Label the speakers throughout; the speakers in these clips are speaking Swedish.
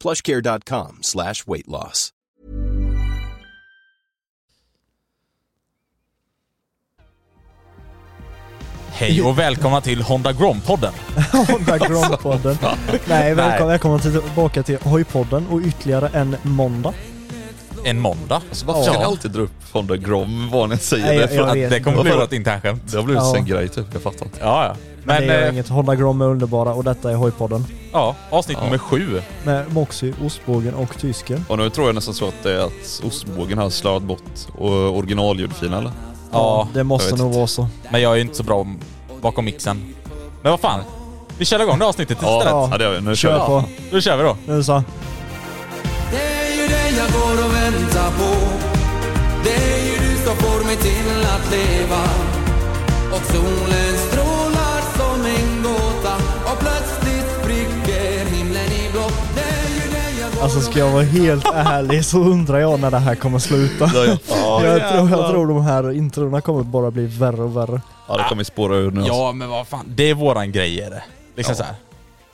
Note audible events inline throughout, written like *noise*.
Speaker 1: plushcare.com slash weight loss.
Speaker 2: Hej och välkomna till Honda Grom-podden.
Speaker 3: Honda Grom-podden. Nej, välkomna, välkomna till- tillbaka till Hojpodden och ytterligare en måndag.
Speaker 2: En måndag.
Speaker 4: Alltså, varför ska ni alltid dra upp Honda Grom vad ni säger?
Speaker 3: Nej,
Speaker 4: det, är
Speaker 3: jag-
Speaker 4: för
Speaker 3: jag
Speaker 4: att
Speaker 3: vet.
Speaker 2: Det kommer
Speaker 4: Varför?
Speaker 2: bli ett internt skämt.
Speaker 4: det har blivit
Speaker 3: Ja.
Speaker 4: en grej typ, jag fattar inte.
Speaker 2: Ja, ja.
Speaker 3: Men,
Speaker 2: Men,
Speaker 3: det gör
Speaker 2: eh,
Speaker 3: inget. Honda Grom är underbara och detta är Hojpodden.
Speaker 2: ja, avsnitt
Speaker 4: Ja.
Speaker 2: nummer sju.
Speaker 3: Med Moxie, Ostbågen och Tysken.
Speaker 4: Och nu tror jag nästan så att det är att ostbågen har slarvat bort och- originalljudfilen eller?
Speaker 2: Ja,
Speaker 3: Det
Speaker 4: jag
Speaker 3: måste
Speaker 4: vet
Speaker 3: nog
Speaker 4: inte.
Speaker 3: vara så.
Speaker 2: men jag är ju inte så bra om- bakom mixen. Men vad fan. Vi kör igång det avsnittet istället.
Speaker 4: Ja, ja det gör vi. Nu kör
Speaker 3: Kör
Speaker 4: vi.
Speaker 3: på.
Speaker 2: Då kör vi då.
Speaker 3: Nu så.
Speaker 5: Det är ju dig jag går och väntar på Det är ju du som får mig till att leva Och solen strålar som en gåta Och plötsligt spricker himlen i blått Det är ju dig jag går
Speaker 3: Alltså ska jag vara helt ärlig så undrar jag när det här kommer sluta.
Speaker 4: Det har jag- Ja,
Speaker 3: Jag tror, jag tror de här introna kommer bara bli värre och värre.
Speaker 4: Ja, det kommer spåra ur nu alltså.
Speaker 2: Ja, men vad fan. Det är våran grej är det. Liksom så här.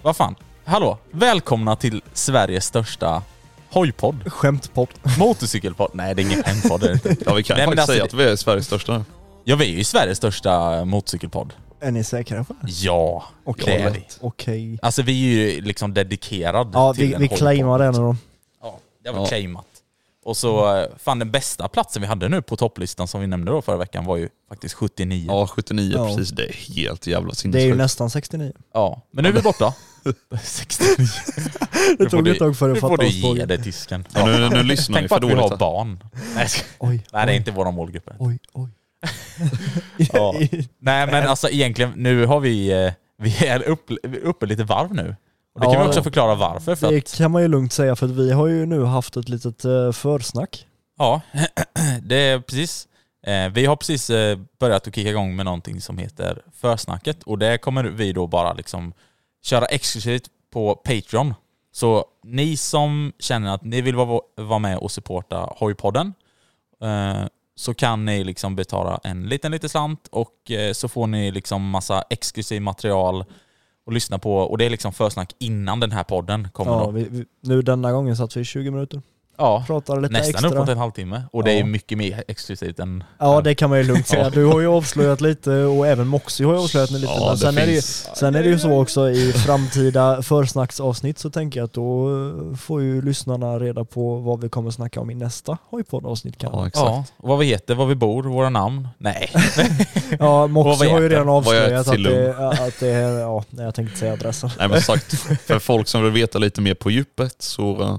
Speaker 2: Vad fan. Hallå. Välkomna till Sveriges största
Speaker 3: *laughs*
Speaker 2: hojpodd.
Speaker 3: Skämtpodd.
Speaker 2: Motorcykelpodd. Nej, det är ingen skämtpodd. det är det inte.
Speaker 4: Ja vi kan
Speaker 2: Nej, men
Speaker 4: faktiskt
Speaker 2: alltså
Speaker 4: säga
Speaker 2: det-
Speaker 4: att vi är Sveriges största nu.
Speaker 2: Ja, vi är ju Sveriges största motorcykelpodd.
Speaker 3: Är ni säkra på det?
Speaker 2: Ja,
Speaker 3: Okej.
Speaker 2: det är vi.
Speaker 3: Okej.
Speaker 2: Alltså vi är ju liksom dedikerad
Speaker 3: Ja,
Speaker 2: till
Speaker 3: vi,
Speaker 2: en
Speaker 3: vi
Speaker 2: hållbar-
Speaker 3: claimar det nu då.
Speaker 2: Ja, det var
Speaker 4: Ja.
Speaker 2: claimat. Och så, eh, fan den bästa platsen vi hade nu på topplistan som vi nämnde då förra veckan var ju faktiskt 79. Ja.
Speaker 4: Ja 79
Speaker 3: Ja.
Speaker 4: precis, det är helt jävla
Speaker 3: Det är ju
Speaker 4: sinnessjukt.
Speaker 3: nästan 69.
Speaker 2: Men nu är vi
Speaker 3: *laughs*
Speaker 2: borta. 69.
Speaker 3: Det
Speaker 2: får
Speaker 3: tog
Speaker 2: du-
Speaker 3: ett tag före
Speaker 2: Nu
Speaker 3: jag
Speaker 2: får
Speaker 3: fattade
Speaker 2: du
Speaker 3: oss
Speaker 2: ge
Speaker 3: frågan.
Speaker 2: dig tysken.
Speaker 4: Ja, nu, nu lyssnar ni
Speaker 2: Tänk
Speaker 4: för
Speaker 2: på att vi
Speaker 4: dåligt.
Speaker 2: har
Speaker 4: här.
Speaker 2: barn. Nej, jag ska-
Speaker 3: Oj,
Speaker 2: Nej det
Speaker 3: oj.
Speaker 2: är inte våra målgrupper.
Speaker 3: Oj, oj.
Speaker 2: *laughs*
Speaker 3: *laughs*
Speaker 2: Ja. Nej men alltså egentligen, nu har vi, eh, vi är upp, vi är uppe lite varv nu. Och det
Speaker 3: Ja.
Speaker 2: kan vi också förklara varför. För
Speaker 3: Det
Speaker 2: att,
Speaker 3: kan man ju lugnt säga för att vi har ju nu haft ett litet eh, försnack.
Speaker 2: ja, *clears throat* det är precis. Eh, Vi har precis eh, börjat att kicka igång med någonting som heter Försnacket och det kommer vi då bara liksom köra exklusivt på Patreon. Så ni som känner att ni vill vara vara med och supporta Hojpodden eh, så kan ni liksom betala en liten, liten slant och eh, så får ni liksom massa exklusivt material att lyssna på och det är liksom försnack innan den här podden kommer
Speaker 3: Ja,
Speaker 2: då.
Speaker 3: vi, vi, nu denna gången satt vi i 20 minuter.
Speaker 2: Ja,
Speaker 3: Pratade lite
Speaker 2: nästan
Speaker 3: extra.
Speaker 2: uppåt en halvtimme och det
Speaker 3: Ja.
Speaker 2: är mycket mer exklusivt än...
Speaker 3: Ja det kan man ju lugnt säga. Du har ju avslöjat lite och även Moxie har ju avslöjat lite.
Speaker 4: Ja,
Speaker 3: men
Speaker 4: det
Speaker 3: sen, är det ju,
Speaker 4: finns.
Speaker 3: sen är det ju så också i framtida försnacksavsnitt så tänker jag att då eh, får ju lyssnarna reda på vad vi kommer snacka om i nästa hojpoddavsnitt kanske.
Speaker 4: Ja exakt.
Speaker 2: Ja, och vad vi heter, vad vi bor, våra namn.
Speaker 3: *laughs*
Speaker 2: Nej.
Speaker 3: Ja,
Speaker 2: Och vad
Speaker 3: Moxie har ju
Speaker 2: heter-
Speaker 3: redan
Speaker 4: vad jag
Speaker 3: avslöjat
Speaker 4: heter
Speaker 3: att
Speaker 4: till
Speaker 3: det, att det är, ja, nej, jag tänkte säga adressen.
Speaker 4: Nej men som sagt, för folk som vill veta lite mer på djupet så eh,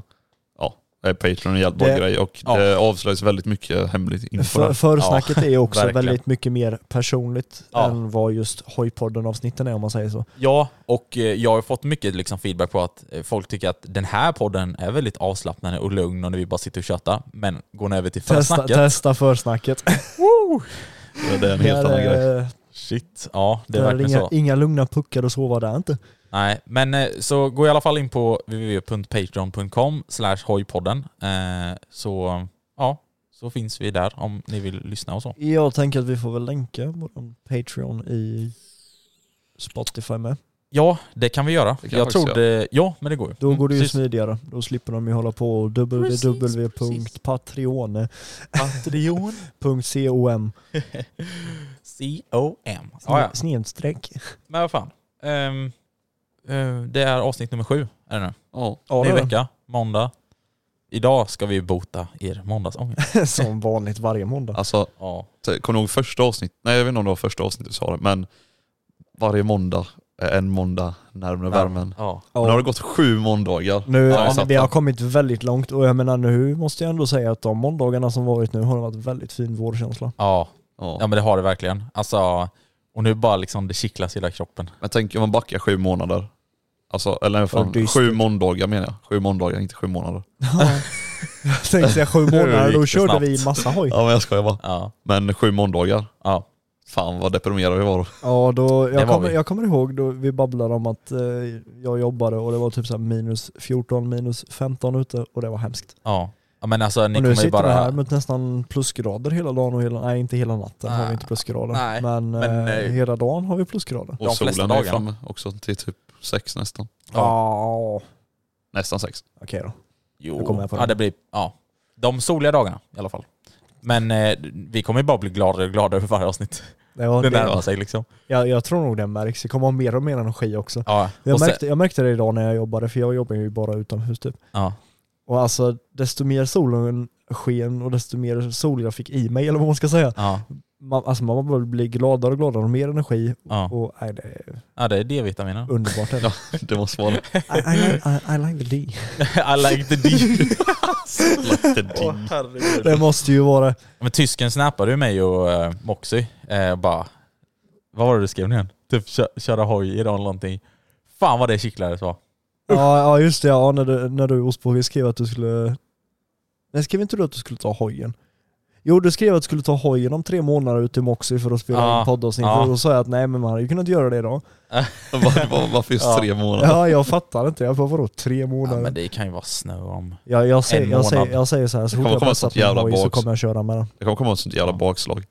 Speaker 4: ja, är Patreon en jävligt bra
Speaker 3: Det-
Speaker 4: grej och
Speaker 2: Ja.
Speaker 4: det avslöjas väldigt mycket hemligt info
Speaker 3: För,
Speaker 4: där.
Speaker 3: försnacket är ju också
Speaker 2: verkligen.
Speaker 3: väldigt mycket mer personligt
Speaker 2: Ja.
Speaker 3: än vad just Hojpodden-avsnitten är om man säger så.
Speaker 2: Ja, och eh, jag har fått mycket liksom feedback på att eh, folk tycker att den här podden är väldigt avslappnande och lugn och när vi bara sitter och tjötar. Men går ni över till
Speaker 3: Testa,
Speaker 2: försnacket?
Speaker 3: testa försnacket.
Speaker 4: Ja, Det är en helt annan grej.
Speaker 3: Där, eh,
Speaker 2: Shit, ja det är
Speaker 3: där är
Speaker 2: verkligen så.
Speaker 3: inga, inga lugna puckar och sova där inte.
Speaker 2: Nej, men eh, så gå i alla fall in på www.patreon.com slash hojpodden. Eh, Så ja, så finns vi där om ni vill lyssna och så.
Speaker 3: Jag tänker att vi får väl länka vår Patreon i Spotify med.
Speaker 2: Ja, det kan vi göra.
Speaker 4: Det kan
Speaker 2: jag
Speaker 4: faktiskt
Speaker 2: trodde... Ja, men det går ju.
Speaker 3: Då
Speaker 2: Mm,
Speaker 3: går det ju
Speaker 2: precis.
Speaker 3: smidigare. Då slipper de ju hålla på och
Speaker 2: Precis,
Speaker 3: www.patreone.com
Speaker 2: Patreon. C-O-M. Ja, ja.
Speaker 3: snedstreck.
Speaker 2: Men vad fan. Ehm, eh, det är avsnitt nummer sju, är det nu?
Speaker 4: Ja.
Speaker 3: Ja,
Speaker 2: Ny
Speaker 3: det är
Speaker 2: vecka, måndag. Idag ska vi bota er
Speaker 3: *laughs*
Speaker 2: måndagsångest.
Speaker 3: det. Som vanligt varje måndag.
Speaker 4: Alltså,
Speaker 2: ja.
Speaker 4: kommer du ihåg första avsnitt? Nej jag vet inte om det var första avsnittet du sa det, men varje måndag är en måndag närmare värmen.
Speaker 2: Ja.
Speaker 4: Nu har det gått sju måndagar.
Speaker 3: Nu,
Speaker 4: Ja,
Speaker 3: ja,
Speaker 4: exakt.
Speaker 3: vi har kommit väldigt långt och jag menar nu måste jag ändå säga att de måndagarna som varit nu har det varit väldigt
Speaker 2: *laughs*
Speaker 3: fin vårkänsla.
Speaker 2: Ja. ja,
Speaker 4: Ja.
Speaker 2: men det har det verkligen. Alltså, och nu bara liksom det kittlas i hela kroppen.
Speaker 4: Men tänk om man backar sju månader. Alltså, eller
Speaker 3: Vad
Speaker 4: fan,
Speaker 3: dystert.
Speaker 4: sju måndagar menar jag. Sju måndagar, inte sju månader.
Speaker 3: Jag tänkte säga sju månader,
Speaker 2: gick
Speaker 3: då
Speaker 2: det
Speaker 3: körde
Speaker 2: snabbt.
Speaker 3: vi massa hoj.
Speaker 4: Ja men jag skojar bara.
Speaker 2: Ja.
Speaker 4: Men sju måndagar.
Speaker 2: ja.
Speaker 4: Fan vad deprimerad vi var då.
Speaker 3: Ja, då,
Speaker 2: Det
Speaker 3: jag,
Speaker 2: var
Speaker 3: kommer,
Speaker 2: vi.
Speaker 3: jag kommer ihåg då vi babblade om att eh, jag jobbade och det var typ så här minus 14, minus 15 ute och det var hemskt.
Speaker 2: Ja. ja men alltså ni
Speaker 3: och nu
Speaker 2: kommer ju
Speaker 3: sitter
Speaker 2: bara...
Speaker 3: det här mot nästan plusgrader hela dagen och hela, nej inte hela natten har
Speaker 2: Nej,
Speaker 3: vi inte plusgrader.
Speaker 2: nej,
Speaker 3: men
Speaker 2: men,
Speaker 3: eh,
Speaker 2: eh,
Speaker 3: hela dagen har vi plusgrader.
Speaker 4: Och
Speaker 2: De flesta
Speaker 4: solen är ju
Speaker 2: dagarna.
Speaker 4: framme också till typ sex nästan.
Speaker 2: Ja.
Speaker 3: Ja.
Speaker 4: Nästan sex.
Speaker 3: Okej då. jag kommer
Speaker 2: Jo.
Speaker 3: med på
Speaker 2: Ja,
Speaker 3: det.
Speaker 2: det blir... Ja. De soliga dagarna i alla fall. Men eh, vi kommer ju bara bli gladare och gladare för varje avsnitt.
Speaker 3: Det var,
Speaker 2: Det
Speaker 3: det,
Speaker 2: närmar sig liksom.
Speaker 3: jag, jag tror nog det märks. Det kommer vara mer och mer energi också.
Speaker 2: Ja.
Speaker 3: Jag
Speaker 2: och sen-
Speaker 3: märkte, jag märkte det idag när jag jobbade, för jag jobbar ju bara utomhus typ.
Speaker 2: ja.
Speaker 3: Och alltså desto mer solen sken och desto mer sol jag fick i mig, eller vad man ska säga.
Speaker 2: Ja.
Speaker 3: Man, alltså man bara blir gladare och gladare och mer energi.
Speaker 2: Ja.
Speaker 3: Och nej, det är
Speaker 2: ja, det är D-vitaminen. *laughs*
Speaker 3: underbart. Är det.
Speaker 4: Det måste vara
Speaker 3: I, *laughs* I, like- I, I like the D.
Speaker 2: I like the D.
Speaker 4: lite ding.
Speaker 3: *laughs* Det måste ju vara...
Speaker 2: Men tysken snappade ju mig och eh, Moxie. Eh, bara, vad var det du skrev nu igen? Typ kö, köra hoj idag eller någonting. Fan vad det kittlades var.
Speaker 3: Ja, ja just det, ja, när du, när du Osborg skrev att du skulle... Nej skrev inte du att du skulle ta hojen? Jo du skrev att du skulle ta hojen om tre månader ut till Moxie för att spela
Speaker 2: Ja,
Speaker 3: in poddavsnitt.
Speaker 2: ja.
Speaker 3: Och då sa jag att nej men man hade ju kunnat göra det idag.
Speaker 4: Var, var, varför just
Speaker 2: Ja.
Speaker 4: tre månader?
Speaker 3: Ja jag fattar inte, jag bara vadå tre
Speaker 2: Ja,
Speaker 3: månader?
Speaker 2: men det kan ju vara snö om...
Speaker 3: Jag, jag, säger,
Speaker 2: En
Speaker 3: jag, säger,
Speaker 2: månad.
Speaker 3: jag säger så här, så
Speaker 4: Det
Speaker 3: fort
Speaker 4: kommer
Speaker 3: jag
Speaker 4: komma
Speaker 3: har satt
Speaker 4: sånt jävla
Speaker 3: min hoj så
Speaker 4: box.
Speaker 3: kommer jag köra med den.
Speaker 4: Det kommer komma ett sånt jävla bakslag.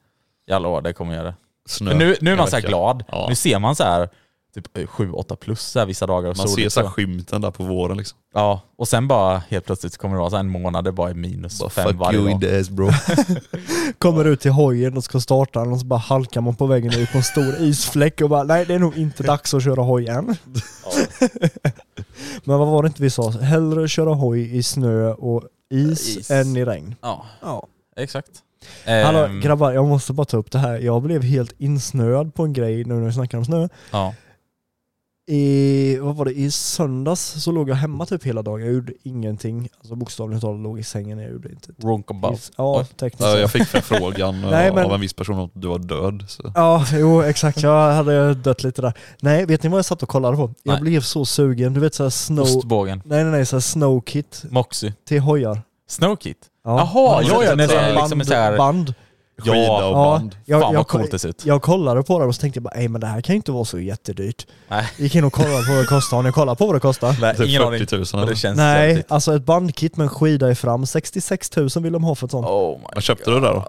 Speaker 2: Jag lovar, det kommer göra det.
Speaker 4: Snö.
Speaker 2: Men nu, nu är man så här
Speaker 4: vecka.
Speaker 2: glad.
Speaker 4: Ja.
Speaker 2: Nu ser man så här typ 7-8 plus så här, vissa dagar. Och
Speaker 4: Man ser
Speaker 2: soligt
Speaker 4: så här skymten där på våren liksom.
Speaker 2: Ja, och sen bara helt plötsligt så kommer det vara så här en månad det bara är minus
Speaker 4: Bara,
Speaker 2: fem
Speaker 4: fuck
Speaker 2: varje
Speaker 4: you in
Speaker 2: dag.
Speaker 4: the ass bro. *laughs*
Speaker 3: Kommer ut till hojen och ska starta den och så bara halkar man på vägen ut på en stor isfläck och bara nej det är nog inte dags att köra hoj än. *laughs* Men vad var det inte vi sa? Hellre köra hoj i snö och is,
Speaker 2: Is.
Speaker 3: än i regn.
Speaker 2: Ja,
Speaker 3: Ja.
Speaker 2: exakt.
Speaker 3: Hallå
Speaker 2: Ehm,
Speaker 3: grabbar, jag måste bara ta upp det här. Jag blev helt insnöad på en grej nu när vi snackar om snö.
Speaker 2: ja.
Speaker 3: I, vad var det, i söndags så låg jag hemma typ hela dagen. Jag gjorde ingenting. Alltså bokstavligt talat låg i sängen. Jag gjorde inte
Speaker 2: Runkabout.
Speaker 3: Is- Ja,
Speaker 2: Oj.
Speaker 3: tekniskt
Speaker 4: Ja,
Speaker 3: sett.
Speaker 4: Jag fick förfrågan
Speaker 3: Nej,
Speaker 4: eh,
Speaker 3: men-
Speaker 4: av en viss person att du var död. Så.
Speaker 3: Ja, jo exakt. Jag hade dött lite där. Nej, vet ni vad jag satt och kollade på? Jag
Speaker 2: Nej.
Speaker 3: blev så sugen. Du vet såhär snow...
Speaker 2: Ostbågen.
Speaker 3: Nej nej nej, såhär snowkit
Speaker 2: Moxie.
Speaker 3: till hojar.
Speaker 2: Snowkit.
Speaker 3: Ja.
Speaker 2: Jaha, ja, ja, när det är
Speaker 3: Band-
Speaker 2: liksom en så här-
Speaker 3: Band.
Speaker 4: Skida och
Speaker 3: Ja.
Speaker 4: band.
Speaker 3: Jag,
Speaker 2: Fan
Speaker 3: jag,
Speaker 2: vad
Speaker 3: ko-
Speaker 2: coolt det ser ut.
Speaker 3: jag kollade på det och så tänkte jag bara, nej men det här kan ju inte vara så jättedyrt.
Speaker 2: Nej.
Speaker 3: Gick in och kollade på vad det kostar. Har ni kollat på vad det kostar?
Speaker 2: Nej,
Speaker 4: Typ
Speaker 2: ingen aning.
Speaker 4: 40 000
Speaker 2: Men
Speaker 4: eller?
Speaker 2: det känns
Speaker 3: Nej,
Speaker 2: jävligt.
Speaker 3: alltså ett bandkit med en skida i fram. 66 000 vill de ha för ett sånt.
Speaker 2: Oh my
Speaker 4: Men köpte du det då?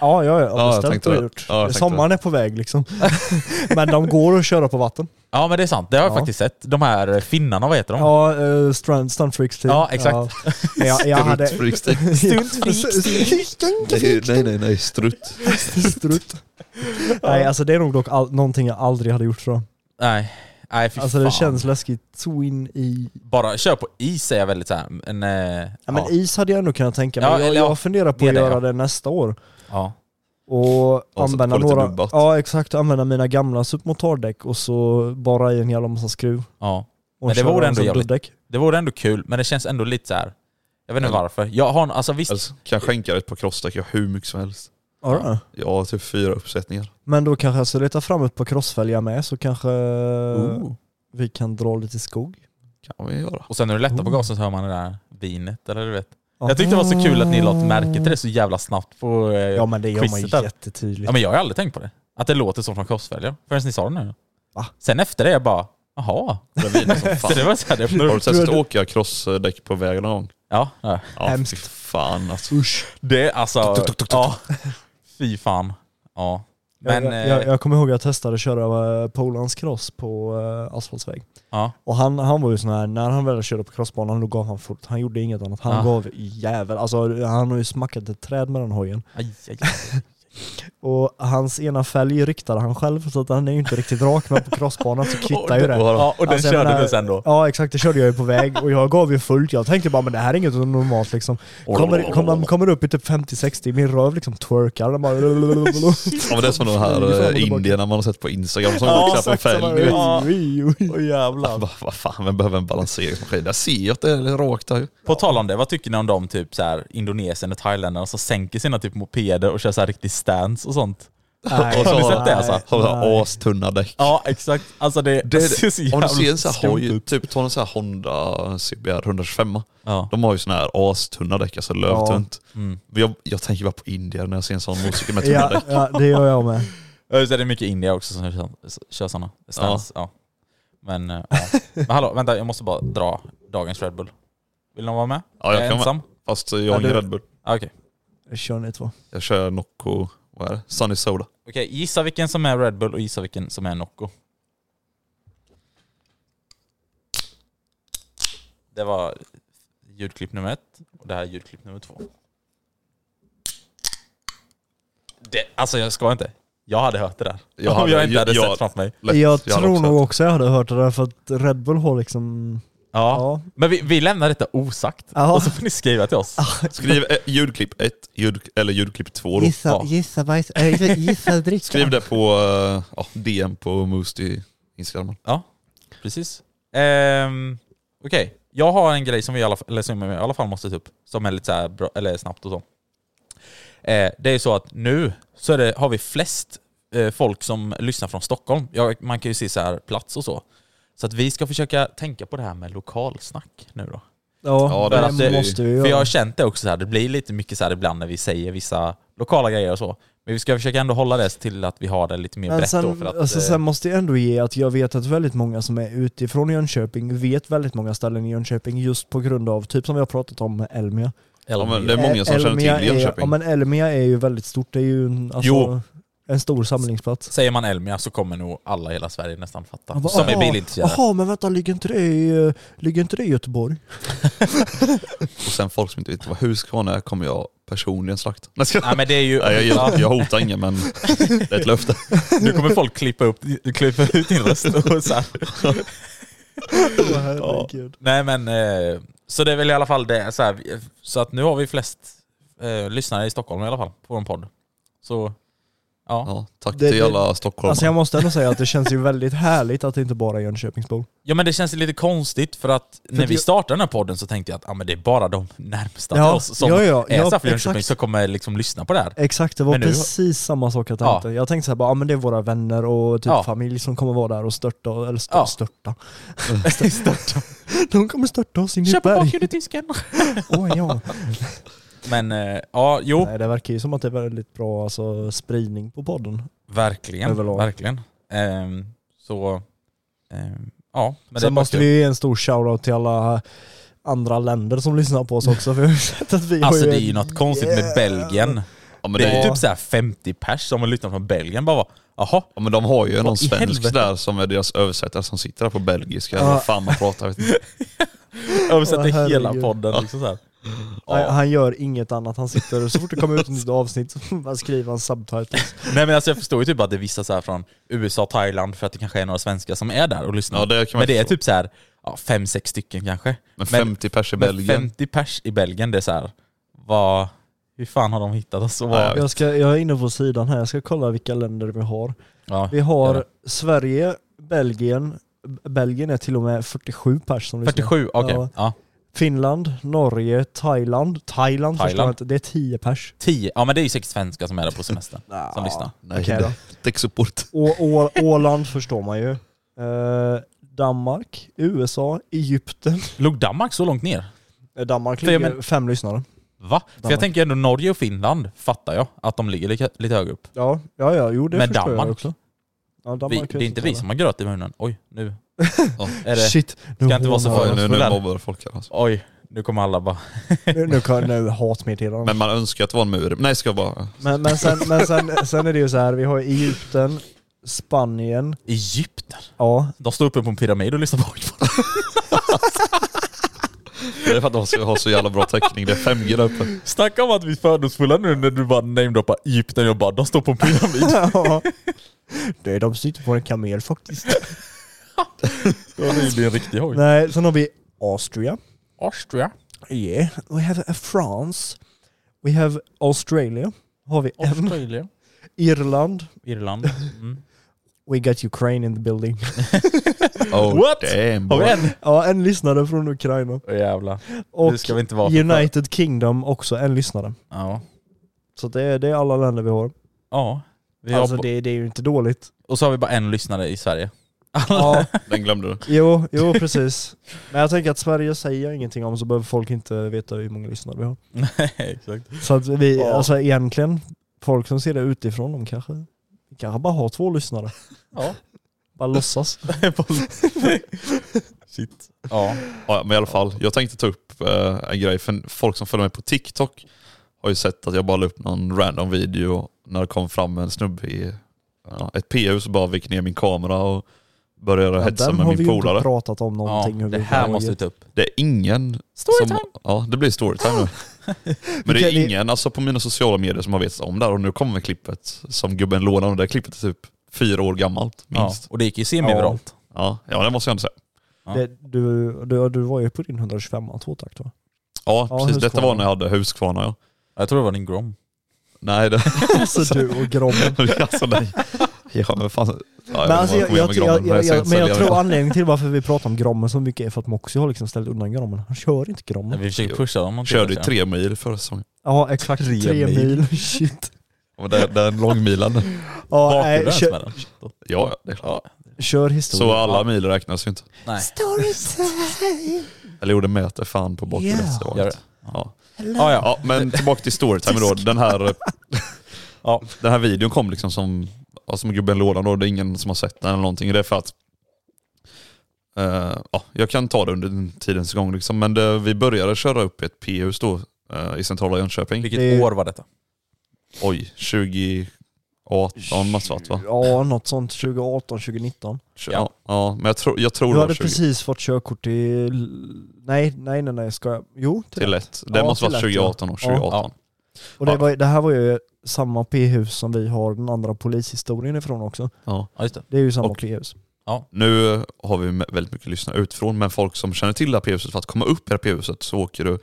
Speaker 3: Ja, ja, ja.
Speaker 4: jag
Speaker 3: Beställt
Speaker 4: tänkte
Speaker 3: och
Speaker 4: det.
Speaker 3: gjort.
Speaker 4: Ja, jag tänkte
Speaker 3: Sommaren är på väg liksom. *laughs* men de går att köra på vatten.
Speaker 2: Ja men det är sant, det har jag
Speaker 3: Ja.
Speaker 2: faktiskt sett. De här finnarna, vad heter de?
Speaker 3: Ja, uh, Stunt, stunt Freaks team.
Speaker 2: Ja, exakt.
Speaker 3: Ja. Jag, jag hade...
Speaker 4: Strutt, freaks,
Speaker 3: *laughs*
Speaker 4: nej, nej, nej, nej, strutt.
Speaker 3: Strutt. Nej, alltså det är nog dock all, någonting jag aldrig hade gjort tror jag.
Speaker 2: Nej, nej fy
Speaker 3: Alltså
Speaker 2: fan.
Speaker 3: det känns läskigt så in i...
Speaker 2: Bara kör på is är jag väldigt såhär, en... eh,
Speaker 3: Ja, men is hade jag nog kunnat tänka mig.
Speaker 2: Ja,
Speaker 3: jag,
Speaker 2: eller ja,
Speaker 3: jag funderar på
Speaker 2: det är
Speaker 3: att
Speaker 2: det,
Speaker 3: göra
Speaker 2: ja.
Speaker 3: det nästa år.
Speaker 2: ja.
Speaker 3: Och
Speaker 4: så
Speaker 3: använda
Speaker 4: får lite
Speaker 3: några...
Speaker 4: dubbat.
Speaker 3: Ja exakt, använda mina gamla submotardäck och så bara i en jävla massa skruv.
Speaker 2: ja.
Speaker 3: Och
Speaker 2: Men det
Speaker 3: köra
Speaker 2: vore
Speaker 3: dem
Speaker 2: ändå
Speaker 3: som
Speaker 2: jävligt-
Speaker 3: dubbdäck.
Speaker 2: Det vore ändå kul, men det känns ändå lite så här. Jag vet inte varför. Jag har en, alltså visst,
Speaker 4: Alltså, kan jag skänka dig ett par crossstack, jag har hur mycket som helst.
Speaker 3: Ja, då.
Speaker 4: Jag har typ fyra uppsättningar.
Speaker 3: Men då kanske jag ska leta fram ett par crossfälgar med så kanske vi kan dra lite skog.
Speaker 4: Kan vi göra.
Speaker 2: och sen när du
Speaker 3: Mm.
Speaker 2: lättar på gasen så hör man det där vinet eller du vet. Jag tyckte det var så kul att ni la märke till det så jävla snabbt på... Eh,
Speaker 3: Ja men det gör man ju
Speaker 2: quizet där.
Speaker 3: jättetydligt.
Speaker 2: Ja men jag har aldrig tänkt på det. Att det låter som från korsfälgar. Förrän ni sa det nu.
Speaker 3: Va?
Speaker 2: Sen efter det jag bara, jaha.
Speaker 4: Det
Speaker 2: *laughs*
Speaker 4: viner som
Speaker 2: Så det
Speaker 4: fan.
Speaker 2: var så här, det
Speaker 4: Har
Speaker 2: var
Speaker 4: du testat att åka crossdäck på vägen någon gång?
Speaker 2: Ja, ja.
Speaker 4: Ja,
Speaker 3: Hemskt. *laughs*
Speaker 4: fy fan alltså.
Speaker 2: Det alltså,
Speaker 4: Tuk, tuk, tuk, tuk, tuk.
Speaker 2: ja. Fy fan. Ja. Men,
Speaker 3: jag,
Speaker 2: eh,
Speaker 3: jag, jag kommer ihåg att jag testade att köra eh, Polans cross på eh, asfaltsväg.
Speaker 2: ja.
Speaker 3: Och han, han var ju sån här, när han väl körde på crossbanan då gav han fort. Han gjorde inget annat. Han
Speaker 2: Ah.
Speaker 3: gav jävel. Alltså han har ju smackat ett träd med den hojen.
Speaker 2: Aj, aj,
Speaker 3: Och hans ena fälg riktade han själv så att han är ju inte riktigt rak men på crossbanan
Speaker 2: *laughs*
Speaker 3: så kvittar ju det.
Speaker 2: Ja, och den
Speaker 3: Alltså, jag
Speaker 2: körde
Speaker 3: menar-
Speaker 2: du sen då?
Speaker 3: Ja exakt, det körde jag ju på väg och jag gav ju fullt. Jag tänkte bara men det här är inget normalt liksom. Kommer, kommer, kommer upp i typ 50-60, min röv liksom twerkar.
Speaker 2: *laughs*
Speaker 3: Den bara...
Speaker 4: Ja, men det är som
Speaker 3: Flyger fram
Speaker 4: de
Speaker 3: och
Speaker 4: här eh,
Speaker 3: tillbaka.
Speaker 4: indierna man har sett på Instagram som
Speaker 2: Ja,
Speaker 4: åker på en
Speaker 2: exakt samma.
Speaker 4: fälg. du vet.
Speaker 2: Ja.
Speaker 3: Åh jävlar.
Speaker 4: Vad vad fan, vem behöver en balanseringsmaskin? Där ser jag att det är rakt där ju.
Speaker 2: På tal om det, vad tycker ni om de typ så här, Indonesien och Thailändarna som sänker sina typ mopeder och kör så här riktig stance och sånt?
Speaker 3: Nej,
Speaker 2: Har ni sett det, alltså?
Speaker 3: nej,
Speaker 4: Har så
Speaker 3: nej.
Speaker 4: här astunna däck.
Speaker 2: Ja, exakt. Alltså det,
Speaker 4: Det är
Speaker 2: ser så
Speaker 4: det. Om du
Speaker 2: jävla
Speaker 4: ser en sån här
Speaker 2: skumt
Speaker 4: hoj,
Speaker 2: ut.
Speaker 4: typ ta en sån här Honda CBR 125
Speaker 2: Ja.
Speaker 4: De har ju sån här astunna däck, alltså lövtunt.
Speaker 2: Mm.
Speaker 4: Men Jag, jag tänker bara på Indien när jag ser en sån
Speaker 3: *laughs*
Speaker 4: motorcykel med tunna
Speaker 3: Ja,
Speaker 4: däck.
Speaker 3: ja, det gör jag med.
Speaker 2: Ja, just det, det är mycket India också som kör, kör sådana. Stance, ja. Men, eh, ja. Men hallå, vänta, jag måste bara dra dagens Red Bull. Vill någon vara med?
Speaker 4: Ja,
Speaker 2: jag
Speaker 4: jag
Speaker 2: är
Speaker 4: kan vara
Speaker 2: ensam?
Speaker 4: Fast jag
Speaker 3: Ja,
Speaker 4: har ingen
Speaker 3: du-
Speaker 4: Red Bull.
Speaker 2: Ah, Okej.
Speaker 3: Jag kör ni två.
Speaker 4: Jag kör Nocco, vad är det? Sunny Soda.
Speaker 2: Okej, gissa vilken som är Red Bull och gissa vilken som är Nocco. Det var ljudklipp nummer ett och det här är ljudklipp nummer två. Det, alltså jag ska inte. Jag hade hört det där. *laughs*
Speaker 4: Jag
Speaker 2: Om
Speaker 4: hade-
Speaker 2: jag inte hade
Speaker 4: jag-
Speaker 2: sett framför mig.
Speaker 4: Lätt.
Speaker 3: jag
Speaker 4: hade
Speaker 3: tror
Speaker 4: också
Speaker 3: nog
Speaker 4: haft.
Speaker 3: också jag hade hört det där för att Red Bull har liksom...
Speaker 2: Ja.
Speaker 3: Ja.
Speaker 2: Men vi, vi lämnar detta osagt.
Speaker 3: Ja.
Speaker 2: Och så får ni skriva till oss.
Speaker 4: Skriv eh, ljudklipp 1 ljud, eller ljudklipp 2 då.
Speaker 2: Ja.
Speaker 3: gissa bajs, äh, gissa dricka.
Speaker 4: Skriv det på eh, ja, DM på Moosty Instagram.
Speaker 3: *laughs*
Speaker 2: Ja, precis. Ehm, Okej, jag har en grej som vi i alla, fall- eller som jag i alla fall måste ta upp, som är lite så här bra, eller snabbt och så. Eh, det är så att nu så är det, har vi flest eh, folk som lyssnar från Stockholm. Ja, man kan ju se så här plats och så. Så att vi ska försöka tänka på det här med lokalsnack nu då.
Speaker 3: Ja,
Speaker 4: Ja,
Speaker 3: det,
Speaker 4: det
Speaker 2: måste vi-
Speaker 3: måste vi
Speaker 2: För jag har
Speaker 3: göra.
Speaker 2: känt det också så här, det blir lite mycket så här ibland när vi säger vissa lokala grejer och så. Men vi ska försöka ändå hålla det till att vi har det lite mer
Speaker 3: Men
Speaker 2: brett då.
Speaker 3: sen,
Speaker 2: För att,
Speaker 3: alltså,
Speaker 2: eh,
Speaker 3: sen måste jag ändå ge att jag vet att väldigt många som är utifrån Jönköping vet väldigt många ställen i Jönköping just på grund av, typ som vi har pratat om, Elmia. Eh,
Speaker 2: eller-
Speaker 4: Ja, men det är många som
Speaker 3: Elmia
Speaker 4: känner till
Speaker 3: är, Ja
Speaker 4: Jönköping.
Speaker 3: men Elmia är ju väldigt stort, det är ju en, alltså,
Speaker 2: Jo.
Speaker 3: en stor samlingsplats.
Speaker 2: Säger man Elmia så kommer nog alla i hela Sverige nästan fatta.
Speaker 3: Ja, bara,
Speaker 2: som är
Speaker 3: aha,
Speaker 2: bilintresserade.
Speaker 3: Jaha, men vänta, ligger inte det i, eh, ligger inte det i Göteborg?
Speaker 4: Och sen folk som inte vet vad Husqvarna är kommer jag personligen slakta. Nej, ska...
Speaker 2: Nej men det är ju...
Speaker 4: Nej, jag, jag, jag hotar
Speaker 3: *laughs*
Speaker 4: ingen men det är ett löfte.
Speaker 2: Nu kommer folk klippa, upp, klippa ut din
Speaker 3: *laughs*
Speaker 2: röst. Och så här.
Speaker 3: Åh herregud.
Speaker 2: Nej men, eh, så det är väl i alla fall det. Så, här, vi- så att nu har vi flest eh, lyssnare i Stockholm i alla fall, på en podd. Så, ja.
Speaker 4: Ja, tack
Speaker 3: Det-
Speaker 4: till
Speaker 3: det-
Speaker 4: alla stockholmare.
Speaker 3: Alltså jag måste ändå säga att det känns ju väldigt härligt att det inte bara är Jönköpingsbor.
Speaker 2: Ja men det känns lite konstigt för att när
Speaker 3: att
Speaker 2: vi
Speaker 3: jag-
Speaker 2: startade den här podden så tänkte jag att ah, men det är bara de närmsta
Speaker 3: Ja,
Speaker 2: till oss som
Speaker 3: ja, ja,
Speaker 2: är
Speaker 3: ja,
Speaker 2: ja, Jönköping
Speaker 3: exakt.
Speaker 2: som kommer liksom lyssna på det här.
Speaker 3: Exakt, det var
Speaker 2: Men nu-
Speaker 3: precis samma sak jag tänkte. Jag tänkte såhär bara, ja men det är våra vänner och typ
Speaker 2: Ja.
Speaker 3: familj som kommer vara där och störta, eller stö-
Speaker 2: Ja. Mm.
Speaker 3: störta. *laughs* De kommer störta oss in i ett berg.
Speaker 2: under tysken!
Speaker 3: Åh, ja.
Speaker 2: Men eh, ja, jo.
Speaker 3: Nej, det verkar ju som att det är väldigt bra alltså, spridning på podden.
Speaker 2: Verkligen,
Speaker 3: Överlag.
Speaker 2: verkligen. Ehm, så, ehm, ja. Men det är
Speaker 3: Sen
Speaker 2: bara
Speaker 3: måste
Speaker 2: kul.
Speaker 3: vi ge en stor shoutout till alla andra länder som lyssnar på oss också för jag har sett att vi
Speaker 2: Alltså
Speaker 3: har
Speaker 2: det är ju något konstigt med Belgien.
Speaker 4: Ja, men,
Speaker 2: Det är
Speaker 4: det,
Speaker 2: typ så här 50 pers som har lyssnat från Belgien bara bara, jaha,
Speaker 4: ja, men de har ju
Speaker 2: Vad i
Speaker 4: någon svensk
Speaker 2: helvete?
Speaker 4: där som är deras översättare som sitter där på belgiska.
Speaker 3: Ja.
Speaker 4: Vad fan man pratar. Vet inte.
Speaker 2: översätter
Speaker 3: Åh,
Speaker 2: hela
Speaker 3: herregud.
Speaker 2: podden liksom så här.
Speaker 3: Nej,
Speaker 2: Ja.
Speaker 3: Han gör inget annat, han sitter så fort det kommer ut ett nytt avsnitt så *laughs* bara skriver han
Speaker 2: *laughs*
Speaker 3: subtitles.
Speaker 2: Nej men alltså jag förstår ju typ att det är vissa så här från USA, Thailand, för att det kanske är några svenskar som är där och lyssnar.
Speaker 4: Ja, det kan man
Speaker 2: men det är
Speaker 4: förstå.
Speaker 2: typ så här, ja, fem, sex stycken kanske.
Speaker 4: Men
Speaker 2: Men-
Speaker 4: 50 pers i
Speaker 2: Men
Speaker 4: Belgien.
Speaker 2: 50 pers i Belgien, det är så här, vad, hur fan har de hittat oss? Och vad,
Speaker 4: Ja,
Speaker 3: Jag, ska, jag är inne på sidan här, jag ska kolla vilka länder vi har.
Speaker 2: ja,
Speaker 3: Vi
Speaker 2: gör
Speaker 3: har
Speaker 2: det.
Speaker 3: Sverige, Belgien, B- Belgien är till och med 47 pers som lyssnar.
Speaker 2: 47, okej.
Speaker 3: Ja.
Speaker 2: Ja.
Speaker 3: Finland, Norge, Thailand. Thailand, förstår
Speaker 2: Thailand.
Speaker 3: jag inte. Det är 10 pers.
Speaker 2: 10. Ja men det är ju sex svenskar som är där på
Speaker 3: *laughs*
Speaker 2: semestern. som lyssnar.
Speaker 4: Nej,
Speaker 3: Okej
Speaker 4: *laughs*
Speaker 3: då.
Speaker 4: okay, däcksupport.
Speaker 3: Å- Å- Åland förstår man ju. Eh, Danmark, USA, Egypten.
Speaker 2: Låg Danmark så långt ner?
Speaker 3: Eh, Danmark
Speaker 2: För jag
Speaker 3: ligger
Speaker 2: men-
Speaker 3: fem lyssnare.
Speaker 2: Va? För jag
Speaker 3: Danmark.
Speaker 2: tänker ändå Norge och Finland, fattar jag, att de ligger lite, lite högre upp.
Speaker 3: Ja, ja, ja jo det
Speaker 2: Men
Speaker 3: förstår
Speaker 2: Danmark?
Speaker 3: jag också. Ja, Danmark
Speaker 2: Vi,
Speaker 3: vet
Speaker 2: det är inte vi som har gröt i munnen. Oj, nu.
Speaker 4: Ja.
Speaker 2: Är det,
Speaker 3: Shit, nu
Speaker 2: Ska inte vara så
Speaker 3: hånar
Speaker 4: Ja,
Speaker 3: jag.
Speaker 4: nu, nu
Speaker 2: Fullare.
Speaker 4: mobbar folk här alltså.
Speaker 2: oj, nu kommer alla bara...
Speaker 3: Nu, nu, kan- nu hatmeddelar de.
Speaker 4: Men man önskar att det var en mur. Nej, ska jag bara...
Speaker 3: Men, men, sen, men sen, sen är det ju så här, vi har Egypten, Spanien,
Speaker 2: Egypten?
Speaker 3: ja,
Speaker 2: De står uppe på en pyramid och lyssnar på oss.
Speaker 4: Det är för att de ska ha så jävla bra täckning. Det är 5G där uppe.
Speaker 2: Snacka om att vi är fördomsfulla nu när du bara namedroppar Egypten. Jag bara, de står på en
Speaker 3: *laughs*
Speaker 2: pyramid.
Speaker 3: Ja. Det, de sitter på en kamel faktiskt.
Speaker 2: Då är det en riktig hoj.
Speaker 3: Nej, sen har vi Austria.
Speaker 2: Austria.
Speaker 3: Yeah. We have a France. We have Australia. Har vi en.
Speaker 2: Australien.
Speaker 3: Irland.
Speaker 2: Irland. Mm.
Speaker 3: We got Ukraine in the building. *laughs*
Speaker 4: Oh,
Speaker 2: *laughs* *laughs* What?
Speaker 4: Damn,
Speaker 2: Har vi
Speaker 4: boy.
Speaker 2: en?
Speaker 3: Ja, en lyssnare från Ukraina.
Speaker 2: Åh jävlar.
Speaker 3: Och
Speaker 2: Nu ska vi inte vara för-
Speaker 3: United Kingdom också en lyssnare.
Speaker 2: Ja.
Speaker 3: Så det är, det är alla länder vi har.
Speaker 2: Ja. Vi har
Speaker 3: Alltså
Speaker 2: ba-
Speaker 3: det, det är ju inte dåligt.
Speaker 2: Och så har vi bara en lyssnare i Sverige.
Speaker 3: Ja,
Speaker 4: *laughs* Den glömde du.
Speaker 3: *laughs* jo, jo precis. Men jag tänker att Sverige säger jag ingenting om så behöver folk inte veta hur många lyssnare vi har.
Speaker 2: *laughs* Nej, exakt.
Speaker 3: Så att vi,
Speaker 2: Ja.
Speaker 3: alltså egentligen, folk som ser det utifrån, de kanske, kanske bara har två lyssnare.
Speaker 2: *laughs* Ja.
Speaker 3: Bara låtsas. *laughs*
Speaker 2: Shit. Ja.
Speaker 4: Ja, men i alla fall, jag tänkte ta upp eh, en grej. För folk som följer mig på TikTok har ju sett att jag bara la upp någon random video när det kom fram en snubbe i ja, ett PU så bara vek ner min kamera och började hetsa
Speaker 3: den
Speaker 4: med
Speaker 3: har vi
Speaker 4: min
Speaker 3: ju inte
Speaker 4: polare.
Speaker 3: pratat om
Speaker 2: ja.
Speaker 3: någonting.
Speaker 2: Oh, Det här måste vi ta upp.
Speaker 4: Det är ingen
Speaker 2: Storytime!
Speaker 4: Som, ja, det blir storytime nu. Men det
Speaker 3: Okej,
Speaker 4: är
Speaker 3: det-
Speaker 4: ingen alltså, på mina sociala medier som har vetat om det här och nu kommer klippet som gubben lånade och det klippet är typ fyra år gammalt
Speaker 2: Ja.
Speaker 4: minst.
Speaker 2: Och det gick ju semiviralt.
Speaker 4: Ja, ja det måste jag ändå säga.
Speaker 3: det, du, du, du var ju på din 125 tvåtakt va?
Speaker 4: Ja,
Speaker 3: Ja,
Speaker 4: precis. Detta
Speaker 3: Husqvarna.
Speaker 4: var när jag hade Husqvarna ja.
Speaker 2: Jag tror det var din Grom.
Speaker 4: Nej, det, *laughs*
Speaker 3: Alltså du och Grommen.
Speaker 4: alltså nej. Ja men fan. Ja,
Speaker 3: Men, alltså, jag,
Speaker 4: jag,
Speaker 3: jag,
Speaker 4: vet inte vad
Speaker 3: jag,
Speaker 4: jag,
Speaker 3: jag, jag, men jag tror
Speaker 4: att...
Speaker 3: anledningen till varför vi pratar om Grommen så mycket är för att Moxie har liksom ställt undan Grommen. Han kör inte Grommen.
Speaker 2: Vi försöker pusha dem. någonting,
Speaker 4: Mm. Körde ju
Speaker 2: kanske.
Speaker 4: tre mil förra säsongen.
Speaker 3: Ja exakt, tre, mil. *laughs* Shit.
Speaker 4: Men Det, det är
Speaker 3: *laughs*
Speaker 4: en långmilen.
Speaker 3: Ja,
Speaker 2: Bakade
Speaker 3: nej,
Speaker 2: den
Speaker 3: kör,
Speaker 2: smällen.
Speaker 4: Ja, det är klart.
Speaker 3: kör
Speaker 4: Så
Speaker 3: historia.
Speaker 4: alla mil räknas ju inte.
Speaker 2: Nej.
Speaker 4: Eller jo det mäter fan på bakre.
Speaker 3: Yeah.
Speaker 4: så var
Speaker 2: Gör
Speaker 4: det.
Speaker 2: det.
Speaker 4: Ja.
Speaker 2: Ja, ja.
Speaker 4: Ja, men tillbaka till storytime då.
Speaker 3: *laughs*
Speaker 4: Den här,
Speaker 2: Ja.
Speaker 4: den här videon kom liksom som, ja, som gubben i lådan då. Det är ingen som har sett den eller någonting. Det är för att eh, ja, jag kan ta det under den tidens gång liksom. Men det, vi började köra upp ett P-hus då eh, i centrala Jönköping.
Speaker 2: Vilket
Speaker 3: Det-
Speaker 2: år var detta?
Speaker 4: Oj, 2018 måste det varit, va?
Speaker 3: Ja, något sånt. 2018, 2019.
Speaker 4: Ja. ja. men jag, tror jag tror
Speaker 3: Du
Speaker 4: det var
Speaker 3: hade
Speaker 4: 20
Speaker 3: precis fått körkort i... L- Nej, nej, nej, nej, ska jag? Jo, till
Speaker 4: till
Speaker 3: det.
Speaker 4: ett. Det
Speaker 3: Ja,
Speaker 4: måste
Speaker 3: till
Speaker 4: vara
Speaker 3: ett, ja.
Speaker 4: 2018 och
Speaker 3: Ja.
Speaker 4: 2018.
Speaker 3: Och det, var, det här var ju samma p-hus som vi har den andra polishistorien ifrån också.
Speaker 4: Ja.
Speaker 2: Ja, just det.
Speaker 3: Det är ju samma
Speaker 4: Och-
Speaker 3: p-hus.
Speaker 4: Nu eh, har vi med- väldigt mycket lyssnare utifrån, men folk som känner till det här p-huset, för att komma upp i det här p-huset så åker du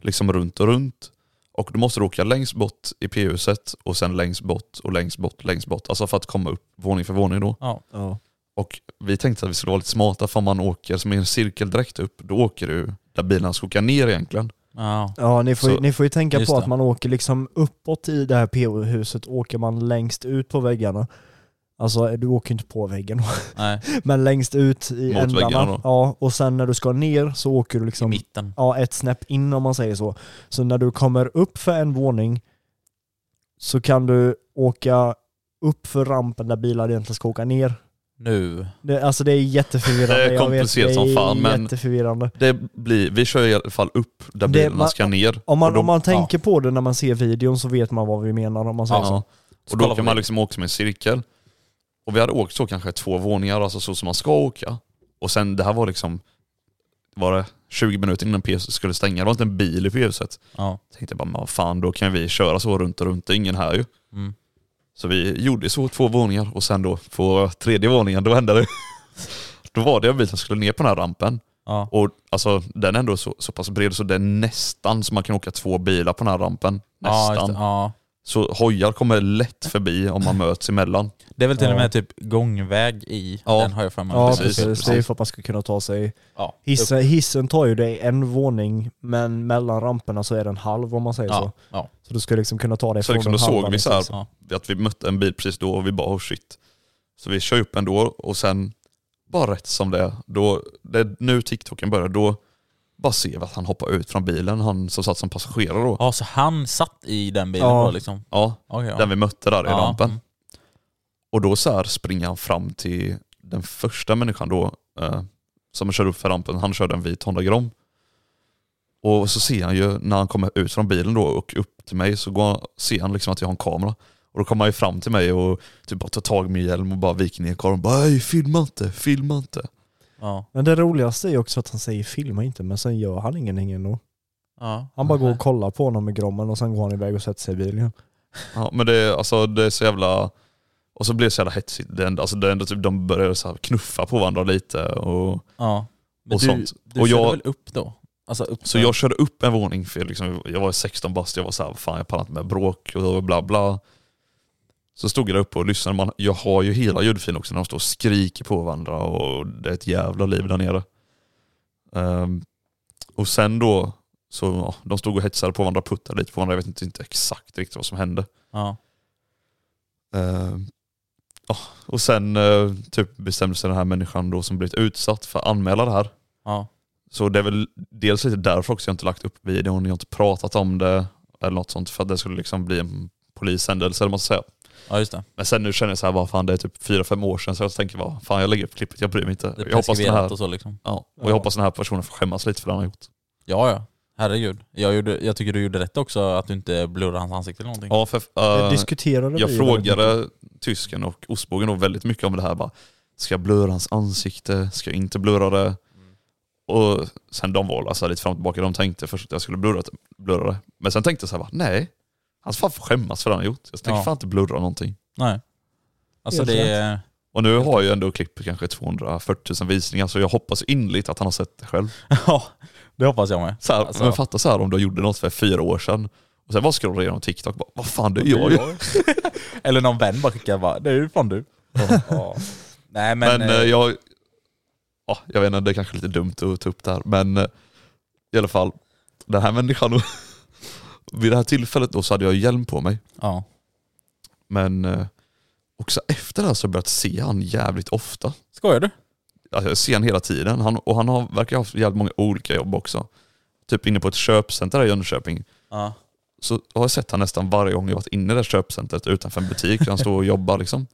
Speaker 4: liksom runt och runt. Och du måste du åka längst bort i p-huset och sen längst bort och längst bort, längst bort. Alltså för att komma upp våning för våning då.
Speaker 2: Ja.
Speaker 3: Ja.
Speaker 4: Och vi tänkte att vi skulle vara lite smarta, för om man åker som i en cirkel direkt upp, då åker du där bilarna ska åka ner egentligen.
Speaker 2: Ja.
Speaker 3: Ja, ni får, ju,
Speaker 4: Så-
Speaker 3: ni får ju tänka
Speaker 2: just
Speaker 3: på
Speaker 2: det.
Speaker 3: att man åker liksom uppåt i det här p-huset, åker man längst ut på väggarna. Alltså du åker ju inte på väggen,
Speaker 2: Nej,
Speaker 3: men längst ut i
Speaker 4: Mot väggarna
Speaker 3: ändarna.
Speaker 4: då?
Speaker 3: Ja, och sen när du ska ner så åker du liksom
Speaker 2: mitten.
Speaker 3: ja, ett snäpp in om man säger så. Så när du kommer upp för en våning så kan du åka upp för rampen där bilar egentligen ska åka ner.
Speaker 2: Nu.
Speaker 3: Det, alltså det är jätteförvirrande.
Speaker 4: Det är
Speaker 3: Jag vet,
Speaker 4: komplicerat
Speaker 3: det är
Speaker 4: som fan, men-
Speaker 3: jätteförvirrande.
Speaker 4: Det blir, vi kör i alla fall upp där
Speaker 3: Det-
Speaker 4: bilarna
Speaker 3: man-
Speaker 4: ska ner.
Speaker 3: Om
Speaker 4: Och
Speaker 3: man,
Speaker 4: då-
Speaker 3: om man
Speaker 4: ja.
Speaker 3: tänker på det när man ser videon så vet man vad vi menar om man säger så.
Speaker 4: Ja. Och
Speaker 2: Kolla
Speaker 4: då
Speaker 2: på
Speaker 4: kan man
Speaker 2: det.
Speaker 4: liksom åka som en cirkel. Och vi hade åkt så kanske två våningar, alltså så som man ska åka. Och sen det här var liksom, var det 20 minuter innan PS skulle stänga, det var inte en bil i PS-et.
Speaker 2: Ja.
Speaker 4: Tänkte bara, men vad fan då kan vi köra så runt och runt, det är ingen här ju.
Speaker 2: Mm.
Speaker 4: Så vi gjorde så två våningar och sen då på tredje våningen, då hände det. *laughs* då var det en bil som skulle ner på den här rampen.
Speaker 2: Ja.
Speaker 4: Och alltså den är ändå så, så pass bred så det är nästan så man kan åka två bilar på den här rampen.
Speaker 2: Ja,
Speaker 4: Nästan.
Speaker 2: just det. ja.
Speaker 4: Så hojar kommer lätt förbi om man möts emellan.
Speaker 2: Det är väl till och
Speaker 3: Ja.
Speaker 2: med typ gångväg i
Speaker 4: Ja.
Speaker 2: den har jag för mig.
Speaker 3: Ja
Speaker 4: precis,
Speaker 3: precis, det är
Speaker 4: precis.
Speaker 3: för att man ska kunna ta sig.
Speaker 2: Ja.
Speaker 3: Hissen, hissen tar ju dig en våning, men mellan ramperna så är det en halv om man säger så.
Speaker 2: Ja, ja.
Speaker 3: Så du ska liksom kunna ta dig
Speaker 4: Så liksom
Speaker 3: den
Speaker 4: då såg
Speaker 3: halvan
Speaker 4: vi
Speaker 3: liksom.
Speaker 4: så här.
Speaker 2: Ja.
Speaker 4: Att vi mötte en bil precis då och vi bara oh shit. Så vi kör upp ändå och sen bara rätt som det är, då, det är nu TikToken börjar, då bara ser vi att han hoppar ut från bilen, han som satt som passagerare då.
Speaker 2: ja, så han satt i den bilen
Speaker 3: Ja.
Speaker 2: då liksom?
Speaker 4: Ja,
Speaker 2: Okej, ja.
Speaker 4: den vi mötte där i
Speaker 2: Ja.
Speaker 4: rampen.
Speaker 2: Mm.
Speaker 4: Och då så här springer han fram till den första människan då eh, som körde upp för rampen. Han körde en vit Honda Grom. Och så ser han ju när han kommer ut från bilen då och upp till mig så går han, ser han liksom att jag har en kamera. Och då kommer han ju fram till mig och typ bara tar tag i min hjälm och bara viker ner kameran. Bara "Ey, filma inte, filma inte.
Speaker 2: Ja.
Speaker 3: Men det roligaste är ju också att han säger filma inte, men sen gör han ingenting ändå.
Speaker 2: Ja.
Speaker 3: Han bara går och kollar på honom med grommen och sen går han iväg och sätter sig i bilen.
Speaker 4: Ja, men det, är- alltså, det är så jävla... Och så blir det så jävla hetsigt. Det är ändå, alltså, det är ändå typ, de börjar så här knuffa på varandra lite. Och,
Speaker 2: Ja. Men
Speaker 4: Och
Speaker 2: du,
Speaker 4: sånt.
Speaker 2: Du
Speaker 4: Och
Speaker 2: och
Speaker 4: jag-
Speaker 2: väl upp då? Alltså upp
Speaker 4: Så jag körde upp en våning för liksom, jag var 16 bast, jag var såhär, fan jag pallar inte med bråk och bla bla. Så stod jag där uppe och lyssnade, man, jag har ju hela ljudfilen också när de står och skriker på varandra och det är ett jävla liv där nere. Ehm, och sen då, så ja, de stod och hetsade på varandra, puttade lite på varandra, jag vet inte, inte exakt riktigt vad som hände.
Speaker 2: Ja.
Speaker 4: Eh, ja, och sen eh, typ bestämde sig den här människan då som blivit utsatt för att anmäla det här.
Speaker 2: Ja.
Speaker 4: Så det är väl dels lite därför också jag inte lagt upp videon, jag har inte pratat om det eller något sånt för att det skulle liksom bli en polishändelse eller vad man ska säga.
Speaker 2: ja, just det.
Speaker 4: Men sen nu känner jag så här, vad fan det är typ fyra fem år sedan så jag tänker vad fan jag lägger upp klippet, jag bryr mig inte.
Speaker 2: Det är
Speaker 4: jag hoppas den här,
Speaker 2: preskriberat och så liksom.
Speaker 4: ja, och jag
Speaker 3: Ja.
Speaker 4: hoppas den här personen får skämmas lite för det han har gjort.
Speaker 2: Ja, ja. Herregud. Jag, gjorde, jag tycker du gjorde rätt också att du inte blurrade hans ansikte eller någonting.
Speaker 4: Ja, för,
Speaker 3: Det
Speaker 4: eh,
Speaker 3: diskuterade vi
Speaker 4: jag
Speaker 3: ju väldigt
Speaker 4: frågade tysken och ostbågen då väldigt mycket om det här. Bara, ska jag blurra hans ansikte? Ska jag inte blurra det? Och sen de var alltså lite fram och tillbaka. De tänkte först att jag skulle blurra, blurra det. Men sen tänkte jag så här, bara, nej. Han ska fan få skämmas för det han har gjort. Jag tänker
Speaker 2: Ja.
Speaker 4: fan inte blurra någonting.
Speaker 2: Nej. Alltså
Speaker 3: Helt
Speaker 2: det är...
Speaker 4: Och nu har jag ändå klippet kanske 240 000 visningar så jag hoppas innerligt att han har sett det själv.
Speaker 2: *laughs* Ja, det hoppas jag med.
Speaker 4: Så här,
Speaker 2: Alltså-
Speaker 4: Men fatta så här om du gjorde något för fyra år sedan och sen bara scrollade igenom TikTok bara, vad fan det är jag ju.
Speaker 2: *laughs* Eller någon vän bara skickar bara, det är ju fan du. Ja. Ja. Nej men,
Speaker 4: Men, eh,
Speaker 2: eh,
Speaker 4: jag... Ja, jag vet inte, det är kanske lite dumt att ta upp det här. Men eh, i alla fall, den här människan... *laughs* vid det här tillfället då så hade jag hjälm på mig.
Speaker 2: ja.
Speaker 4: Men eh, också efter det här så har jag börjat se han jävligt ofta.
Speaker 2: Skojar du?
Speaker 4: Alltså, jag ser han hela tiden. Han, och han har, verkar ha haft jävligt många olika jobb också. Typ inne på ett köpcenter här i Jönköping.
Speaker 2: Ja.
Speaker 4: Så har jag sett han nästan varje gång jag varit inne i det här köpcentret utanför en butik där han står och jobbar liksom.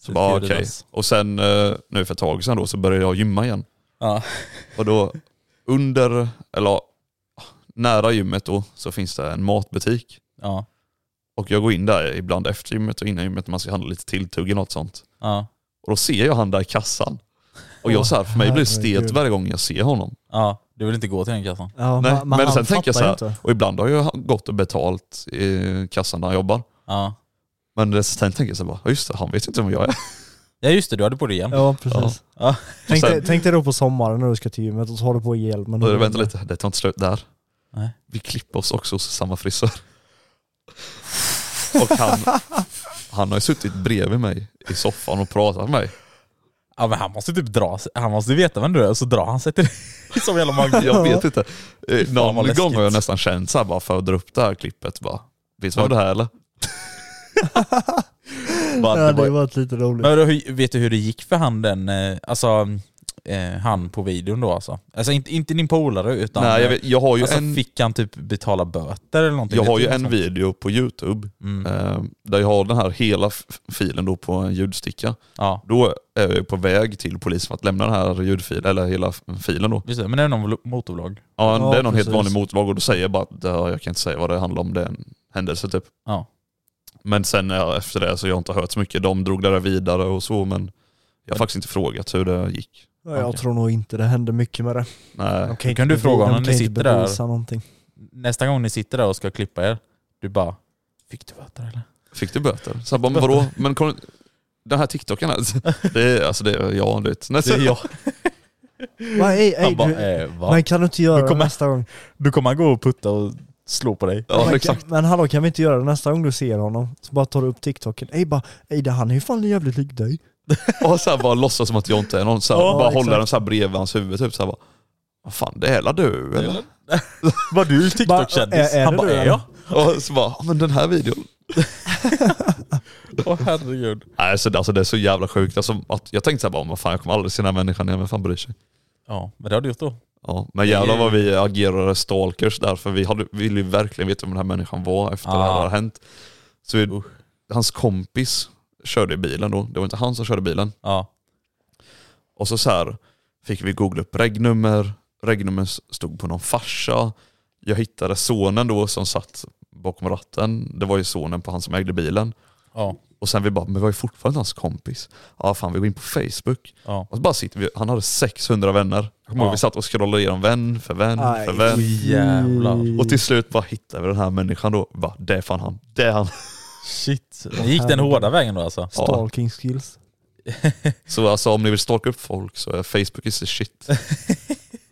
Speaker 4: Så
Speaker 2: Typ
Speaker 4: bara okej. Och sen eh, nu för ett tag sedan då så började jag gymma igen.
Speaker 2: Ja.
Speaker 4: Och då under, eller ja, nära gymmet då, så finns det en matbutik.
Speaker 2: Ja.
Speaker 4: Och jag går in där ibland efter gymmet och innan gymmet när man ska handla lite tilltugg eller något sånt.
Speaker 2: Ja.
Speaker 4: Och då ser jag han där i kassan. Och jag så här, för mig blir det stelt
Speaker 3: herregud.
Speaker 4: varje gång jag ser honom.
Speaker 2: Ja. Du vill inte gå till den kassan?
Speaker 3: mycket. Ja,
Speaker 4: Nej,
Speaker 3: men,
Speaker 4: men
Speaker 3: men
Speaker 4: sen
Speaker 3: sen
Speaker 4: tänker jag
Speaker 3: jag
Speaker 4: så här-
Speaker 3: Inte.
Speaker 4: Och ibland har jag gått och betalt i kassan där han jobbar.
Speaker 2: Ja.
Speaker 4: Men det- sen tänker jag så här bara, "Ja, just det, han vet inte vem jag är.
Speaker 2: Ja just det, du hade på dig igen.
Speaker 3: Ja, precis.
Speaker 2: Ja.
Speaker 3: Tänk,
Speaker 4: Och
Speaker 3: dig,
Speaker 4: sen-
Speaker 3: tänk dig då på sommaren när du ska till gymmet och så har du på hjälmen.
Speaker 4: Och vänta lite, det tar inte slut där.
Speaker 2: Mm. Nej.
Speaker 4: Vi klipper oss också hos samma frisör. Och
Speaker 2: *laughs*
Speaker 4: han, han har ju suttit bredvid mig i soffan och pratat med mig.
Speaker 2: Ja men han måste typ dra sig. Han måste veta vem du är och så drar han sig till dig. *laughs* Som jävla magnet.
Speaker 4: Jag vet inte. Eh,
Speaker 2: fan, vad
Speaker 4: Någon
Speaker 2: läskigt.
Speaker 4: gång har jag nästan känt så här bara för att dra upp det här klippet bara. Vet du vad det här är, eller?
Speaker 3: Ja,
Speaker 4: bara,
Speaker 3: det
Speaker 4: det
Speaker 3: hade ju
Speaker 4: var,
Speaker 3: varit lite roligt.
Speaker 2: Men då, hur- vet du hur det gick för han den, eh, alltså eh, han på videon då alltså? Alltså inte, inte din polare utan...
Speaker 4: nej, jag, vet, jag har ju
Speaker 2: alltså,
Speaker 4: en,
Speaker 2: fick han typ betala böter eller någonting?
Speaker 4: jag har
Speaker 2: Vet
Speaker 4: ju
Speaker 2: du
Speaker 4: en
Speaker 2: sånt?
Speaker 4: video på youtube
Speaker 2: Mm.
Speaker 4: eh, där jag har den här hela f- filen då på en ljudsticka.
Speaker 2: Ja.
Speaker 4: Då är jag ju på väg till polisen för att lämna den här ljudfilen, eller hela f- filen då.
Speaker 2: Just det, men det är någon vlog- motorvlogg.
Speaker 4: Ja,
Speaker 3: Ja,
Speaker 4: det är någon
Speaker 3: precis.
Speaker 4: helt vanlig motlag och då säger jag bara att "Ja, jag kan inte säga vad det handlar om, det är en händelse typ.
Speaker 2: Ja.
Speaker 4: Men sen ja, efter det så har jag inte hört så mycket. De drog det där vidare och så men jag har faktiskt inte frågat hur det gick.
Speaker 3: Ja, jag
Speaker 2: Okej.
Speaker 3: tror nog inte det hände mycket med det.
Speaker 4: Nej.
Speaker 3: Okay,
Speaker 2: kan du fråga honom när ni sitter där.
Speaker 3: Någonting.
Speaker 2: Nästa gång ni sitter där och ska klippa er, du bara Fick du böter
Speaker 3: *laughs*
Speaker 2: eller?
Speaker 4: Fick du böter? Så jag bara, men vadå? Men kom, den här TikToken, alltså, det är, alltså det är jag du vet.
Speaker 2: Det är
Speaker 3: *laughs*
Speaker 2: jag.
Speaker 3: Va, ej, ej,
Speaker 2: Han bara,
Speaker 3: du,
Speaker 2: eh, va?
Speaker 4: "Äh,
Speaker 3: men kan du inte göra
Speaker 2: Du kommer-
Speaker 3: det nästa gång?
Speaker 2: Du kommer gå och putta och slå på dig.
Speaker 4: Ja
Speaker 3: men,
Speaker 4: exakt.
Speaker 3: Men hallå kan vi inte göra det nästa gång du ser honom? Så bara tar du upp TikToken. Ey bara, ey det han är ju fan jävligt lik dig.
Speaker 4: *laughs* Och så här bara låtsas som att jag inte är någon. Så här,
Speaker 3: Ja,
Speaker 4: bara
Speaker 3: exakt.
Speaker 4: håller den så här bredvid hans huvud typ så här bara. Vad fan det är la du eller?
Speaker 2: Var du
Speaker 3: Bara, är-
Speaker 2: TikTok-kändis?
Speaker 3: är
Speaker 2: Han
Speaker 3: det
Speaker 2: bara,
Speaker 3: du,
Speaker 2: är
Speaker 3: eller?
Speaker 2: jag?
Speaker 4: *laughs* Och så bara, "Ja, men den här videon.
Speaker 2: Åh herregud.
Speaker 4: Nej, så, alltså det är så jävla sjukt. Alltså, att, jag tänkte så här bara, "Men fan jag kommer aldrig se den här människan igen, vem fan bryr sig?
Speaker 2: Ja, men det har du gjort då.
Speaker 4: Ja, men jävlar
Speaker 2: är-
Speaker 4: vad vi agerade stalkers där, för vi hade, ville ju verkligen veta vem den här människan var efter det här
Speaker 2: Ah.
Speaker 4: hade hänt. Så vi, hans kompis körde bilen då, det var inte han som körde bilen.
Speaker 2: Ja.
Speaker 4: Och så, så här fick vi googla upp regnummer, regnummer stod på någon farsa. Jag hittade sonen då som satt bakom ratten, det var ju sonen på han som ägde bilen.
Speaker 2: Ja.
Speaker 4: Och sen vi bara, men vi var ju fortfarande hans kompis. Ja fan vi går in på Facebook.
Speaker 2: Ja.
Speaker 4: Och så bara sitter vi, han hade 600 vänner. Jag kommer ihåg
Speaker 2: Ja.
Speaker 4: vi satt och scrollade igenom vän för vän
Speaker 3: Aj,
Speaker 4: för vän.
Speaker 3: fy.
Speaker 2: jävlar.
Speaker 4: Och till slut bara hittade vi den här människan då. Vi Bara, det är fan han, det är han. *laughs*
Speaker 2: Shit. Ni gick den hårda vägen då alltså?
Speaker 4: Ja.
Speaker 3: Stalking skills.
Speaker 4: Så alltså om ni vill stalka upp folk så är Facebook is
Speaker 3: *laughs*
Speaker 4: the shit.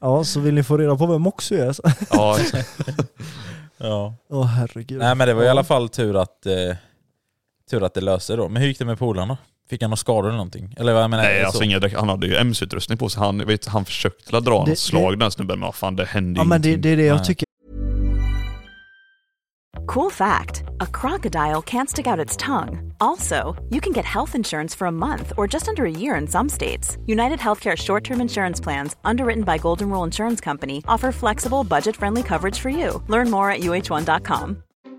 Speaker 3: Ja, så vill ni få reda på vem också är? *laughs* så-
Speaker 4: Ja, exakt.
Speaker 2: Ja.
Speaker 3: Åh herregud.
Speaker 2: Nej men det var i
Speaker 3: Ja.
Speaker 2: alla fall tur att, eh, tur att det löste då. Men hur gick det med polarna? Fick han några skador eller någonting? Eller vad jag menar?
Speaker 4: Nej,
Speaker 2: så-
Speaker 4: alltså, inga, direkt- han hade ju MC-utrustning på sig. Han, vet, han försökte dra något
Speaker 3: Det-
Speaker 4: slag den här snubben men vad fan det hände
Speaker 3: Ja men det,
Speaker 4: ingenting.
Speaker 3: det är det jag
Speaker 2: Nej.
Speaker 3: tycker
Speaker 6: Cool fact a crocodile can't stick out its tongue. Also, you can get health insurance for a month or just under a year in some states. United Healthcare short term insurance plans, underwritten by Golden Rule Insurance Company, offer flexible, budget friendly coverage for you. Learn more at uh1.com.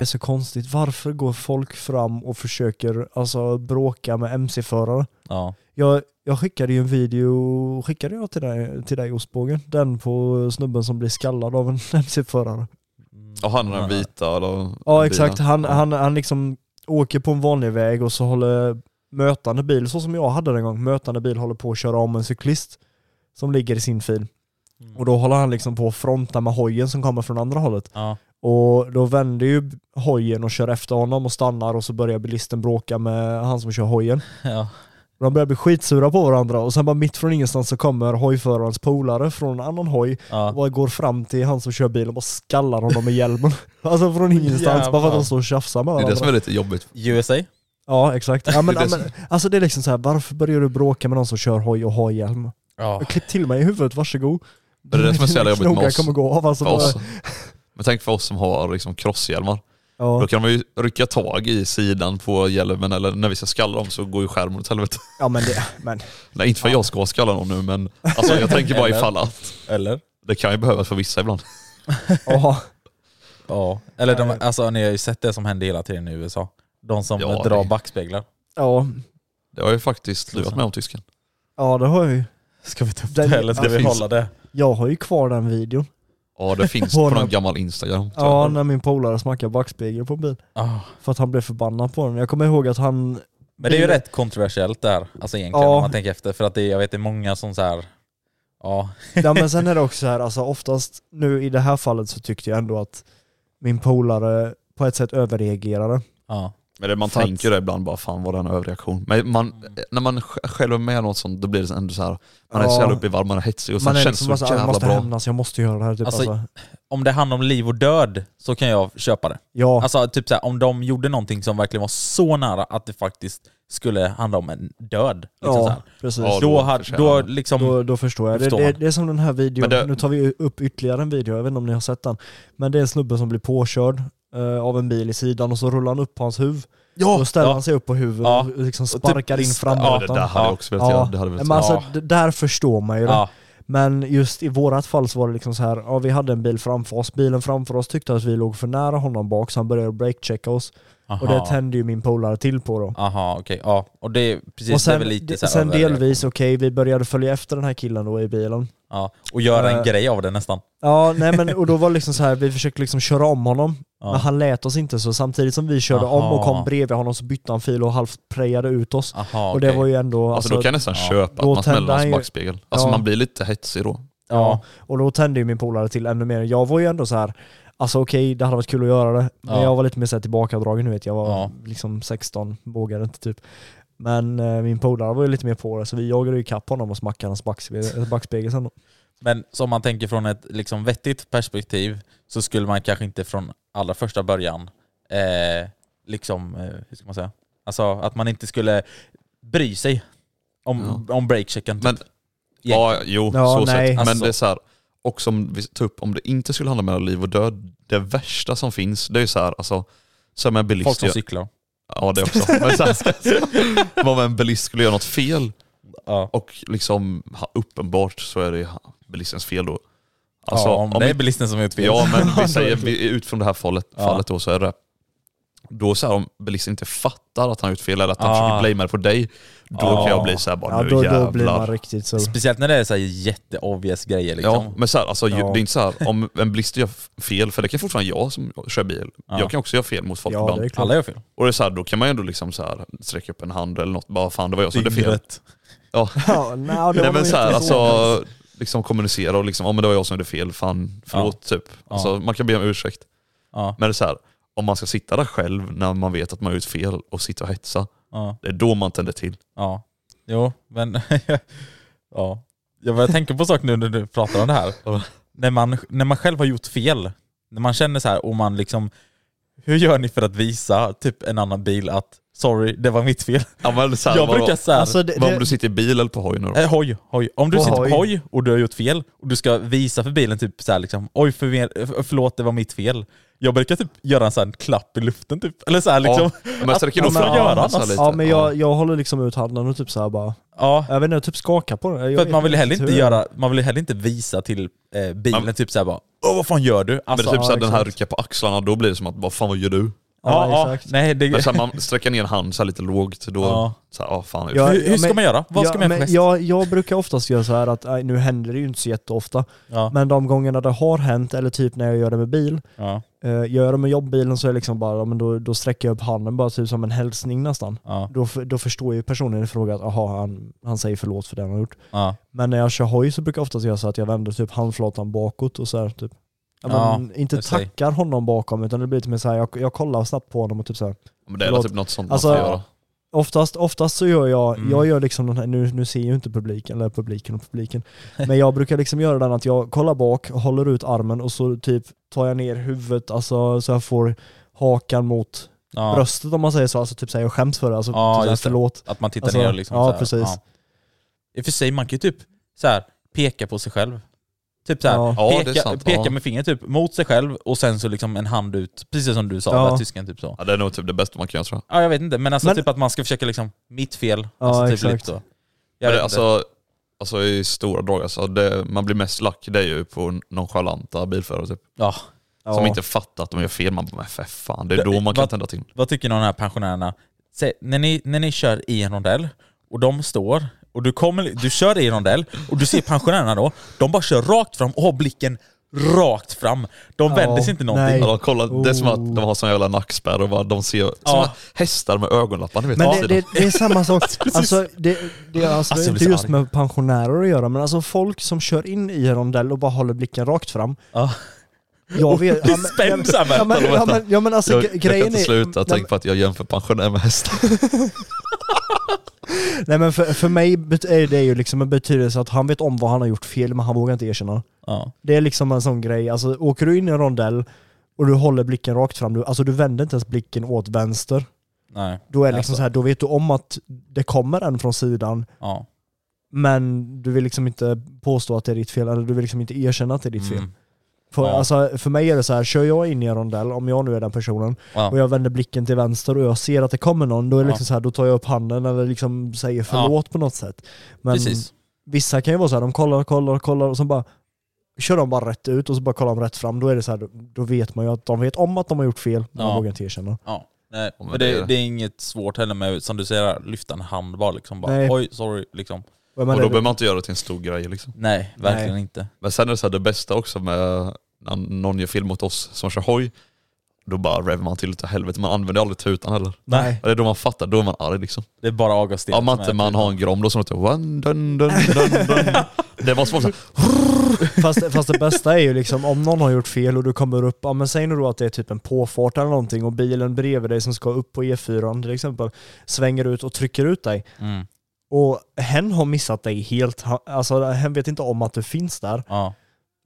Speaker 3: är så konstigt. Varför går folk fram och försöker alltså, bråka med MC-förare?
Speaker 2: Ja.
Speaker 3: Jag, jag skickade ju en video, skickade jag till dig, till dig ostbågen? Den på snubben som blir skallad av en *laughs* MC-förare.
Speaker 4: Och han den vita eller...
Speaker 3: Ja exakt,
Speaker 4: bilen.
Speaker 3: han,
Speaker 4: Ja.
Speaker 3: han, han liksom åker på en vanlig väg och så håller mötande bil, så som jag hade den en gång, mötande bil håller på att köra om en cyklist som ligger i sin fil. Och då håller han liksom på att fronta med hojen som kommer från andra hållet.
Speaker 2: Ja.
Speaker 3: Och då vänder ju hojen och kör efter honom och stannar och så börjar bilisten bråka med han som kör hojen.
Speaker 2: *laughs* ja.
Speaker 3: Och De börjar bli skitsura på varandra och sen bara mitt från ingenstans så kommer hojförarens polare från en annan hoj och
Speaker 2: ja.
Speaker 3: bara går fram till han som kör bilen och bara skallar honom med hjälmen. *laughs* Alltså från ingenstans, bara för att de står och tjafsar med
Speaker 4: Det är det
Speaker 3: varandra.
Speaker 4: som är lite jobbigt.
Speaker 2: USA?
Speaker 3: Ja exakt.
Speaker 4: *laughs*
Speaker 3: Ja, men,
Speaker 4: Det är
Speaker 3: ja,
Speaker 4: det
Speaker 3: men, alltså det är liksom så här, varför börjar du bråka med någon som kör hoj och har hjälm?
Speaker 2: Ja.
Speaker 3: Klipp till mig i huvudet, varsågod.
Speaker 4: Det är det som är så jävla jobbigt med
Speaker 3: Knogar
Speaker 4: oss.
Speaker 3: kommer gå av alltså.
Speaker 4: För oss.
Speaker 3: bara-
Speaker 4: Men tänk för oss som har liksom crosshjälmar. Då
Speaker 3: Ja.
Speaker 4: kan man ju rycka tag i sidan på hjälmen eller när vi ska skalla dem så går ju skärmen åt helvete. *laughs*
Speaker 3: ja men det, men
Speaker 4: Nej inte för att jag ska skalla någon nu men alltså, jag
Speaker 3: *laughs*
Speaker 4: tänker bara
Speaker 2: Eller?
Speaker 4: ifall att
Speaker 2: Eller?
Speaker 4: det kan ju behövas för vissa ibland.
Speaker 3: ja.
Speaker 2: Ja. Eller de, alltså ni har ju sett det som händer hela tiden i USA. De som
Speaker 4: Ja,
Speaker 2: drar
Speaker 4: det-
Speaker 2: backspeglar.
Speaker 3: ja.
Speaker 4: Det har jag ju faktiskt lurat med om tysken.
Speaker 3: Ja det har jag ju.
Speaker 2: Ska vi ta upp
Speaker 3: Den-
Speaker 2: det *laughs* eller ska
Speaker 3: det
Speaker 2: vi
Speaker 4: finns-
Speaker 2: hålla det?
Speaker 3: Jag har ju kvar den videon.
Speaker 4: Ja det finns på någon gammal instagram. tror jag.
Speaker 3: Ja, när min polare smackade backspegel på en bil.
Speaker 2: Ja.
Speaker 3: För att han blev förbannad på den. Jag kommer ihåg att han...
Speaker 2: Men det är ju rätt kontroversiellt där, alltså egentligen
Speaker 3: Ja.
Speaker 2: om man tänker efter. För att det, jag vet det är många som så här. ja.
Speaker 3: Ja men sen är det också så här, alltså oftast nu i det här fallet så tyckte jag ändå att min polare på ett sätt överreagerade.
Speaker 2: ja.
Speaker 4: Men det, man
Speaker 3: För att-
Speaker 4: tänker det ibland bara fan vad det är en överreaktion. Men man, när man sj- själv är med något sånt då blir det ändå så här. man är
Speaker 3: Ja.
Speaker 4: så jävla uppe i varv, man är hetsig och sen
Speaker 3: Man är
Speaker 4: känns
Speaker 3: liksom
Speaker 4: det så
Speaker 3: bara, jag
Speaker 4: jävla
Speaker 3: måste
Speaker 4: bra.
Speaker 3: hämnas, jag måste göra det här. Typ,
Speaker 2: Alltså,
Speaker 3: alltså,
Speaker 2: Om det handlar om liv och död så kan jag köpa det.
Speaker 3: ja,
Speaker 2: Alltså typ såhär, om de gjorde någonting som verkligen var så nära att det faktiskt skulle handla om en död. Liksom
Speaker 3: ja
Speaker 2: så här.
Speaker 3: precis.
Speaker 4: Ja,
Speaker 2: då,
Speaker 4: då
Speaker 2: har-
Speaker 4: förtjänar
Speaker 2: då
Speaker 4: det.
Speaker 2: liksom...
Speaker 3: Då, då förstår jag. Det,
Speaker 2: Förstår
Speaker 3: det,
Speaker 2: man.
Speaker 3: det är som den här videon,
Speaker 4: Men det-
Speaker 3: nu tar vi upp ytterligare en video, jag vet inte om ni har sett den. Men det är en snubbe som blir påkörd eh, av en bil i sidan och så rullar han upp på hans huvud.
Speaker 2: ja,
Speaker 3: Då ställer
Speaker 2: ja,
Speaker 3: han sig upp på huvudet
Speaker 2: Ja.
Speaker 3: och liksom
Speaker 2: typ-
Speaker 3: sparkar in
Speaker 4: Ja
Speaker 3: framrutan.
Speaker 4: det där hade jag också velat göra. Det hade jag velat
Speaker 3: men alltså,
Speaker 2: Ja.
Speaker 3: d- där förstår man ju det.
Speaker 2: ja,
Speaker 3: Men just i vårat fall så var det liksom så här, ja vi hade en bil framför oss, bilen framför oss tyckte att vi låg för nära honom bak så han började breakchecka oss. Och det
Speaker 2: aha,
Speaker 3: tände ju min polare till på då.
Speaker 2: aha okej. Ja, och det är precis,
Speaker 3: och
Speaker 2: det är
Speaker 3: sen,
Speaker 2: väl lite
Speaker 3: d-
Speaker 2: så här
Speaker 3: sen
Speaker 2: överreaktion.
Speaker 3: delvis, okej vi började följa efter den här killen då i bilen.
Speaker 2: Ja, och göra en
Speaker 3: Eh.
Speaker 2: grej av det nästan.
Speaker 3: Ja, nej men och då var det liksom så här, vi försökte liksom köra om honom,
Speaker 2: Ja.
Speaker 3: men han lät oss inte så samtidigt som vi körde om och
Speaker 2: Aha.
Speaker 3: kom bredvid honom så bytte han fil och halvt prejade ut oss.
Speaker 2: Aha,
Speaker 3: och det
Speaker 2: okej.
Speaker 3: var ju ändå...
Speaker 4: Alltså, då kan jag nästan
Speaker 2: ja.
Speaker 4: köpa att
Speaker 3: Då
Speaker 4: man
Speaker 3: tände
Speaker 4: smäller
Speaker 3: han ju-
Speaker 4: hans backspegel. Alltså
Speaker 3: Ja.
Speaker 4: man blir lite hetsig då.
Speaker 3: ja. Och då tände ju min polare till ännu mer. Jag var ju ändå så här, alltså okej det hade varit kul att göra det, men
Speaker 2: Ja.
Speaker 3: jag var lite mer så här tillbakadragen nu vet jag var
Speaker 2: Ja.
Speaker 3: liksom 16, vågade inte typ. Men eh, min polare var ju lite mer på det så vi jagade ju kapp honom och smackade hans eh, backspegel, backspegel sen. då.
Speaker 2: Men som man tänker från ett liksom vettigt perspektiv så skulle man kanske inte från allra första början, eh, liksom, eh, hur ska man säga? Alltså att man inte skulle bry sig om, om breakchecken. Typ.
Speaker 4: Men, ja, jo,
Speaker 3: Ja,
Speaker 4: så
Speaker 3: nej.
Speaker 4: sett. Men
Speaker 2: Alltså-
Speaker 4: det är så här, och som vi tar upp, om det inte skulle handla mellan liv och död, det värsta som finns, det är ju så här, alltså, som en bilist
Speaker 2: Folk som
Speaker 4: gör-
Speaker 2: cyklar.
Speaker 4: Ja det också. Men så här, om en bilist skulle göra något fel
Speaker 2: Ja.
Speaker 4: och liksom ha- uppenbart så är det ju ha- bilistens fel då. Alltså,
Speaker 2: ja, om, det är
Speaker 4: vi-
Speaker 2: bilisten som är fel.
Speaker 4: ja men vi säger vi, utifrån det här fallet,
Speaker 2: Ja.
Speaker 4: fallet då så är det då så här, om bilisten inte fattar att han har gjort fel eller att han
Speaker 2: Ja.
Speaker 4: försöker blamea det på dig, då
Speaker 2: Ja.
Speaker 4: kan jag bli så här bara
Speaker 3: Ja,
Speaker 4: nu
Speaker 3: då,
Speaker 4: jävlar.
Speaker 3: då blir man riktigt så...
Speaker 2: Speciellt när det är så här jätteobvious grejer liksom.
Speaker 4: Ja, men så här, alltså, ju-
Speaker 3: Ja.
Speaker 4: det är inte så här om en bilist gör f- fel, för det kan fortfarande jag som kör bil.
Speaker 2: Ja.
Speaker 4: Jag kan också göra fel mot folk
Speaker 3: Ja,
Speaker 4: ibland.
Speaker 3: det är klart.
Speaker 2: Alla gör fel.
Speaker 4: Och det är så här, då kan man ju ändå liksom så här, sträcka upp en hand eller något, bara fan det var jag som gjorde fel.
Speaker 2: Dyngrätt.
Speaker 4: Ja.
Speaker 3: Ja, nej, det var
Speaker 4: Nej
Speaker 3: nog
Speaker 4: men
Speaker 3: inte
Speaker 4: så här,
Speaker 3: ens.
Speaker 4: alltså, liksom kommunicera och liksom, ja men det var jag som gjorde fel, fan förlåt typ. Alltså,
Speaker 2: Ja.
Speaker 4: Man kan be om ursäkt.
Speaker 2: Ja,
Speaker 4: Men det är så här, om man ska sitta där själv när man vet att man har gjort fel och sitta och hetsa,
Speaker 2: ja,
Speaker 4: det är då man tänder till.
Speaker 2: ja. Jo, men... *laughs* ja. Jag börjar tänka på saker nu när du pratar om det här. när, man, när man själv har gjort fel, när man känner så här och man liksom... Hur gör ni för att visa typ en annan bil att sorry, det var mitt fel?
Speaker 4: Ja, men så här,
Speaker 2: Jag
Speaker 4: vad-
Speaker 2: brukar så här,
Speaker 3: Alltså, det,
Speaker 4: vad om du
Speaker 3: det,
Speaker 4: sitter i bil eller på hoj nu då?
Speaker 2: eh, hoj, hoj. Om du
Speaker 3: På
Speaker 2: sitter
Speaker 3: hoj.
Speaker 2: på hoj och du har gjort fel och du ska visa för bilen typ så här liksom, oj för, förlåt det var mitt fel. Jag brukar typ göra en sån här klapp i luften typ. Eller så här liksom.
Speaker 4: Ja, men så det kan
Speaker 2: Att-
Speaker 4: nog
Speaker 2: att man
Speaker 4: fan
Speaker 2: gör
Speaker 4: göra
Speaker 2: annars.
Speaker 4: så här lite.
Speaker 3: ja men jag, jag håller liksom ut handen och typ så här bara,
Speaker 2: Ja.
Speaker 3: jag vet inte, jag typ skakar på den. Jag
Speaker 2: För
Speaker 3: vet
Speaker 2: att man vill heller
Speaker 3: hur
Speaker 2: inte
Speaker 3: jag-
Speaker 2: göra, man vill heller inte visa till eh, bilen
Speaker 4: Man-
Speaker 2: typ såhär bara Åh vad fan gör du? Alltså,
Speaker 4: men det är typ såhär,
Speaker 3: ja,
Speaker 4: den här
Speaker 3: exakt.
Speaker 4: rycka på axlarna, då blir det som att bara fan vad gör du?
Speaker 2: ja,
Speaker 3: Ja,
Speaker 2: ja,
Speaker 3: exakt.
Speaker 2: nej det...
Speaker 4: Men så här, man sträcker ner en hand så här lite lågt, då
Speaker 2: Ja.
Speaker 4: så här, ja fan.
Speaker 3: Ja,
Speaker 2: hur, hur ska
Speaker 3: men-
Speaker 2: man göra? Vad ska man göra
Speaker 3: men
Speaker 2: för gest?
Speaker 3: jag, jag brukar oftast göra så här att, nej, nu händer det ju inte så jätteofta,
Speaker 2: Ja.
Speaker 3: men de gångerna det har hänt, eller typ när jag gör det med bil,
Speaker 2: *laughs* ja,
Speaker 3: eh, gör jag det med jobbbilen så är det liksom bara, ja, men då, då sträcker jag upp handen bara typ som en hälsning nästan.
Speaker 2: ja,
Speaker 3: Då, f- då förstår ju personen i fråga att, aha, han, han säger förlåt för det han har gjort.
Speaker 2: ja.
Speaker 3: Men när jag kör hoj så brukar jag oftast göra så att jag vänder typ handflatan bakåt och så här, typ. Ja,
Speaker 2: Ja,
Speaker 3: men inte
Speaker 2: jag ser.
Speaker 3: tackar honom bakom utan det blir lite mer så här, jag, jag kollar snabbt på honom och typ så här.
Speaker 4: Men det är väl
Speaker 3: Förlåt.
Speaker 4: typ något sånt
Speaker 3: Alltså,
Speaker 4: man får göra.
Speaker 3: Oftast, oftast så gör jag,
Speaker 2: Mm.
Speaker 3: jag gör liksom den här, nu, nu ser ju inte publiken, eller publiken och publiken, men jag brukar liksom göra den att jag kollar bak, håller ut armen och så typ tar jag ner huvudet, alltså så jag får hakan mot
Speaker 2: ja.
Speaker 3: bröstet om man säger så, alltså typ säger jag skäms för det, alltså
Speaker 2: Ja,
Speaker 3: typ så här,
Speaker 2: just det.
Speaker 3: förlåt.
Speaker 2: Att man tittar
Speaker 3: Alltså,
Speaker 2: ner och liksom
Speaker 3: ja,
Speaker 2: så här,
Speaker 3: precis.
Speaker 2: I och för sig, man kan ju typ så här, peka på sig själv. Typ så här,
Speaker 3: Ja.
Speaker 4: Ja, det är
Speaker 2: peka,
Speaker 4: sant,
Speaker 2: peka
Speaker 4: ja.
Speaker 2: med fingret typ mot sig själv och sen så liksom en hand ut, precis som du sa,
Speaker 3: Ja.
Speaker 2: ja. tysken typ så.
Speaker 4: Ja, det är nog typ det bästa man kan göra tror jag.
Speaker 2: Ja jag vet inte, men alltså
Speaker 3: Men-
Speaker 2: typ att man ska försöka liksom, mitt fel.
Speaker 3: Ja,
Speaker 2: alltså typ
Speaker 3: exakt.
Speaker 2: lite så. Jag vet
Speaker 4: Men det,
Speaker 2: inte.
Speaker 4: alltså, alltså i stora drag, alltså, det, man blir mest lack det är ju på nonchalanta bilförare typ.
Speaker 2: ja.
Speaker 4: Som inte fattar att de gör fel, man bara men för fan, det är
Speaker 2: Det-
Speaker 4: då man kan
Speaker 2: vad-
Speaker 4: tända till.
Speaker 2: Vad tycker ni om de här pensionärerna? Säg, när, ni, när ni kör i en rondell och de står och du, kommer, du kör i en rondell och du ser pensionärerna då, de bara kör rakt fram och har blicken rakt fram. De
Speaker 3: Ja,
Speaker 2: vänder sig inte någonting.
Speaker 3: nej.
Speaker 4: Ja, de kollar, Det är som att
Speaker 3: Oh.
Speaker 4: de har sån jävla nackspärr och bara, de ser
Speaker 2: Ja.
Speaker 4: som hästar med ögonlappar ni vet.
Speaker 3: Men
Speaker 4: på
Speaker 3: det,
Speaker 4: sidan.
Speaker 3: det, det är
Speaker 2: *laughs*
Speaker 3: samma sak, alltså det, det, alltså, det
Speaker 2: Alltså,
Speaker 3: är
Speaker 2: jag
Speaker 3: inte
Speaker 2: blir så
Speaker 3: just
Speaker 2: arg.
Speaker 3: med pensionärer att göra, men alltså folk som kör in i en rondell och bara håller blicken rakt fram.
Speaker 2: Ja.
Speaker 3: Jag vet...
Speaker 2: *laughs*
Speaker 3: ja, men-
Speaker 2: Spänn så här,
Speaker 3: Ja men, ja, men, ja, men alltså
Speaker 4: jag,
Speaker 3: gre-
Speaker 4: jag kan
Speaker 3: grejen
Speaker 4: inte
Speaker 3: är...
Speaker 4: sluta
Speaker 3: nej,
Speaker 4: tänka på att jag jämför pensionärer med hästar.
Speaker 3: Nej men för, för mig bet- är det ju liksom en betydelse att han vet om vad han har gjort fel men han vågar inte erkänna det.
Speaker 2: Ja.
Speaker 3: Det är liksom en sån grej, alltså åker du in i en rondell och du håller blicken rakt fram, du, alltså du vänder inte ens blicken åt vänster.
Speaker 2: Nej.
Speaker 3: Då är det liksom
Speaker 2: Alltså.
Speaker 3: så här, då vet du om att det kommer en från sidan
Speaker 2: Ja.
Speaker 3: men du vill liksom inte påstå att det är ditt fel, eller du vill liksom inte erkänna att det är ditt fel.
Speaker 2: Mm.
Speaker 3: För,
Speaker 2: Ja.
Speaker 3: alltså, för mig är det så här, kör jag in i en rondell, om jag nu är den personen,
Speaker 2: Ja.
Speaker 3: och jag vänder blicken till vänster och jag ser att det kommer någon, då är det
Speaker 2: Ja.
Speaker 3: liksom så här, då tar jag upp handen eller liksom säger förlåt på något sätt. Men
Speaker 2: Precis.
Speaker 3: vissa kan ju vara så här, de kollar, kollar, kollar och så bara kör de bara rätt ut och så bara kollar de rätt fram, då är det så här, då- då vet man ju att de vet om att de har gjort fel, men
Speaker 2: Ja.
Speaker 3: de vågar inte erkänna.
Speaker 2: Ja. Nej.
Speaker 4: men
Speaker 2: Men
Speaker 4: det
Speaker 2: det,
Speaker 4: är-
Speaker 2: det är inget svårt heller med, som du säger, lyfta en hand bara liksom. Bara,
Speaker 3: Nej.
Speaker 2: Oj, sorry. Liksom.
Speaker 3: Vad
Speaker 4: Och
Speaker 3: man
Speaker 4: då
Speaker 3: är-
Speaker 4: behöver man inte göra det till en stor grej liksom.
Speaker 2: Nej, verkligen inte.
Speaker 4: Men sen är det så här, det bästa också med när någon gör film åt oss som kör hoj, då bara revar man till lite helvete, man använder aldrig tutan heller.
Speaker 3: Nej.
Speaker 4: Det är då man fattar, då är man arg liksom.
Speaker 2: Det är bara Augustin
Speaker 4: Ja, man, inte, man har en grom, då som låter "Wan, dun, dun, dun,
Speaker 3: *laughs*
Speaker 4: dun." Det var svårt så här,
Speaker 3: *laughs* Fast, fast det bästa är ju liksom om någon har gjort fel och du kommer upp, ja men säg nu då att det är typ en påfart eller någonting och bilen bredvid dig som ska upp på E4 till exempel svänger ut och trycker ut dig.
Speaker 2: Mm.
Speaker 3: Och hen har missat dig helt, Ha- alltså hen vet inte om att du finns där
Speaker 2: Ja.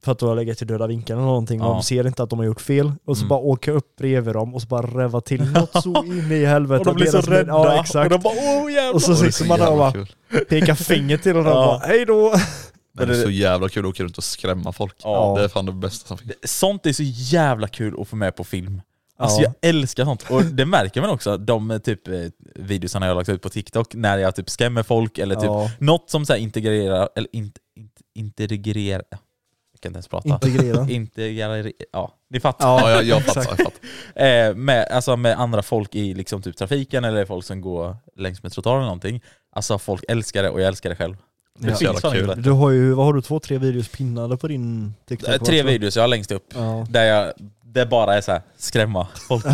Speaker 3: för att du har legat i döda vinkeln eller någonting och
Speaker 2: Ja.
Speaker 3: de ser inte att de har gjort fel och så
Speaker 2: Mm.
Speaker 3: bara åka upp bredvid dem och så bara
Speaker 2: *laughs*
Speaker 3: räva till något så in i helvete.
Speaker 2: Och de blir så
Speaker 3: Deras-
Speaker 2: rädda.
Speaker 3: Ja exakt.
Speaker 2: Och de bara åh jävlar.
Speaker 3: Och så
Speaker 4: "Åh, det är
Speaker 3: sitter man där och
Speaker 4: jävla
Speaker 3: bara
Speaker 4: kul."
Speaker 3: pekar finger till dem
Speaker 2: *laughs*
Speaker 3: och
Speaker 2: Ja.
Speaker 3: bara hej då.
Speaker 4: Men det är så jävla kul att åka runt och skrämma folk.
Speaker 2: Ja.
Speaker 4: Det är fan det bästa som finns.
Speaker 2: Sånt är så jävla kul att få med på film. Alltså
Speaker 3: Ja.
Speaker 2: jag älskar sånt. Och det märker man också, de eh, typ eh, videosarna jag har lagt ut på TikTok, när jag typ skrämmer folk eller typ
Speaker 3: Ja.
Speaker 2: något som så här integrerar, eller inte, inte, integrerar, jag kan inte ens prata. *laughs*
Speaker 3: Integrera.
Speaker 2: Integrerar, ja ni fattar.
Speaker 4: Ja, jag, jag fattar. Jag fattar.
Speaker 2: eh, med, alltså med andra folk i liksom typ trafiken eller folk som går längs med trottoaren eller någonting. Alltså folk älskar det och jag älskar det själv. Det
Speaker 3: Ja.
Speaker 2: finns fan inte.
Speaker 3: Du har ju, vad har du, två, tre videos pinnade på din TikTok?
Speaker 2: Eh,
Speaker 3: va,
Speaker 2: Tre
Speaker 3: tror jag?
Speaker 2: videos jag har längst upp
Speaker 3: Ja.
Speaker 2: där jag det bara är så här, skrämma
Speaker 3: *laughs*
Speaker 2: folk.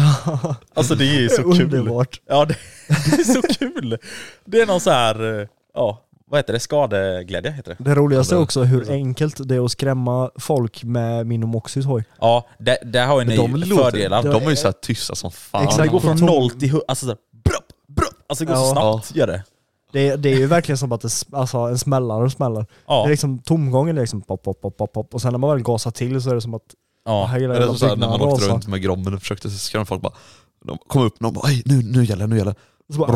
Speaker 2: alltså det är ju så kul.
Speaker 3: Underbart.
Speaker 2: Ja det, *laughs* det är så kul. Det är någon så här, eh, ja vad heter det, skadeglädje heter det.
Speaker 3: Det roligaste är också hur
Speaker 2: det.
Speaker 3: enkelt det är att skrämma folk med min och Moxys hoj.
Speaker 2: Ja, där, där har ju ni
Speaker 4: de,
Speaker 2: fördelar.
Speaker 4: låter, de är ju såhär tysta som fan.
Speaker 3: Exakt.
Speaker 2: det går från
Speaker 3: Tom-
Speaker 2: noll till hundra, alltså såhär, brupp, brupp. Alltså det går så
Speaker 3: Ja.
Speaker 2: snabbt, gör det.
Speaker 3: Det, det
Speaker 2: *laughs*
Speaker 3: är ju verkligen som att det, s- alltså, en smällare smäller.
Speaker 2: Ja.
Speaker 3: Det är liksom tomgången, det är liksom pop, pop, pop, pop, pop. Och sen när man väl gasar till så är det som att
Speaker 2: Ja.
Speaker 3: här gillar
Speaker 4: Eller
Speaker 3: jag
Speaker 4: så såhär, när man åkte runt
Speaker 3: rasar.
Speaker 4: med grommen och försökte skrämma folk bara, de kom upp någon bara "Ej, nu, nu gäller det, nu gäller det."
Speaker 3: Så bara,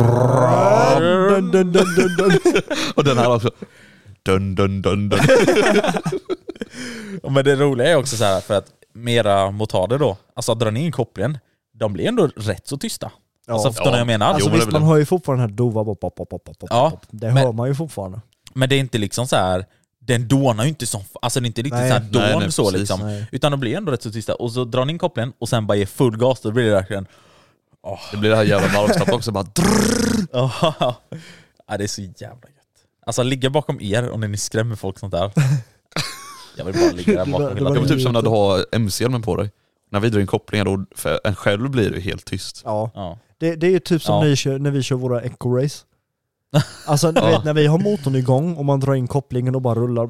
Speaker 3: dun, dun, dun, dun, dun.
Speaker 4: *laughs* Och den här också, dun dun
Speaker 3: *laughs*
Speaker 4: dun dun.
Speaker 2: Ja, Men det roliga är också så här för att mera motarder då, alltså drar ni in kopplingen, de blir ändå rätt så tysta.
Speaker 3: Ja.
Speaker 2: Alltså förstår ni vad jag menar?
Speaker 3: Alltså
Speaker 4: Jo, men det
Speaker 3: visst,
Speaker 4: är väl
Speaker 3: man
Speaker 4: det.
Speaker 3: hör ju fortfarande den här dova pop, pop, pop, pop, pop, pop.
Speaker 2: Ja,
Speaker 3: Det
Speaker 2: men-
Speaker 3: hör man ju fortfarande.
Speaker 2: Men det är inte liksom så här den dånar ju inte som, alltså det är inte riktigt
Speaker 3: Nej.
Speaker 2: så här dån
Speaker 4: Nej, nej,
Speaker 2: så
Speaker 4: precis,
Speaker 2: liksom.
Speaker 3: nej.
Speaker 2: Utan de blir ändå rätt så tysta. Och så drar ni in kopplingen och sen bara ger full gas, då blir det verkligen...
Speaker 4: Det blir det här jävla varvstappet också bara drrrr.
Speaker 2: ja, det är så jävla gött. Alltså ligga bakom er och när ni skrämmer folk sånt där. Jag vill bara ligga där bakom
Speaker 3: Det
Speaker 2: hela
Speaker 3: var-
Speaker 4: Det var
Speaker 2: tiden.
Speaker 4: typ som när du har mc-hjälmen på dig. När vi drar in kopplingar då, för en själv blir det ju helt tyst.
Speaker 3: Ja.
Speaker 2: Ja.
Speaker 3: Det, det är ju typ som
Speaker 2: Ja.
Speaker 3: när, vi kör, när vi kör våra
Speaker 2: *laughs*
Speaker 3: eco-race. Alltså du vet, när vi har motorn igång och man drar in kopplingen och bara rullar.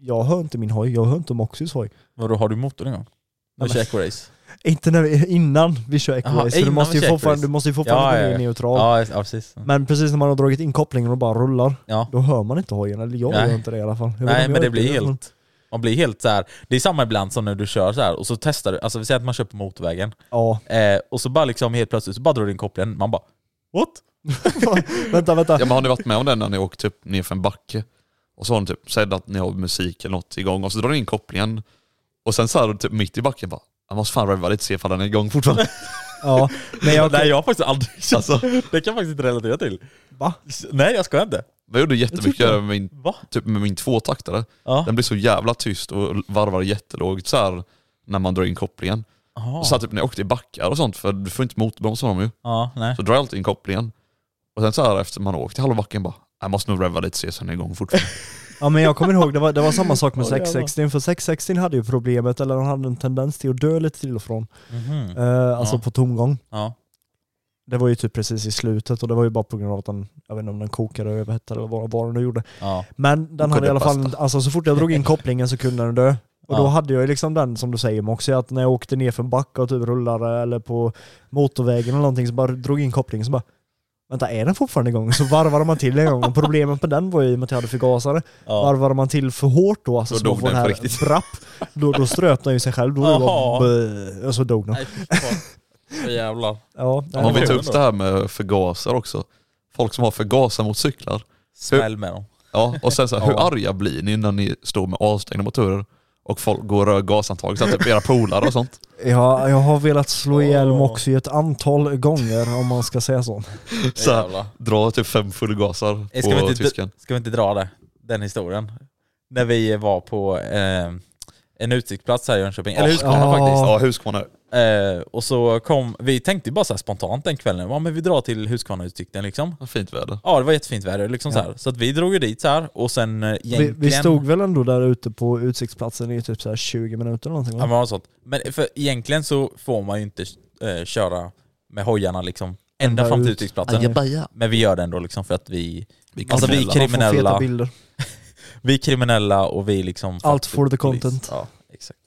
Speaker 3: Jag hör inte min hoj, jag hör inte Moxys hoj.
Speaker 2: Vadå, har du motorn igång? Nu
Speaker 3: men-
Speaker 2: kör jag race.
Speaker 3: Inte när vi, innan vi kör
Speaker 2: Jaha,
Speaker 3: eco-race, för du
Speaker 2: innan
Speaker 3: måste
Speaker 2: vi
Speaker 3: ju
Speaker 2: kör
Speaker 3: fortfarande,
Speaker 2: eco-race.
Speaker 3: du måste ju fortfarande
Speaker 2: Ja,
Speaker 3: gå
Speaker 2: ja,
Speaker 3: in
Speaker 2: ja.
Speaker 3: neutral.
Speaker 2: Ja, ja, precis.
Speaker 3: Men precis när man har dragit in kopplingen och bara rullar,
Speaker 2: Ja.
Speaker 3: då hör man inte hojen. Eller jag
Speaker 2: Nej.
Speaker 3: gör inte det i alla fall. Jag vet inte om
Speaker 2: Nej
Speaker 3: jag
Speaker 2: men det
Speaker 3: gör
Speaker 2: blir
Speaker 3: men-
Speaker 2: helt... Man blir helt så här. det är samma ibland som när du kör så här och så testar du, alltså vi säger att man kör på motorvägen,
Speaker 3: Ja. *laughs*
Speaker 2: eh, och så bara liksom helt plötsligt så bara drar du in kopplingen, man bara What?
Speaker 3: vänta, vänta.
Speaker 4: Ja, men har ni varit med om det när ni åkt typ ner för en backe? Och så har ni typ sett att ni har musik eller något igång och så drar ni in kopplingen och sen så här typ mitt i backen bara jag måste fan revva lite se ifall den är igång fortfarande.
Speaker 3: Ja. Men jag,
Speaker 2: Nej jag har faktiskt aldrig alltså, *laughs* det kan jag faktiskt inte relatera till.
Speaker 3: Va?
Speaker 2: S- Nej jag skojar inte.
Speaker 4: Men jag gjorde
Speaker 3: tycker
Speaker 4: jättemycket
Speaker 3: jag.
Speaker 4: med min,
Speaker 2: Va?
Speaker 4: typ med min tvåtaktare.
Speaker 2: Ja.
Speaker 4: Den blir så jävla tyst och varvar jättelågt så här när man drar in kopplingen.
Speaker 2: Aha.
Speaker 4: Och så här, typ när jag åkte i backar och sånt, för du får inte motbromsa dem ju.
Speaker 2: Ja, nej.
Speaker 4: Så drar jag alltid in kopplingen. Och sen så här efter man har åkt i halva backen bara jag måste nog revva lite se så den är igång fortfarande.
Speaker 3: ja, men jag kommer ihåg, det var, det var samma sak med
Speaker 2: Åh, jävlar.
Speaker 3: 660, för 660 hade ju problemet, eller den hade en tendens till att dö lite till och från.
Speaker 2: Mhm.
Speaker 3: Eh, alltså
Speaker 2: Ja.
Speaker 3: på tomgång.
Speaker 2: Ja.
Speaker 3: Det var ju typ precis i slutet och det var ju bara på grund av att den, jag vet inte om den kokade och överhettade eller vad, vad den nu gjorde.
Speaker 2: Ja.
Speaker 3: Men den hade i alla fall, alltså så fort jag drog
Speaker 4: *laughs*
Speaker 3: in kopplingen så kunde den dö. Och då
Speaker 2: Ja.
Speaker 3: hade jag ju liksom den som du säger också att när jag åkte ner för en backe och typ rullade eller på motorvägen eller någonting så bara drog in kopplingen så bara Vänta, är den fortfarande igång? Så varvade man till en gång. Och problemet med den var ju i och med att jag hade förgasare.
Speaker 2: Ja.
Speaker 3: Varvade man till för hårt då, alltså
Speaker 4: Då
Speaker 3: så man
Speaker 4: dog
Speaker 3: får
Speaker 4: den
Speaker 3: den här
Speaker 4: på riktigt.
Speaker 3: brapp, då, då ströp den ju sig själv. Då var det
Speaker 2: Jaha.
Speaker 3: bara, bö, och så dog den.
Speaker 2: Nej fy fan. Åh, Jävlar.
Speaker 3: Ja, eh, nej,
Speaker 4: Om vi
Speaker 3: det
Speaker 4: tar
Speaker 3: var-
Speaker 4: upp det här med förgasar också. Folk som har förgasar mot cyklar.
Speaker 2: Smäll med dem.
Speaker 4: Ja, och sen så här, hur
Speaker 2: Ja.
Speaker 4: arga blir ni när ni står med avstängda motorer och folk går och rör gasantaget, så att typ era polare och sånt?
Speaker 3: Ja, jag har velat slå ihjäl
Speaker 2: Åh.
Speaker 3: Moxie ett antal gånger om man ska säga så.
Speaker 4: Så här,
Speaker 2: Jävlar.
Speaker 4: dra typ fem fullgasar
Speaker 2: Eh, Ska vi,
Speaker 4: på
Speaker 2: inte,
Speaker 4: tysken.
Speaker 2: ska vi inte dra det? Den historien. När vi var på eh, en utsiktsplats här i Jönköping, eller Huskvarna
Speaker 3: Ja.
Speaker 2: faktiskt.
Speaker 4: Ja, Huskvarna.
Speaker 2: Eh, och så kom, vi tänkte ju bara så här spontant den kvällen, ja men vi drar till Huskvarnautsikten liksom.
Speaker 4: Vad Fint väder.
Speaker 2: Ja det var jättefint väder liksom så här. Så att vi drog ju dit så här och sen eh,
Speaker 3: Vi,
Speaker 2: egentligen...
Speaker 3: vi stod väl ändå där ute på utsiktsplatsen i typ så här 20 minuter eller någonting?
Speaker 2: Ja, men,
Speaker 3: va?
Speaker 2: något sånt. men för egentligen så får man ju inte eh, köra med hojarna liksom ända
Speaker 3: Ända
Speaker 2: fram till
Speaker 3: ut.
Speaker 2: utsiktsplatten. Men vi gör det ändå liksom för att vi,
Speaker 4: Vi
Speaker 2: alltså vi är
Speaker 4: kriminella.
Speaker 3: Man får feta
Speaker 2: kriminella,
Speaker 3: bilder. *laughs*
Speaker 2: vi är kriminella och vi liksom...
Speaker 3: Allt for the
Speaker 2: polis.
Speaker 3: content.
Speaker 2: Ja, exakt.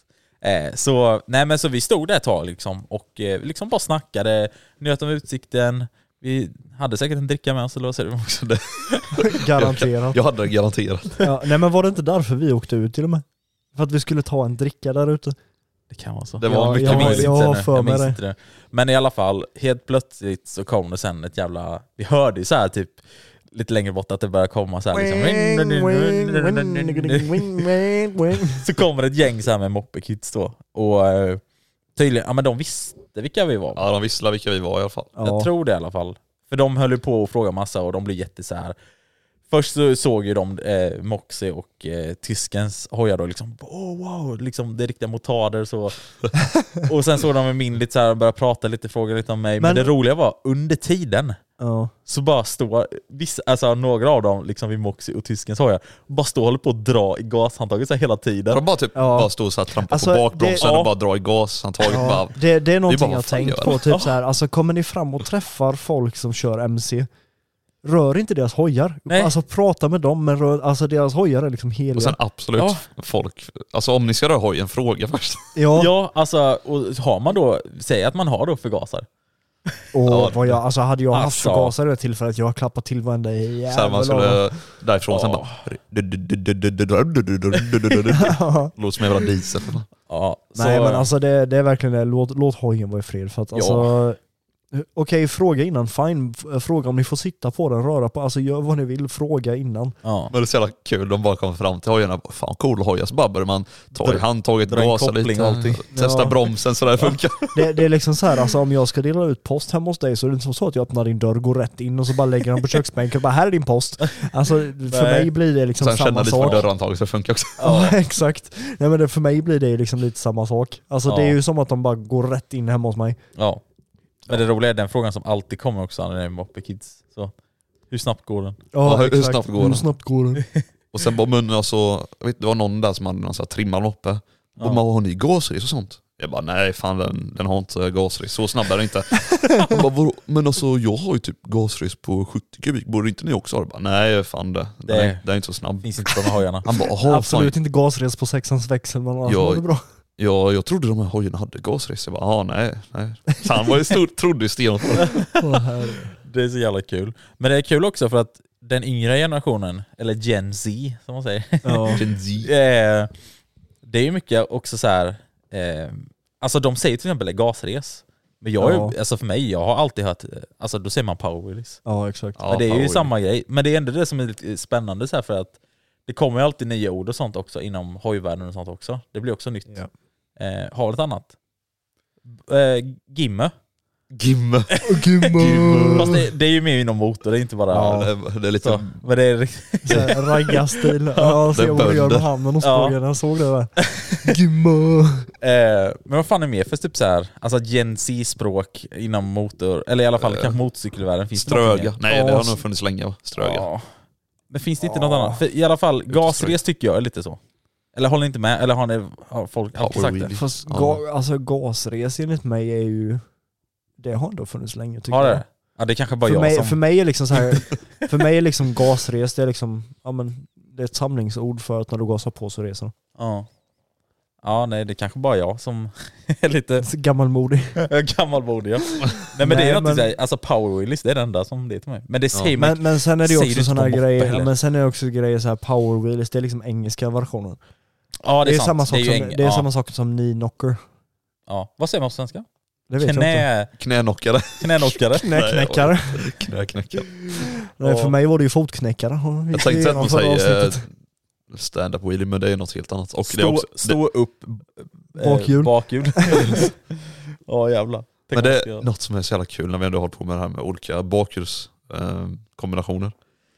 Speaker 2: Eh, så, nej men så vi stod där ett tag liksom och eh, liksom bara snackade, njöt av utsikten, vi hade säkert en dricka med oss eller vad säger du?
Speaker 4: Så det-
Speaker 3: Garanterat.
Speaker 4: Jag hade det garanterat.
Speaker 3: Ja, nej men var det inte därför vi åkte ut till och med? För att vi skulle ta en dricka där ute.
Speaker 2: Det kan vara så.
Speaker 4: Det var
Speaker 3: Ja,
Speaker 4: mycket
Speaker 3: jag-
Speaker 4: möjligt.
Speaker 3: jag-
Speaker 2: inte
Speaker 3: har
Speaker 2: nu.
Speaker 3: för mig
Speaker 2: minns
Speaker 3: det.
Speaker 2: inte det. Men i alla fall, helt plötsligt så kom det sen ett jävla... Vi hörde ju så här typ lite längre bort att det började komma så här liksom... *laughs* Så kommer ett gäng så här med moppekids då. Och eh, tydligen, ja men de visste vilka vi var.
Speaker 4: Ja, de visslade vilka vi var i alla fall.
Speaker 2: Jag
Speaker 3: Ja.
Speaker 2: tror det i alla fall. För de höll ju på och fråga massa och de blev jätte så här. Först så såg ju de eh, Moxie och eh, tyskens hojar då liksom oh, wow, liksom det är riktiga motader
Speaker 3: *laughs*
Speaker 2: så. och sen såg de min lite så här och började prata lite, fråga lite om mig. Men,
Speaker 3: Men-
Speaker 2: det roliga var under tiden
Speaker 3: Ja.
Speaker 2: så bara står vissa, alltså några av dem liksom vid Moxie och tyskens hojar, bara står och håller på att dra i gashandtaget så här hela tiden.
Speaker 4: De bara typ
Speaker 3: Ja.
Speaker 4: bara stod och så här, trampade
Speaker 3: Alltså,
Speaker 4: på
Speaker 3: det-
Speaker 4: bakbromsen
Speaker 2: Ja.
Speaker 4: och bara drar i gashandtaget.
Speaker 3: Ja,
Speaker 4: Bara,
Speaker 3: det, det är någonting
Speaker 4: bara,
Speaker 3: jag
Speaker 4: vad fan
Speaker 3: tänkt
Speaker 4: gör
Speaker 3: på,
Speaker 4: jag?
Speaker 3: typ så här, alltså kommer ni fram och träffar folk som kör MC, rör inte deras hojar.
Speaker 2: Nej.
Speaker 3: Alltså prata med dem, men rör, alltså deras hojar är liksom heliga.
Speaker 4: och sen absolut
Speaker 2: Ja.
Speaker 4: folk. Alltså om ni ska röra hojen,
Speaker 2: *laughs*
Speaker 4: fråga först.
Speaker 3: ja,
Speaker 2: Ja, alltså, och har man då, säg att man har då förgasare.
Speaker 3: och
Speaker 4: Ja.
Speaker 3: vad jag, alltså hade jag haft
Speaker 2: Alltså.
Speaker 3: förgasare vid det tillfället, jag har klappat till varenda jävel
Speaker 4: Så här, man
Speaker 3: av dem.
Speaker 4: skulle därifrån sen bara... *laughs* Låter som en jävla diesel.
Speaker 2: Ja,
Speaker 3: Nej
Speaker 2: så-
Speaker 3: men alltså det, det är verkligen det, låt, låt hojen vara i fred för att
Speaker 2: Ja.
Speaker 3: alltså Okej, fråga innan, fine. F- Fråga om ni får sitta på den, röra på, alltså gör vad ni vill, fråga innan.
Speaker 2: ja.
Speaker 4: Men det är så jävla kul, de bara kommer fram till hojarna bara, fan cool hoj, så bara börjar man ta i handtaget,
Speaker 2: dra en
Speaker 4: gasa
Speaker 2: koppling
Speaker 4: lite,
Speaker 2: och allting.
Speaker 4: *laughs* testa
Speaker 3: Ja.
Speaker 4: bromsen så
Speaker 2: *laughs*
Speaker 4: det funkar.
Speaker 3: Det, det är liksom så här, alltså om jag ska dela ut post hemma hos dig så är det inte som så att jag öppnar din dörr, går rätt in och så bara lägger den på köksbänken och bara här är din post. Alltså för mig blir det liksom
Speaker 4: Sen känna
Speaker 3: samma
Speaker 4: lite på
Speaker 3: sak.
Speaker 4: dörrhandtaget så det funkar också.
Speaker 3: Ja *laughs* exakt. Nej men det, för mig blir det ju liksom lite samma sak. Alltså det
Speaker 2: Ja.
Speaker 3: är ju som att de bara går rätt in hemma hos mig.
Speaker 2: Ja. Men det roliga är den frågan som alltid kommer också när det är Moppe Kids. Så, hur snabbt går den?
Speaker 4: Ja, hur- hur
Speaker 3: exakt.
Speaker 4: snabbt går
Speaker 3: Hur
Speaker 4: den?
Speaker 3: snabbt går den?
Speaker 4: Och sen bara munnen och så, jag vet, det var någon där som hade någon sån här trimmad moppe.
Speaker 2: Ja.
Speaker 4: Och man har ni gasris och sånt? Jag bara nej fan den, den har inte gasris, så snabb är
Speaker 2: *laughs*
Speaker 4: den inte. Hon bara, "Vadå? men alltså jag har ju typ gasris på 70 kubik, borde inte ni också ha det? Jag bara, nej fan det, den,
Speaker 2: Det-
Speaker 4: är, den är inte så snabb.
Speaker 2: Finns inte på de här hojarna.
Speaker 4: Han bara jaha fan,
Speaker 3: Absolut inte gasres på sexans växel men alltså,
Speaker 4: Ja.
Speaker 3: ja. det är *laughs* bra.
Speaker 4: jag, jag trodde de här hojarna hade gasris. Jag bara ja nej. nej. Så han var ju stor, trodde ju stenhårt på det.
Speaker 3: Åh, herre.
Speaker 2: Det är så jävla kul. Men det är kul också för att den yngre generationen, eller Gen Z som man säger,
Speaker 4: Typ.
Speaker 2: *laughs*
Speaker 3: ja.
Speaker 2: eh, det är ju mycket också så här. Eh, alltså de säger till exempel gasres. Men jag, är ju,
Speaker 3: Ja.
Speaker 2: alltså för mig, jag har alltid hört, eh, alltså då säger man power wheelies.
Speaker 3: ja exakt.
Speaker 4: Ja,
Speaker 2: men det är ju
Speaker 4: power.
Speaker 2: samma grej. Men det är ändå det som är lite spännande så här för att det kommer ju alltid nya ord och sånt också inom hojvärlden och sånt också. Det blir också nytt.
Speaker 3: Ja.
Speaker 2: Eh, har ett annat. Eh, gimme. Eh,
Speaker 4: Gimme.
Speaker 2: Fast det, det är ju mer inom motor, det är inte bara...
Speaker 4: Ja, det, är- det är lite
Speaker 2: Så, men det är riktigt...
Speaker 3: Så här, Raggarstil. Ja, se
Speaker 4: Det är
Speaker 3: vad du gör
Speaker 4: bönder.
Speaker 3: med handen och
Speaker 2: Ja.
Speaker 3: spågen. Jag såg det där. Gimma.
Speaker 2: Eh, men vad fan är mer för typ så här, alltså Gen Z-språk inom motor, eller i alla fall
Speaker 4: Eh,
Speaker 2: kanske motorcykelvärlden finns det något
Speaker 4: Ströga.
Speaker 2: mer?
Speaker 4: Nej det
Speaker 3: Ja,
Speaker 4: har
Speaker 3: så-
Speaker 4: nog funnits länge va? Ströga.
Speaker 2: Ja. Men finns det inte något annat? För I alla fall, gasres tycker jag är lite så. Eller håller ni inte med? Eller har, ni, har folk alltid sagt det?
Speaker 3: Fast
Speaker 4: Ja.
Speaker 3: ga, alltså, gasres enligt mig är ju... Det har ändå funnits länge tycker
Speaker 2: Har
Speaker 3: jag.
Speaker 2: det? Ja det är kanske bara
Speaker 3: För
Speaker 2: jag
Speaker 3: mig,
Speaker 2: som...
Speaker 3: för mig är liksom så här,
Speaker 4: *laughs*
Speaker 3: för mig är liksom gasres, det är liksom, ja men det är ett samlingsord för att när du gasar på så reser du.
Speaker 2: Ja. ja, nej det är kanske bara jag som *laughs* är lite
Speaker 3: Så Gammalmodig.
Speaker 2: *laughs* gammalmodig. Ja. Nej men det är
Speaker 3: Nej,
Speaker 2: ju men...
Speaker 3: men-
Speaker 2: alltså power wheelies, det är det enda som det är till mig. Men det säger man
Speaker 3: Men, men sen är det ju
Speaker 2: Säger du inte
Speaker 3: också
Speaker 2: på
Speaker 3: sådana
Speaker 2: moppe
Speaker 3: grejer,
Speaker 2: heller?
Speaker 3: ja, men sen är det också grejer så här power wheels, det är liksom engelska versionen.
Speaker 2: Ja det
Speaker 3: Det är,
Speaker 2: är, sant.
Speaker 3: samma, sak
Speaker 2: ju
Speaker 3: som,
Speaker 2: eng-
Speaker 3: det är
Speaker 2: ja,
Speaker 3: samma sak som knee knocker.
Speaker 2: ja. Vad säger man på svenska?
Speaker 3: Det vet jag inte.
Speaker 2: Knä,
Speaker 4: Knänockare.
Speaker 2: knänockare.
Speaker 3: Knäknäckare.
Speaker 4: Knäknäckare.
Speaker 3: Nej, för mig var det ju fotknäckare.
Speaker 4: Jag tänkte att man
Speaker 3: Förra
Speaker 4: säger eh,
Speaker 3: avsnittet.
Speaker 4: stand-up wheelie, men det är något helt annat. Och det är
Speaker 2: Stå,
Speaker 4: också, det,
Speaker 2: stå upp. eh,
Speaker 3: Bakhjul. *laughs*
Speaker 2: Bakhjul. *laughs* Ja jävlar. Tänk
Speaker 4: men
Speaker 2: om
Speaker 4: det
Speaker 2: jag
Speaker 4: är något som är så jävla kul när vi ändå håller på med det här med olika bakhjulskombinationer.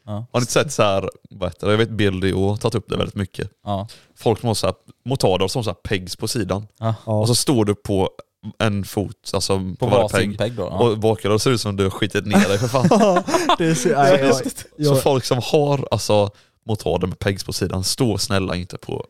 Speaker 2: Ja.
Speaker 4: Har ni inte sett så här, vad heter det? jag vet Billy och har tagit upp det väldigt mycket.
Speaker 2: Ja.
Speaker 4: Folk som har så här, motarder som har så här pegs på sidan.
Speaker 2: Ja.
Speaker 3: Ja.
Speaker 4: Och så står du på en fot, alltså på,
Speaker 2: På
Speaker 4: varje
Speaker 2: varsin
Speaker 4: peg.
Speaker 2: peg då. Ja.
Speaker 4: Och bakar och ser ut som du har skitit ner dig
Speaker 2: *laughs*
Speaker 4: för fan.
Speaker 3: *laughs* det är så, nej, jag,
Speaker 4: Så
Speaker 3: jag,
Speaker 4: folk som har alltså motarder med pegs på sidan, stå snälla inte på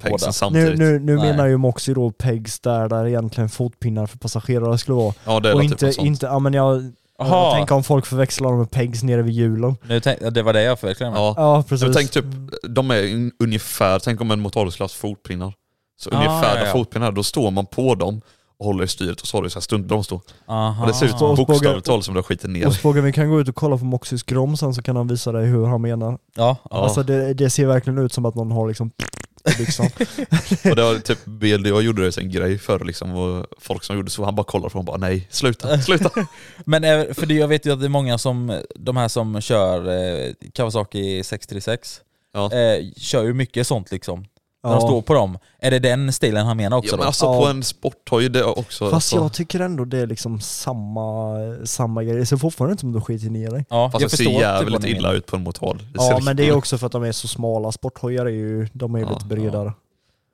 Speaker 4: pegsen
Speaker 2: Båda.
Speaker 3: nu,
Speaker 4: samtidigt.
Speaker 3: nu, nu
Speaker 2: Nej.
Speaker 3: menar ju Moxie då pegs där, där egentligen fotpinnar för passagerare skulle vara.
Speaker 4: ja det är
Speaker 3: Och
Speaker 4: väl typ
Speaker 3: inte,
Speaker 4: något sånt.
Speaker 3: inte, ja men jag, jag
Speaker 2: Jaha.
Speaker 3: tänker om folk förväxlar dem med pegs nere vid hjulen.
Speaker 2: Nu tänk, ja, det var det jag förväxlade mig.
Speaker 4: Ja.
Speaker 3: Ja precis.
Speaker 4: Men tänk typ, de är un- ungefär, tänk om en motorcykel skulle haft fotpinnar. Så
Speaker 2: Ah,
Speaker 4: ungefär
Speaker 2: ja,
Speaker 4: där
Speaker 2: ja.
Speaker 4: fotpinnar är, då står man på dem och håller i styret och så har du så här stuntbroms då.
Speaker 2: Aha.
Speaker 4: Och det ser ut som
Speaker 3: Ah. Och bågar-
Speaker 4: bokstavligt talat som du har skitit ner
Speaker 3: Och
Speaker 4: dig.
Speaker 3: Spågen, vi kan gå ut och kolla på Moxies grom sen så kan han visa dig hur han menar.
Speaker 2: Ja, ja.
Speaker 3: Alltså det, det ser verkligen ut som att någon har liksom *laughs* i byxan.
Speaker 4: Och det var typ BLDA gjorde det en grej för liksom, och folk som gjorde så, han bara kollade på dem och bara nej,
Speaker 2: *laughs*
Speaker 4: sluta, sluta.
Speaker 2: Men eh, för det, jag vet ju att det är många som, de här som kör eh, Kawasaki 636,
Speaker 4: Ja.
Speaker 2: eh, kör ju mycket sånt liksom. När
Speaker 3: Ja.
Speaker 2: de står på dem. Är det den stilen han menar också
Speaker 4: Ja, men
Speaker 2: då?
Speaker 4: alltså
Speaker 3: Ja.
Speaker 4: på en sporthoj det är också...
Speaker 3: Fast
Speaker 4: alltså,
Speaker 3: jag tycker ändå det är liksom samma, samma grej. Det ser fortfarande ut som att du skiter ner dig.
Speaker 2: ja,
Speaker 4: fast det ser
Speaker 2: förstår typ
Speaker 4: jävligt
Speaker 2: vad ni
Speaker 4: illa
Speaker 2: menar.
Speaker 4: ut på en motorhoj. Det ser
Speaker 3: Ja
Speaker 4: riktigt
Speaker 3: men det är
Speaker 4: illa ut.
Speaker 3: också för att de är så smala. Sporthojar är ju, de är ju
Speaker 4: Ja,
Speaker 3: lite bredare.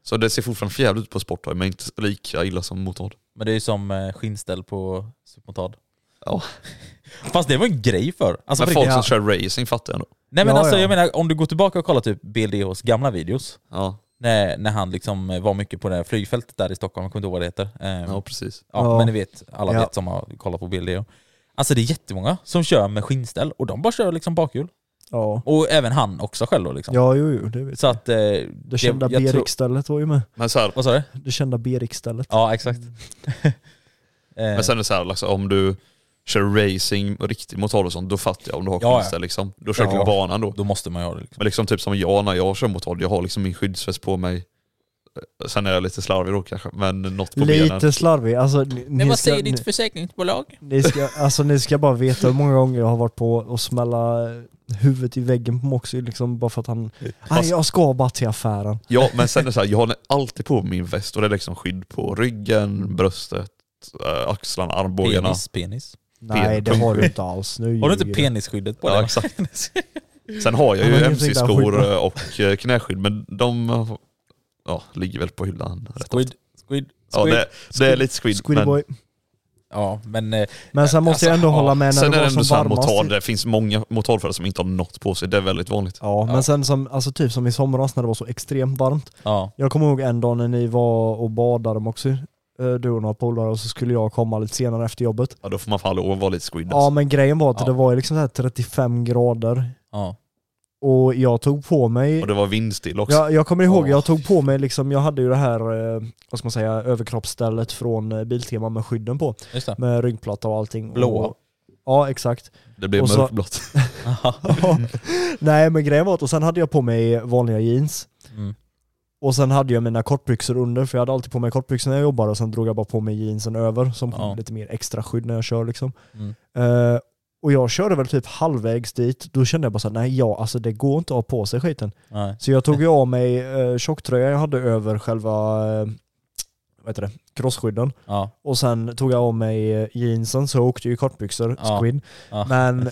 Speaker 4: Så det ser fortfarande för jävligt ut på sporthoj men inte lika illa som motorhoj.
Speaker 2: Men det är ju som eh, skinnställ på supermotard.
Speaker 4: Ja.
Speaker 2: *laughs* Fast det var en grej för. Alltså,
Speaker 4: men
Speaker 2: för
Speaker 4: folk
Speaker 2: riktigt.
Speaker 4: som kör racing fattar jag ändå.
Speaker 2: Nej men
Speaker 3: Ja,
Speaker 2: alltså
Speaker 3: ja.
Speaker 2: jag menar om du går tillbaka och kollar typ BLDHs gamla videos,
Speaker 4: Ja,
Speaker 2: när, när han liksom eh, var mycket på det här flygfältet där i Stockholm, jag kommer inte ihåg vad det heter. Eh,
Speaker 4: ja precis.
Speaker 2: Ja,
Speaker 3: Ja.
Speaker 2: men ni vet, alla
Speaker 3: Ja.
Speaker 2: vet som har kollat på bilder. Alltså det är jättemånga som kör med skinnställ och de bara kör liksom bakhjul.
Speaker 3: Ja.
Speaker 2: Och även han också själv då liksom.
Speaker 3: Ja jo jo, det vet
Speaker 2: Så
Speaker 3: jag.
Speaker 2: att... Eh,
Speaker 3: Det kända B-riksstället var ju med.
Speaker 4: Men så här,
Speaker 2: Vad sa du?
Speaker 3: Det kända B-riksstället.
Speaker 2: Ja *laughs* exakt. Eh,
Speaker 4: Men sen är det så här, liksom, om du kör racing, riktig motorhoj och sånt, då fattar jag om du har
Speaker 2: Ja, ja.
Speaker 4: skinnställ liksom. Då kör
Speaker 2: Ja.
Speaker 4: du banan då.
Speaker 2: då måste man göra det liksom.
Speaker 4: Men liksom typ som jag när jag kör motorhoj, jag har liksom min skyddsväst på mig. Eh, Sen är jag lite slarvig då kanske, men något på benen.
Speaker 3: Lite slarvig. Alltså, ni, ni, ska, ni,
Speaker 2: försäkringsbolag?
Speaker 3: ni, ska, alltså, ni ska bara veta hur många gånger jag har varit på och smälla huvudet i väggen på Moxie liksom bara för att han... Nej jag ska bara till affären.
Speaker 4: Ja men sen är det så här, jag har alltid på mig min väst och det är liksom skydd på ryggen, bröstet, äh, axlarna, armbågarna.
Speaker 2: Penis, penis.
Speaker 3: Nej det har du inte alls. Nu
Speaker 2: Har du inte
Speaker 3: ljuger
Speaker 2: penisskyddet på
Speaker 4: Ja,
Speaker 2: dig? *laughs*
Speaker 4: exakt. Sen har jag ju
Speaker 3: Ja, men det är så himla
Speaker 4: mc-skor och eh, knäskydd men de eh, ja, ligger väl på hyllan. rätt
Speaker 2: Squid, squid,
Speaker 4: Ja,
Speaker 2: squid.
Speaker 4: det, det är lite squid,
Speaker 3: Squiddy
Speaker 4: men alltså,
Speaker 3: boy.
Speaker 2: Ja, men... eh,
Speaker 3: Men sen måste jag ändå
Speaker 2: ja.
Speaker 3: hålla med när
Speaker 4: sen
Speaker 3: det
Speaker 4: är det
Speaker 3: var
Speaker 4: ändå
Speaker 3: som
Speaker 4: så här
Speaker 3: varmast.
Speaker 4: motard, det finns många motardförare som inte har något på sig, det är väldigt vanligt.
Speaker 3: Ja, men sen som, alltså typ som i somras när det var så extremt varmt.
Speaker 2: Ja.
Speaker 3: Jag kommer ihåg en dag när ni var och badade också, eh, du och några polare, och så skulle jag komma lite senare efter jobbet.
Speaker 4: Ja, då får man fan lov att vara lite squid
Speaker 3: Ja men grejen var att
Speaker 2: Ja.
Speaker 3: det var ju liksom så här 35 grader
Speaker 2: ja.
Speaker 3: och jag tog på mig
Speaker 4: Och det var vindstill också.
Speaker 3: jag, jag kommer ihåg,
Speaker 2: Åh.
Speaker 3: jag tog på mig liksom, jag hade ju det här, eh, vad ska man säga, överkroppsstället från eh, Biltema med skydden på.
Speaker 2: Just det.
Speaker 3: Med ryggplatta och allting.
Speaker 2: Blåa.
Speaker 3: Och,
Speaker 2: *laughs*
Speaker 3: ja exakt.
Speaker 4: Det blev
Speaker 3: och så-
Speaker 4: mörkblått.
Speaker 3: Nej men grejen var att, och sen hade jag på mig vanliga jeans.
Speaker 2: Mm.
Speaker 3: Och sen hade jag mina kortbyxor under, för jag hade alltid på mig kortbyxor när jag jobbade och sen drog jag bara på mig jeansen över som
Speaker 2: Ja.
Speaker 3: lite mer extra skydd när jag kör liksom.
Speaker 2: Mm.
Speaker 3: Eh, och jag körde väl typ halvvägs dit, då kände jag bara såhär, nej ja, alltså det går inte att ha på sig skiten.
Speaker 2: Nej.
Speaker 3: Så jag tog ju av mig uh, tjocktröjan jag hade över själva, eh, vad heter det, crossskydden.
Speaker 2: Ja.
Speaker 3: Och sen tog jag av mig eh, jeansen så jag åkte ju i kortbyxor,
Speaker 2: Ja.
Speaker 3: squid.
Speaker 2: Ja.
Speaker 3: Men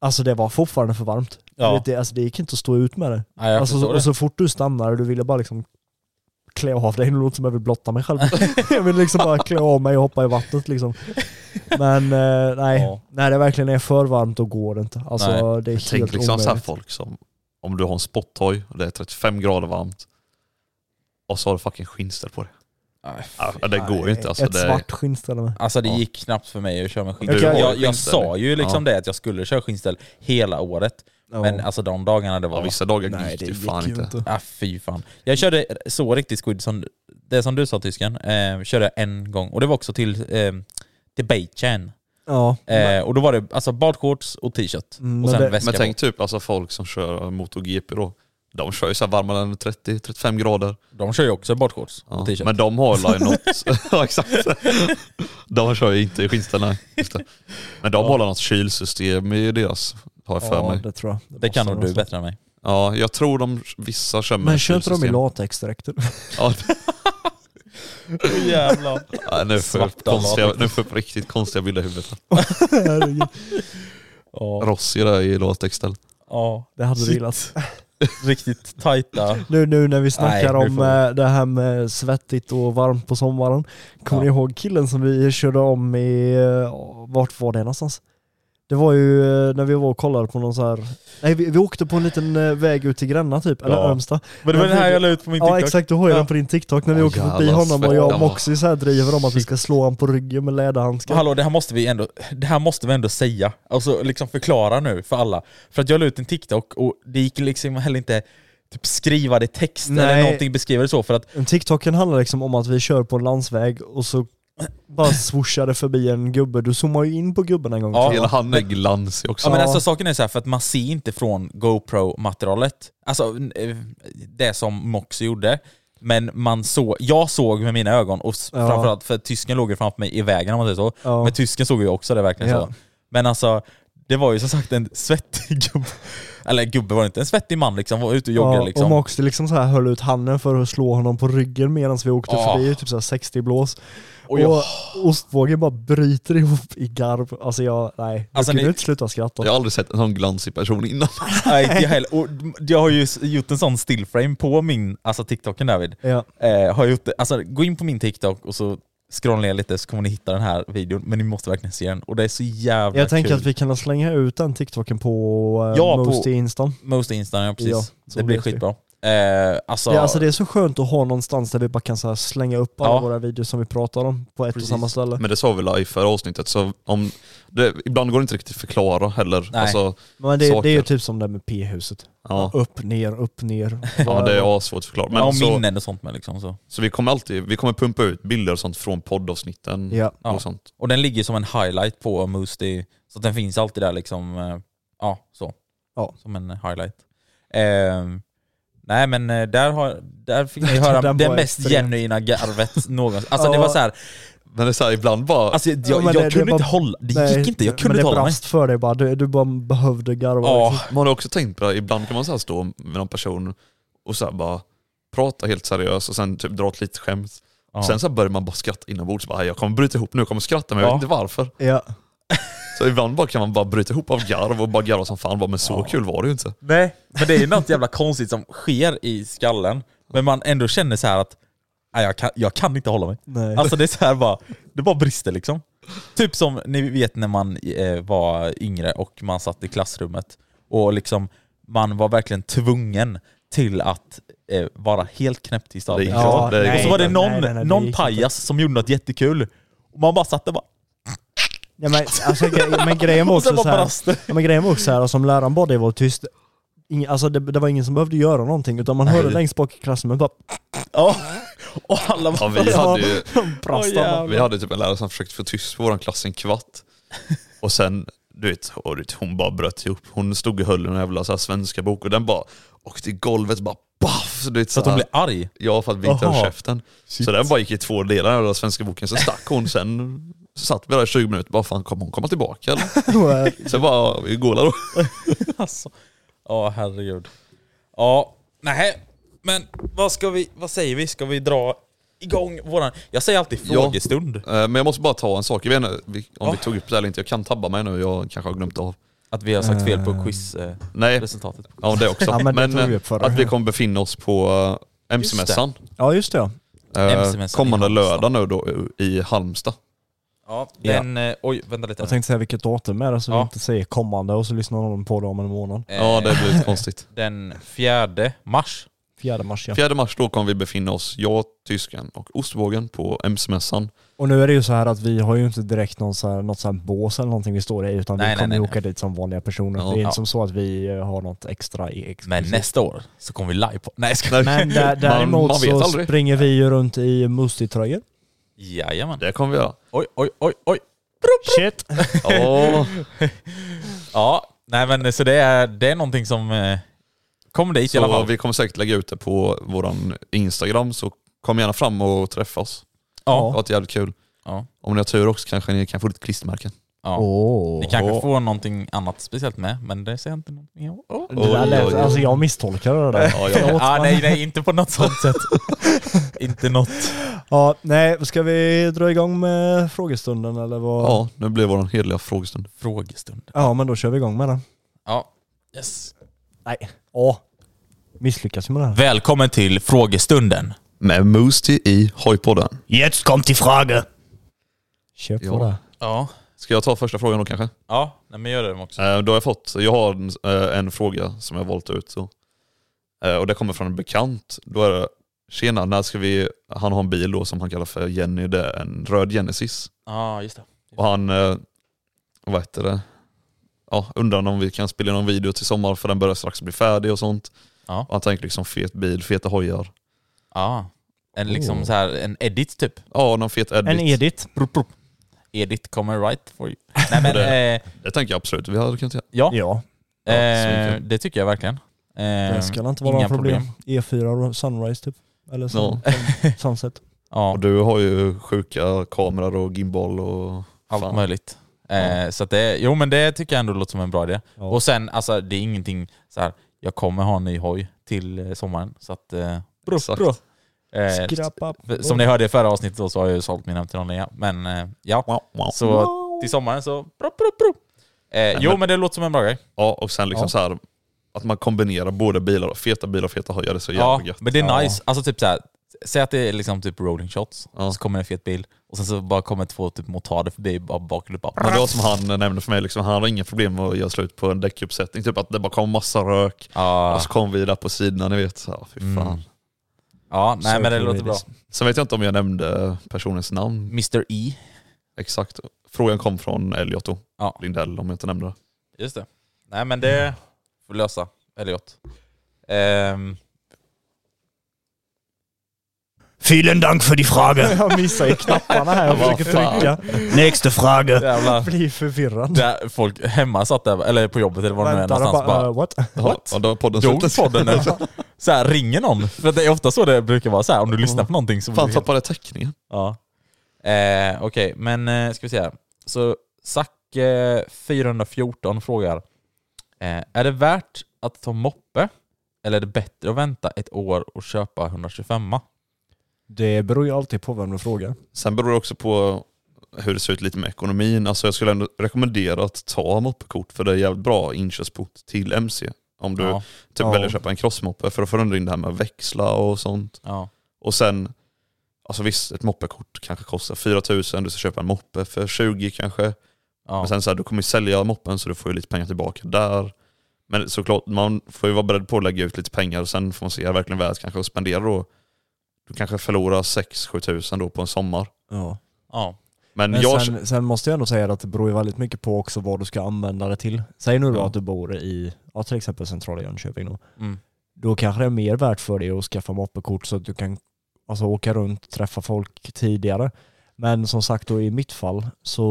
Speaker 3: alltså det var fortfarande för varmt.
Speaker 2: Ja.
Speaker 3: Vet, det, alltså, det gick inte att stå ut med det.
Speaker 2: Nej, jag
Speaker 3: Alltså,
Speaker 2: förstår
Speaker 3: så,
Speaker 2: det.
Speaker 3: och så fort du stannar och du ville bara liksom klä av dig, *laughs* nu låter det som jag vill blotta mig själv. *laughs*
Speaker 2: *laughs*
Speaker 3: jag vill liksom bara klä av mig och hoppa i vattnet liksom. Men eh, nej,
Speaker 2: Ja.
Speaker 3: när det verkligen är för varmt då går det inte. Alltså
Speaker 2: Nej.
Speaker 3: det är helt
Speaker 4: Tänk liksom så här
Speaker 3: omöjligt.
Speaker 4: folk som, om du har en spotthoj och det är 35 grader varmt och så har du fucking skinnställ på dig.
Speaker 2: Nej,
Speaker 4: Ja, det går ju inte alltså.
Speaker 3: Ett
Speaker 4: Det är,
Speaker 3: svart skinnställe med.
Speaker 2: Alltså det
Speaker 4: Ja.
Speaker 2: gick knappt för mig att köra med
Speaker 4: Du
Speaker 2: skinnställ.
Speaker 3: har
Speaker 2: Jag, jag
Speaker 4: skinnställ.
Speaker 2: sa ju liksom
Speaker 4: Ja.
Speaker 2: det att jag skulle köra skinnställ hela året. Men alltså de dagarna det
Speaker 4: ja,
Speaker 2: var...
Speaker 4: vissa dagar
Speaker 3: Nej,
Speaker 4: gick
Speaker 3: det
Speaker 4: det ju
Speaker 3: gick
Speaker 4: fan
Speaker 3: ju
Speaker 4: inte.
Speaker 3: inte.
Speaker 2: Ah, fy fan. Jag körde så riktigt squid som det som du sa tysken, eh, körde jag en gång och det var också till, eh, till Beichan.
Speaker 3: Ja.
Speaker 2: Eh, och då var det alltså badshorts och t-shirt
Speaker 3: Mm,
Speaker 2: och
Speaker 3: men
Speaker 2: sen
Speaker 3: det-
Speaker 2: väska
Speaker 4: Men tänk typ alltså folk som kör MotoGP då. De kör ju så här varmare än 30-35 grader.
Speaker 2: på. De kör ju också badshorts
Speaker 4: Ja,
Speaker 2: och t-shirt.
Speaker 4: men de har ju något... *laughs* ja exakt. De kör ju inte i skinnställ, nej. Just det. Men de har något kylsystem i deras, har jag för
Speaker 3: ja,
Speaker 4: mig.
Speaker 3: det tror jag.
Speaker 2: det kan
Speaker 3: måste
Speaker 2: nog
Speaker 3: vara
Speaker 2: du
Speaker 3: så.
Speaker 2: bättre
Speaker 3: *laughs*
Speaker 2: än mig.
Speaker 4: Ja, jag tror de vissa kör med
Speaker 3: Men kör inte de i
Speaker 4: kylsystem.
Speaker 3: latexdräkter?
Speaker 4: Ja,
Speaker 2: Jävlar.
Speaker 4: nej, nu får jag upp
Speaker 2: Svarta
Speaker 4: konstiga,
Speaker 2: latex.
Speaker 4: nu får jag upp riktigt konstiga bilder i huvudet.
Speaker 3: Herregud.
Speaker 2: Ja,
Speaker 4: *laughs* Rossi där i latexställ.
Speaker 2: ja.
Speaker 3: det hade du gillat.
Speaker 2: riktigt tajta.
Speaker 3: Nu, nu när vi snackar
Speaker 2: Nej, vi
Speaker 3: om
Speaker 2: får-
Speaker 3: eh, det här med svettigt och varmt på sommaren. Kommer
Speaker 2: Ja.
Speaker 3: ni ihåg killen som vi körde om i, eh, vart var det någonstans? Det var ju eh, när vi var och kollade på någon så här. Nej vi, vi åkte på en liten eh, väg ut till Gränna typ, eller
Speaker 2: Ja.
Speaker 3: Örmstad.
Speaker 2: Men det var den här jag la ut på min TikTok.
Speaker 3: Ja exakt, du har ju
Speaker 2: Ja.
Speaker 3: den på din TikTok när vi
Speaker 4: Åh,
Speaker 3: åker förbi
Speaker 4: jävlar,
Speaker 3: honom och jag och
Speaker 4: Sven.
Speaker 3: Moxie så här driver om att vi ska slå honom på ryggen med läderhandskar.
Speaker 2: Men hallå, det här måste vi ändå, det här måste vi ändå säga. Alltså liksom förklara nu för alla. För att jag la ut en TikTok och det gick liksom heller inte typ skriva det i text eller
Speaker 3: Nej.
Speaker 2: någonting, beskriva det så för att
Speaker 3: Men TikToken handlar liksom om att vi kör på en landsväg och så bara swooshar det förbi en gubbe. Du zoomar ju in på gubben en gång.
Speaker 2: Ja.
Speaker 4: Hela han är glansig också.
Speaker 2: Ja, men
Speaker 3: Ja.
Speaker 2: alltså saken är så här för att man ser inte från GoPro-materialet, alltså eh, det som Mox gjorde, men man såg, jag såg med mina ögon, och s-
Speaker 3: Ja.
Speaker 2: framförallt för tysken låg ju framför mig i vägen om man säger så,
Speaker 3: Ja.
Speaker 2: men tysken såg ju också det verkligen
Speaker 3: Ja.
Speaker 2: så. Men alltså, det var ju som sagt en svettig gubbe, *laughs* eller gubbe var det inte, en svettig man liksom, var ute och joggade
Speaker 3: Ja,
Speaker 2: liksom.
Speaker 3: Och Moxie liksom så här höll ut handen för att slå honom på ryggen medan vi åkte
Speaker 2: Ah.
Speaker 3: förbi, typ så här 60 blås.
Speaker 2: Och jag-
Speaker 3: Och ostbågen bara bryter ihop i garv. Alltså jag, nej. Jag
Speaker 2: Alltså
Speaker 3: kunde
Speaker 2: ni-
Speaker 3: inte sluta skratta.
Speaker 4: Jag har aldrig sett en sån glansig person innan.
Speaker 2: Nej,
Speaker 3: *laughs*
Speaker 2: inte jag heller. Och jag har ju s- gjort en sån stillframe på min, alltså TikToken David.
Speaker 3: Ja.
Speaker 2: Eh, har jag gjort det, alltså, gå in på min TikTok och så scrolla ner lite så kommer ni hitta den här videon, men ni måste verkligen se den. Och det är så jävla
Speaker 3: Jag tänker
Speaker 2: kul.
Speaker 3: att vi kan slänga ut den tiktoken på uh,
Speaker 2: Ja, på-
Speaker 3: Most i Instan.
Speaker 2: Most Insta, ja
Speaker 3: Ja,
Speaker 2: precis.
Speaker 3: så
Speaker 2: det blir
Speaker 3: vet vi.
Speaker 2: skitbra. Eh, alltså,
Speaker 3: Det, alltså det är så skönt att ha någonstans där vi bara kan så här slänga upp alla
Speaker 2: Ja.
Speaker 3: våra videos som vi pratar om på ett
Speaker 2: Precis.
Speaker 3: och samma ställe.
Speaker 4: *laughs* Men det sa vi väl i förra avsnittet, så om, det, ibland går det inte riktigt att förklara heller.
Speaker 2: Nej.
Speaker 4: Alltså,
Speaker 3: Men det, det är ju
Speaker 4: saker.
Speaker 3: typ som det här med P-huset.
Speaker 4: ja.
Speaker 3: Upp, ner, upp, ner.
Speaker 4: ja, det är svårt att förklara. Men
Speaker 2: ja,
Speaker 4: så,
Speaker 2: minnen och sånt med liksom. Så.
Speaker 4: så vi kommer alltid vi kommer pumpa ut bilder och sånt från poddavsnitten
Speaker 3: Ja.
Speaker 2: Ja.
Speaker 4: och sånt.
Speaker 2: Och den ligger som en highlight på Moosty, så att den finns alltid där liksom. eh, Ja, så.
Speaker 3: Ja.
Speaker 2: Som en eh, highlight. Ehm, nej men eh, där, har, där fick ni höra
Speaker 3: *laughs* Den
Speaker 2: det
Speaker 3: var
Speaker 2: mest
Speaker 3: extremt.
Speaker 2: genuina garvet någonsin. Alltså det var
Speaker 3: Ja.
Speaker 2: så här.
Speaker 4: Men det är så här, ibland bara...
Speaker 2: alltså jag,
Speaker 3: Ja, men
Speaker 2: jag
Speaker 3: det- det
Speaker 2: kunde
Speaker 3: var-
Speaker 2: inte hålla, det
Speaker 3: Nej,
Speaker 2: gick inte, jag kunde
Speaker 3: men
Speaker 2: inte hålla
Speaker 3: det
Speaker 2: mig.
Speaker 3: brast för dig bara. Du, du bara behövde garva.
Speaker 2: Ja.
Speaker 3: liksom.
Speaker 4: Man har också tänkt på det, ibland kan man så här stå med någon person och så här bara prata helt seriöst och sen typ dra ett litet skämt.
Speaker 2: Ja.
Speaker 4: Sen så här börjar man bara skratta inombords. Bara, "Aj, jag kommer bryta ihop nu, jag kommer skratta men jag
Speaker 2: Ja.
Speaker 4: vet inte varför.
Speaker 3: Ja.
Speaker 4: Så ibland bara kan man bara bryta ihop av garv och bara garva som fan. Bara, men så kul var det ju inte.
Speaker 2: Nej, men det är ju något jävla konstigt som sker i skallen. Men man ändå känner så här att nej, jag, kan, jag kan inte hålla mig.
Speaker 3: Nej.
Speaker 2: Alltså det är så här bara, det bara brister liksom. Typ som ni vet när man eh, var yngre och man satt i klassrummet och liksom man var verkligen tvungen till att eh, vara helt knäpptyst av
Speaker 4: Det
Speaker 2: allting.
Speaker 4: gick Ja, det gick
Speaker 2: Och så var det någon,
Speaker 3: nej, nej, nej, det
Speaker 2: någon
Speaker 3: gick
Speaker 2: pajas som gjorde något jättekul. Och man bara satt där bara,
Speaker 3: Ja, men, alltså, gre- men grejen var
Speaker 2: *laughs* och sen
Speaker 3: också så
Speaker 2: bara
Speaker 3: här,
Speaker 2: brast det.
Speaker 3: ja, men grejen var också så här, alltså, om läraren bad dig vara tyst, ing, alltså, det, det var ingen som behövde göra någonting utan man hörde längst bak i klassrummet bara *laughs*
Speaker 2: Ja. Och alla bara,
Speaker 4: Ja, vi hade *laughs* ju...
Speaker 3: brast
Speaker 2: Åh,
Speaker 3: alla.
Speaker 2: jävlar.
Speaker 4: Alltså, Vi hade typ en lärare som försökte få tyst på vår klass i en kvart. Och sen, du vet, och du vet, hon bara bröt ihop. Hon stod och höll en jävla så här svenska bok och den bara åkte i golvet bara baff! Så, du vet,
Speaker 2: Så
Speaker 4: så
Speaker 2: att hon
Speaker 4: här,
Speaker 2: blev arg.
Speaker 4: Ja, för att vi inte höll
Speaker 2: Aha.
Speaker 4: käften. Så den bara gick i två delar, den jävla svenska boken. Sen stack hon, sen satt vi där i 20 minuter. Bara fan, kommer hon komma
Speaker 3: *laughs*
Speaker 4: tillbaka eller? Sen bara, vi går då.
Speaker 2: *laughs* Alltså. Ja, herregud. Ja, nej. Men vad ska vi, vad säger vi? Ska vi dra igång våran... Jag säger alltid
Speaker 4: Ja.
Speaker 2: frågestund.
Speaker 4: Eh, Men jag måste bara ta en sak. Jag vet inte vi- om vi
Speaker 3: Ah.
Speaker 2: Ja.
Speaker 4: tog upp det eller inte. Jag kan tabba mig nu, jag kanske har glömt av.
Speaker 2: Att vi har sagt fel på quizresultatet.
Speaker 4: Nej, ja det också.
Speaker 3: *laughs* Ja, men det tog vi
Speaker 4: eh,
Speaker 3: upp förra.
Speaker 4: att vi kommer befinna oss på eh, MC-mässan.
Speaker 3: Ja just det ja.
Speaker 4: Eh,
Speaker 2: MC-mässan
Speaker 4: kommande
Speaker 2: i Halmstad.
Speaker 4: lördag nu då i Halmstad.
Speaker 2: Ja,
Speaker 3: Ja.
Speaker 2: den... eh, Oj, vänta lite.
Speaker 3: Jag tänkte säga vilket datum är det så
Speaker 2: Ja.
Speaker 3: vi inte säger kommande och så lyssnar någon på det om en månad.
Speaker 2: Eh,
Speaker 4: Ja, det blir lite konstigt.
Speaker 2: Den fjärde mars.
Speaker 3: Fjärde mars *laughs* ja.
Speaker 4: 4 mars då kommer vi befinna oss, jag, tysken och ostbågen på MC-mässan.
Speaker 3: Och nu är det ju så här att vi har ju inte direkt någon så här, något så här bås eller någonting vi står i utan
Speaker 2: Nej,
Speaker 3: vi
Speaker 2: nej,
Speaker 3: kommer
Speaker 2: nej,
Speaker 3: ju
Speaker 2: nej.
Speaker 3: åka dit som vanliga personer.
Speaker 4: Ja.
Speaker 3: det är
Speaker 2: Ja.
Speaker 3: inte som så att vi eh, har något extra i
Speaker 2: Men
Speaker 3: exklusivt.
Speaker 2: nästa år så kommer vi live på... Nej, jag ska...
Speaker 3: Men där, däremot
Speaker 4: man vet
Speaker 3: så
Speaker 4: aldrig.
Speaker 3: springer vi ju runt i Musti-tröjor.
Speaker 2: Jajamän.
Speaker 4: Det kommer vi
Speaker 3: *laughs*
Speaker 4: göra.
Speaker 2: Oj, oj, oj, oj.
Speaker 3: Shit!
Speaker 4: Ja,
Speaker 2: Ja, nej men så det är, det är någonting som... eh, Kommer dit i alla
Speaker 4: så
Speaker 2: fall.
Speaker 4: vi kommer säkert lägga ut det på våran Instagram så kom gärna fram och träffa oss. Det har
Speaker 2: Ja.
Speaker 4: varit jävligt kul.
Speaker 2: Ja.
Speaker 4: Om ni har tur också kanske ni kan få lite klistermärken.
Speaker 2: ja.
Speaker 3: Åh.
Speaker 2: Ni kanske får någonting annat speciellt med, men det säger jag inte någonting om. Åh.
Speaker 3: Det där lät,
Speaker 4: Oj, oj, oj.
Speaker 3: alltså jag misstolkade det där.
Speaker 4: Ja,
Speaker 3: Förlåt,
Speaker 2: Ah,
Speaker 3: men-
Speaker 2: nej, nej, inte på något sånt
Speaker 4: *laughs*
Speaker 2: sätt. inte något.
Speaker 3: Ja, nej, ska vi dra igång med frågestunden eller vad?
Speaker 4: ja nu blir våran hederliga frågestund.
Speaker 2: Frågestund.
Speaker 3: Ja, men då kör vi igång med den.
Speaker 2: Ja. Yes.
Speaker 3: Nej. Ja. misslyckas med det här.
Speaker 2: Välkommen till frågestunden.
Speaker 4: Med Moosty i Hojpodden.
Speaker 3: Jetzt kommt die Frage! Kör på
Speaker 4: Ja.
Speaker 3: det.
Speaker 2: Ja.
Speaker 4: Ska jag ta första frågan då kanske?
Speaker 2: Ja, nej, men gör det också.
Speaker 4: Eh, Då har jag fått, jag har en, eh, en fråga som jag valt ut. Så. Eh, Och det kommer från en bekant. Då är det, tjena, när ska vi, han har en bil då som han kallar för Jenny, det är en röd Genesis.
Speaker 2: Ja, just det.
Speaker 4: Och han, eh, vad heter det, ja, undrar om vi kan spela in någon video till sommar för den börjar strax bli färdig och sånt.
Speaker 2: Ja.
Speaker 4: Och han tänker liksom fet bil, feta hojar.
Speaker 2: Ja. En, liksom
Speaker 3: Oh.
Speaker 2: så här, en edit typ.
Speaker 4: Ja, någon fet edit.
Speaker 3: En edit.
Speaker 2: Edit kommer right for you.
Speaker 4: *laughs*
Speaker 2: Nej men,
Speaker 4: Det-
Speaker 2: eh,
Speaker 4: Det tänker jag absolut vi hade kunnat göra.
Speaker 2: ja.
Speaker 3: Ja,
Speaker 4: så
Speaker 2: eh,
Speaker 4: mycket.
Speaker 2: det tycker jag verkligen. Eh,
Speaker 3: det ska inte vara
Speaker 2: inga
Speaker 3: några problem. E4 Sunrise typ. Eller sun,
Speaker 4: Ja.
Speaker 3: Sunset.
Speaker 2: Ja,
Speaker 4: Och du har ju sjuka kameror och gimbal och
Speaker 2: allt
Speaker 4: fan.
Speaker 2: möjligt. Eh, så att det, jo men det tycker jag ändå låter som en bra idé.
Speaker 3: Ja.
Speaker 2: Och sen, alltså det är ingenting så här. jag kommer ha en ny hoj till eh, sommaren. Så att, eh,
Speaker 4: Exakt.
Speaker 2: eh,
Speaker 3: Skrapa.
Speaker 2: För- Som ni hörde i förra avsnittet då så har jag ju sålt mina till någon annan, Men eh, ja,
Speaker 4: Wow, wow.
Speaker 2: så till sommaren så... Bra, bra, bra. Eh, jo
Speaker 4: men-
Speaker 2: men det låter som en bra grej.
Speaker 4: Ja, och sen liksom
Speaker 3: Ja.
Speaker 4: så här att man kombinerar både bilar, feta bilar och feta hojar. Det är så jävla
Speaker 2: Ja,
Speaker 4: gött.
Speaker 2: men det är
Speaker 3: Ja.
Speaker 2: nice. Alltså typ såhär, säg att det är liksom typ rolling shots,
Speaker 4: Ja.
Speaker 2: och så kommer en fet bil, och sen så bara kommer två typ motarder förbi bara baklupp.
Speaker 4: Men det var som han eh, nämnde för mig, liksom, han har inga problem med att göra slut på en däckuppsättning. Typ att det bara kom massa rök
Speaker 2: Ja,
Speaker 4: och så kom vi där på sidorna, ni vet. Ja, fy fan.
Speaker 2: Mm. ja nej
Speaker 3: Så
Speaker 2: men det
Speaker 3: kul
Speaker 2: låter
Speaker 3: är
Speaker 2: bra.
Speaker 4: Sen vet jag inte om jag nämnde personens namn
Speaker 2: Mr E.
Speaker 4: exakt. Frågan kom från Elliot då,
Speaker 2: Ja,
Speaker 4: Lindell, om jag inte nämnde det.
Speaker 2: just det. Nej men det får lösa Elliot. Ehm,
Speaker 5: Vielen Dank för die Frage.
Speaker 3: *laughs* Jag missar ju knapparna här och
Speaker 4: Vad
Speaker 3: försöker
Speaker 4: fan.
Speaker 3: trycka.
Speaker 5: Nästa fråga.
Speaker 2: jävlar.
Speaker 3: Blir förvirrad.
Speaker 2: Där folk hemma satt där, eller på jobbet eller var det nu är
Speaker 3: Väntar och
Speaker 2: någonstans.
Speaker 3: bara,
Speaker 2: Bara,
Speaker 3: uh, what?
Speaker 2: What?
Speaker 4: Ja, då har podden
Speaker 2: Dog
Speaker 4: slut.
Speaker 2: podden nu? Så här, ringer någon? För det är ofta så det brukar vara, så här, om du lyssnar på någonting så...
Speaker 4: *laughs* Fan tappade jag täckningen.
Speaker 2: ja. eh, Okej, men eh, ska vi se här. Så Zack414 frågar, eh, är det värt att ta moppe? Eller är det bättre att vänta ett år och köpa 125
Speaker 3: Det beror ju alltid på vem du frågar.
Speaker 4: Sen beror det också på hur det ser ut lite med ekonomin. Alltså jag skulle ändå rekommendera att ta moppekort för det är jävligt bra inkörsport till MC. Om du
Speaker 2: Ja,
Speaker 4: Typ
Speaker 3: Ja.
Speaker 4: välja att köpa en crossmoppe för att förändra in det här med växla och sånt.
Speaker 2: ja.
Speaker 4: Och sen, alltså visst ett moppekort kanske kostar 4000, du ska köpa en moppe för 20 kanske.
Speaker 2: ja.
Speaker 4: Men sen så här, du kommer ju sälja moppen så du får ju lite pengar tillbaka där. Men såklart, man får ju vara beredd på att lägga ut lite pengar och sen får man se, är det verkligen värt kanske att spendera då. Du kanske förlorar 6-7 tusen då på en sommar.
Speaker 3: Ja.
Speaker 2: ja.
Speaker 4: Men,
Speaker 3: Men
Speaker 4: jag,
Speaker 3: sen, sen måste jag ändå säga att det beror ju väldigt mycket på också vad du ska använda det till. Säg nu då
Speaker 4: Ja.
Speaker 3: att du bor i, ja, till exempel centrala Jönköping då.
Speaker 2: Mm.
Speaker 3: Då kanske det är mer värt för dig att skaffa moppekort så att du kan alltså, åka runt, träffa folk tidigare. Men som sagt då i mitt fall så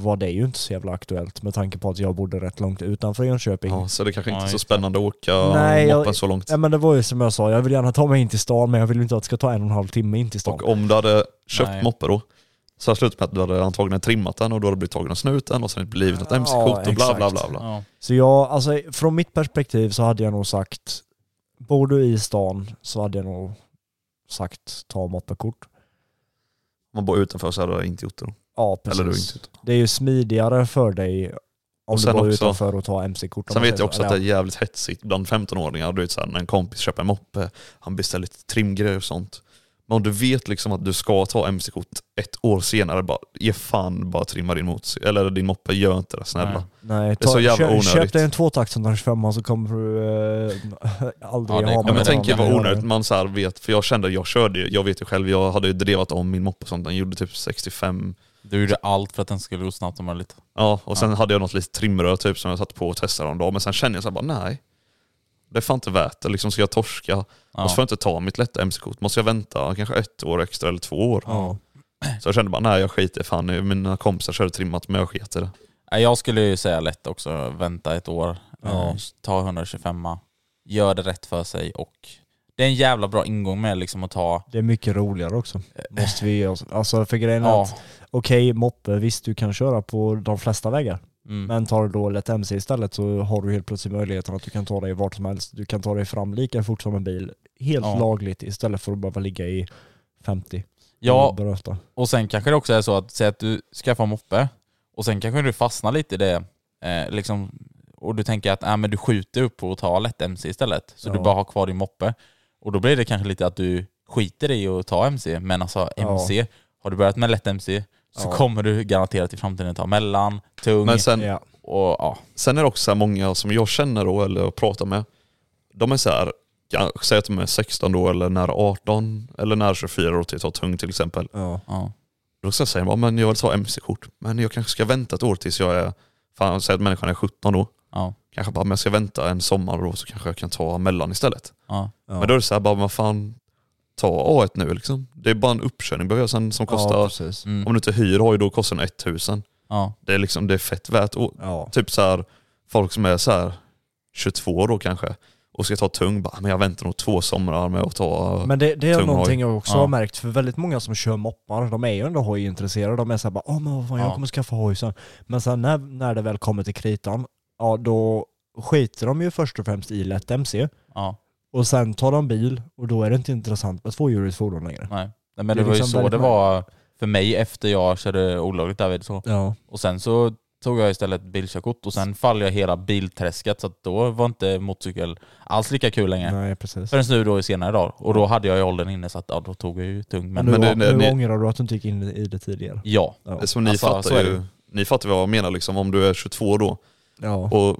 Speaker 3: var det ju inte så jävla aktuellt med tanke på att jag bodde rätt långt utanför Jönköping.
Speaker 4: ja, så det kanske inte
Speaker 2: Ja,
Speaker 4: är så
Speaker 2: just det.
Speaker 4: spännande att åka
Speaker 3: Nej, jag-
Speaker 4: moppen så långt.
Speaker 3: Ja men det var ju som jag sa, jag vill gärna ta mig in till stan men jag vill ju inte att det ska ta en och en halv timme in till stan.
Speaker 4: Och om du hade köpt
Speaker 2: Nej.
Speaker 4: moppe då, så hade det slutat med att du hade antagligen trimmat den och då hade det blivit tagen av snuten och sen inte blivit något
Speaker 3: Ja,
Speaker 4: mc-kort och bla bla bla.
Speaker 3: exakt.
Speaker 4: bla.
Speaker 2: ja.
Speaker 3: Så jag, alltså från mitt perspektiv så hade jag nog sagt, bor du i stan så hade jag nog sagt ta moppekort.
Speaker 4: Om man bor utanför så hade jag inte gjort det då.
Speaker 3: Ja precis.
Speaker 4: Eller du inte. gjort det.
Speaker 3: Det är ju smidigare för dig om
Speaker 4: Och
Speaker 3: du
Speaker 4: sen
Speaker 3: bor
Speaker 4: också-
Speaker 3: utanför och tar mc-kort. om man
Speaker 4: Sen vet
Speaker 3: säger
Speaker 4: jag också
Speaker 3: så.
Speaker 4: att det är
Speaker 3: Eller,
Speaker 4: jävligt hetsigt bland 15-åringar. Du vet såhär när en kompis köper en moppe, han beställer lite trimgrejer och sånt. Men om du vet liksom att du ska ta mc-kort ett år senare, bara ge fan bara trimma din motorcykel, eller din moppe, gör inte det snälla.
Speaker 2: Nej.
Speaker 3: Nej,
Speaker 4: är
Speaker 3: ta,
Speaker 4: så jävla
Speaker 3: köp,
Speaker 4: onödigt.
Speaker 3: köp dig en tvåtakt 125 så kommer du eh, *laughs* aldrig
Speaker 2: Ja, det kommer
Speaker 3: ha
Speaker 4: Ja, men
Speaker 2: det
Speaker 4: tänk er
Speaker 2: var
Speaker 4: vad onödigt man så här vet, för jag kände, jag körde ju, jag vet ju själv, jag hade ju drevat om min moppe och sånt, den gjorde typ 65
Speaker 2: Du gjorde allt för att den skulle gå snabbt som möjligt.
Speaker 4: Ja, och sen hade jag något litet trimrör typ som jag satt på och testade någon dag, men sen kände jag så här, bara nej. Det är fan inte värt det, liksom ska jag torska? Och så får jag inte ta mitt lätta mc-kort, måste jag vänta kanske ett år extra eller två år?
Speaker 3: Ja.
Speaker 4: Så jag kände bara nej jag skiter fan i- mina kompisar körde trimmat men jag skiter i det.
Speaker 2: Nej, Jag skulle ju säga lätt också, vänta ett år,
Speaker 3: Ja.
Speaker 2: eh, ta 125 gör det rätt för sig och det är en jävla bra ingång med liksom att ta...
Speaker 3: Det är mycket
Speaker 2: *laughs*
Speaker 3: roligare också. Måste vi, ge oss- alltså för grejen är
Speaker 2: Ja,
Speaker 3: att, okej moppe, visst du kan köra på de flesta vägar.
Speaker 2: mm.
Speaker 3: Men tar du då lätt MC istället så har du helt plötsligt möjligheten att du kan ta dig vart som helst. Du kan ta dig fram lika fort som en bil, helt
Speaker 2: Ja.
Speaker 3: lagligt istället för att behöva ligga i 50. och
Speaker 2: ja
Speaker 3: bröta.
Speaker 2: och sen kanske det också är så att, säg att du skaffar moppe och sen kanske du fastnar lite i det, eh, liksom, och och du tänker att ah, men du skjuter upp och tar lätt MC istället. Så du
Speaker 3: Ja.
Speaker 2: bara har kvar din moppe. Och då blir det kanske lite att du skiter i att ta MC, men alltså
Speaker 3: Ja.
Speaker 2: MC, har du börjat med lätt MC så
Speaker 3: Ja.
Speaker 2: kommer du garanterat i framtiden ta mellan, tung
Speaker 4: Men sen,
Speaker 3: Ja.
Speaker 2: och ja.
Speaker 4: Sen är det också så här många som jag känner då, eller pratar med, de är så här, ja, säg att de är 16 då eller nära 18 eller nära 24 och till att ta tung till exempel.
Speaker 3: Ja.
Speaker 2: ja.
Speaker 4: Då ska jag säga, ja, men jag vill ta MC-kort, men jag kanske ska vänta ett år tills jag är, fan säg att människan är 17 då,
Speaker 2: ja.
Speaker 4: kanske bara, men jag ska vänta en sommar då så kanske jag kan ta mellan istället.
Speaker 2: Ja,
Speaker 4: Men då är det så här, bara, men fan, ta A1 nu liksom. Det är bara en uppkörning behöver jag sen som kostar,
Speaker 3: Ja, precis.
Speaker 2: mm.
Speaker 4: om du inte hyr har ju då kostar den 1000.
Speaker 2: ja.
Speaker 4: Det är liksom, det är fett värt. Och
Speaker 3: Ja.
Speaker 4: typ så här, folk som är så här 22 då kanske och ska ta tung, bara, men jag väntar nog två somrar med att ta...
Speaker 3: Men det, det är
Speaker 4: Tung
Speaker 3: någonting jag också
Speaker 2: Ja.
Speaker 3: har märkt, för väldigt många som kör moppar, de är ju ändå hojintresserade. De är såhär bara åh men vad fan, jag
Speaker 2: Ja.
Speaker 3: kommer skaffa hoj sen. Men sen när, när det väl kommer till kritan, ja då skiter de ju först och främst i lätt MC.
Speaker 2: ja.
Speaker 3: Och sen tar de bil och då är det inte intressant med tvåhjuligt fordon längre.
Speaker 2: Nej. Nej, men
Speaker 3: Det
Speaker 2: det,
Speaker 3: är
Speaker 2: var ju
Speaker 3: liksom
Speaker 2: så
Speaker 3: väldigt
Speaker 2: det var för mig efter jag körde olagligt David. Så.
Speaker 3: Ja.
Speaker 2: Och sen så tog jag istället bilkörkort och sen faller jag hela bilträsket så att då var inte motorcykel alls lika kul längre.
Speaker 3: Nej precis.
Speaker 2: Förrän nu då i senare dag. Och då hade jag ju åldern inne så att ja, då tog jag ju tung. Men,
Speaker 3: Men, nu,
Speaker 4: men det-
Speaker 3: nu,
Speaker 4: det-
Speaker 3: ångrar du att du inte gick in i det tidigare.
Speaker 2: ja.
Speaker 3: Ja.
Speaker 4: Som ni
Speaker 2: Alltså, så
Speaker 4: fattar
Speaker 2: är
Speaker 4: ju,
Speaker 2: det.
Speaker 4: ni fattar vad jag menar liksom, om du är 22 då
Speaker 3: Ja.
Speaker 4: och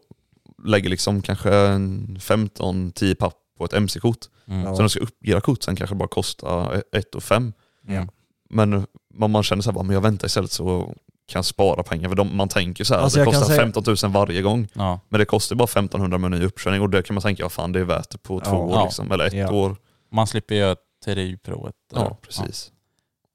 Speaker 4: lägger liksom kanske en 15-10 papp på ett MC-kort.
Speaker 2: Mm.
Speaker 3: Ja.
Speaker 4: Sen när du ska uppgradera kort sen kanske det bara kostar 1 och 5.
Speaker 2: Mm.
Speaker 4: Men man, man känner så här, bara, men jag väntar istället så kan jag spara pengar. För de, man tänker så här,
Speaker 3: Alltså,
Speaker 4: det
Speaker 3: jag kan
Speaker 4: kostar
Speaker 3: säga-
Speaker 4: 15 000 varje gång.
Speaker 2: Ja.
Speaker 4: Men det kostar bara 1500 med ny uppkörning och det kan man tänka, ja fan det är värt det på
Speaker 3: Ja.
Speaker 4: två år
Speaker 2: Ja.
Speaker 4: liksom, eller ett
Speaker 3: Ja.
Speaker 4: år.
Speaker 2: Man slipper göra teoriprovet.
Speaker 4: Ja, precis.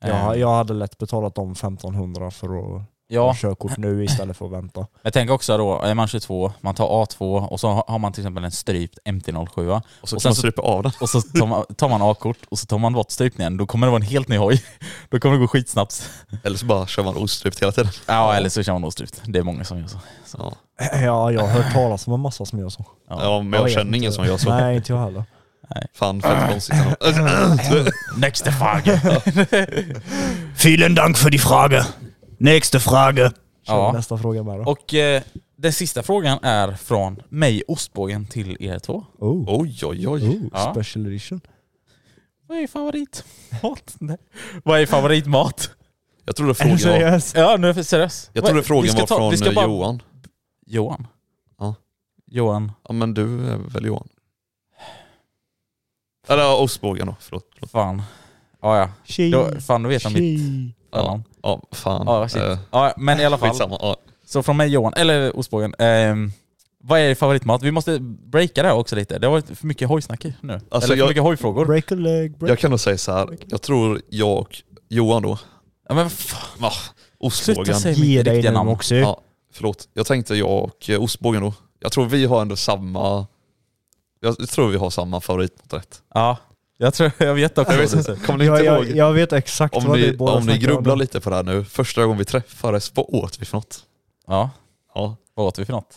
Speaker 2: Ja.
Speaker 3: Ja,
Speaker 2: Eh,
Speaker 3: jag hade lätt betalat de 1500 för att ha
Speaker 2: ja,
Speaker 3: körkort nu istället för att vänta.
Speaker 2: jag tänker också då, är man 22, man tar A2 och så har har man till exempel en strypt MT-07
Speaker 4: Och så
Speaker 2: Och
Speaker 4: kan
Speaker 2: sen
Speaker 4: man
Speaker 2: så-
Speaker 4: strypa av den.
Speaker 2: och så tar man, tar man A-kort och så tar man bort strypningen, då kommer det vara en helt ny hoj. *laughs* Då kommer det gå skitsnabbt.
Speaker 4: Eller så bara kör man ostrypt
Speaker 2: *laughs*
Speaker 4: hela tiden.
Speaker 2: Ja, eller så kör man ostrypt. Det är många som gör så.
Speaker 4: Ja,
Speaker 3: *clears throat* Ja, jag har hört talas om en massa som gör så.
Speaker 2: Ja.
Speaker 4: ja men jag
Speaker 3: vet
Speaker 4: känner
Speaker 3: inte.
Speaker 4: ingen som gör så.
Speaker 3: Nej, inte jag heller.
Speaker 2: *laughs*
Speaker 4: Fan fett konstigt. ändå.
Speaker 2: Äh. Nästa fråga!
Speaker 3: Vielen Dank för die Frage. Nästa fråga.
Speaker 2: Ja.
Speaker 3: Nästa fråga med då.
Speaker 2: Och eh, den sista frågan är från mig, Ostbågen, till er två.
Speaker 3: Oh.
Speaker 4: Oj oj oj.
Speaker 3: Oh,
Speaker 2: Ja.
Speaker 3: special edition.
Speaker 2: Vad är favoritmat? Nej. Vad är favoritmat? *laughs*
Speaker 4: Jag trodde
Speaker 3: Är du
Speaker 4: frågan var,
Speaker 3: seriös?
Speaker 2: Ja, nu är jag seriös.
Speaker 4: jag trodde
Speaker 2: Vad- vi
Speaker 4: frågan
Speaker 2: ska
Speaker 4: var
Speaker 2: ta- vi
Speaker 4: från
Speaker 2: ska bara-
Speaker 4: eh, Johan.
Speaker 2: Johan?
Speaker 4: Ja.
Speaker 2: Johan?
Speaker 4: Ja men du är väl Johan? Eller ostbågen då, förlåt. förlåt.
Speaker 2: Fan. Ja, ja.
Speaker 3: Tji,
Speaker 2: Då, fan, då vet han mitt
Speaker 3: tji.
Speaker 2: förnamn.
Speaker 4: Ja, fan.
Speaker 2: Ja, shit.
Speaker 4: Eh,
Speaker 2: Ja, men i alla fall.
Speaker 4: Skitsamma. Ja.
Speaker 2: Så från mig Johan, eller ostbågen. ehm, vad är favoritmat? Vi måste breaka det här också lite. Det har varit för mycket hojsnack i nu.
Speaker 4: Alltså,
Speaker 2: eller för
Speaker 4: jag-
Speaker 2: mycket hojfrågor.
Speaker 3: Break a leg, break Oh
Speaker 4: Jag kan nog säga så här. jag tror jag och Johan då,
Speaker 2: Ja, men vad fan.
Speaker 4: ah,
Speaker 2: Sluta
Speaker 4: ostbågen.
Speaker 2: säga
Speaker 3: Ge
Speaker 2: mitt
Speaker 3: dig
Speaker 2: riktiga
Speaker 3: nu
Speaker 2: namn.
Speaker 3: också.
Speaker 4: Ja, förlåt, jag tänkte jag och eh, ostbågen då. Jag tror vi har ändå samma, jag tror vi har samma favoritporträtt.
Speaker 2: Ja, jag tror jag vet också.
Speaker 4: *laughs* Jag
Speaker 3: *laughs*
Speaker 4: vet inte, Kommer ni
Speaker 3: Jag,
Speaker 4: inte
Speaker 3: jag,
Speaker 4: ihåg?
Speaker 3: jag vet exakt
Speaker 4: Om
Speaker 3: vad
Speaker 4: ni,
Speaker 3: ni båda
Speaker 4: om ni
Speaker 3: snackar
Speaker 4: grubblar
Speaker 3: om.
Speaker 4: lite på det här nu, första gången vi träffades, vad åt vi för något?
Speaker 2: Ja,
Speaker 4: Ja,
Speaker 2: vad åt vi för något?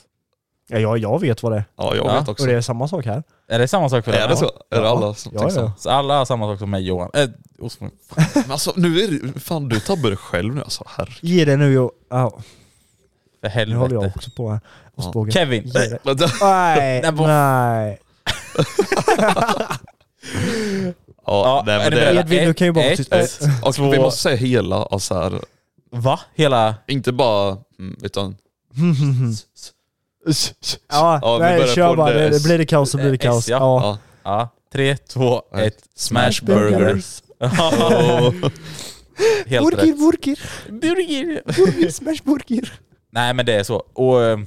Speaker 3: Ja, jag, jag vet vad det är.
Speaker 4: ja jag
Speaker 2: Ja,
Speaker 4: vet också.
Speaker 3: Och det är samma sak här.
Speaker 2: Är det samma sak för dig?
Speaker 4: Är det så? Är det alla som
Speaker 3: Ja,
Speaker 4: tänker så?
Speaker 3: ja.
Speaker 2: Så alla har samma sak som mig Johan. Eh, ostbågen.
Speaker 4: Men alltså nu är det, fan du tabbar dig själv nu alltså, herre.
Speaker 3: Ge dig nu Jo. Ja,
Speaker 2: För
Speaker 3: nu håller jag
Speaker 2: helvete.
Speaker 3: också på här. Ostbågen.
Speaker 2: Kevin.
Speaker 3: Ge dig.
Speaker 4: Vänta. *laughs*
Speaker 3: Nej,
Speaker 2: Nej, vad-
Speaker 3: nej.
Speaker 4: Ja, nej men det
Speaker 2: beredda?
Speaker 4: är...
Speaker 3: Edvin, du kan ju bara vara
Speaker 2: Ett,
Speaker 3: tyst.
Speaker 2: ett.
Speaker 4: Och vi måste säga hela, alltså här,
Speaker 2: Va? Hela...
Speaker 4: inte bara, mm, utan
Speaker 3: Mm. Ja,
Speaker 4: Ja, vi
Speaker 3: nej,
Speaker 4: börjar
Speaker 3: kör
Speaker 4: på
Speaker 3: bara.
Speaker 4: det.
Speaker 3: Det, det blir det kaos så blir det
Speaker 2: S,
Speaker 3: kaos.
Speaker 2: ja.
Speaker 3: Ja.
Speaker 4: ja.
Speaker 2: Ja. Tre,
Speaker 4: *laughs*
Speaker 2: två, ett. Smash burger.
Speaker 3: Burgers.
Speaker 4: Oh.
Speaker 2: Helt
Speaker 3: Burger,
Speaker 2: rätt.
Speaker 3: burger, *laughs*
Speaker 2: Burger.
Speaker 3: burger, smash burger.
Speaker 2: Nej men det är så. Och eh,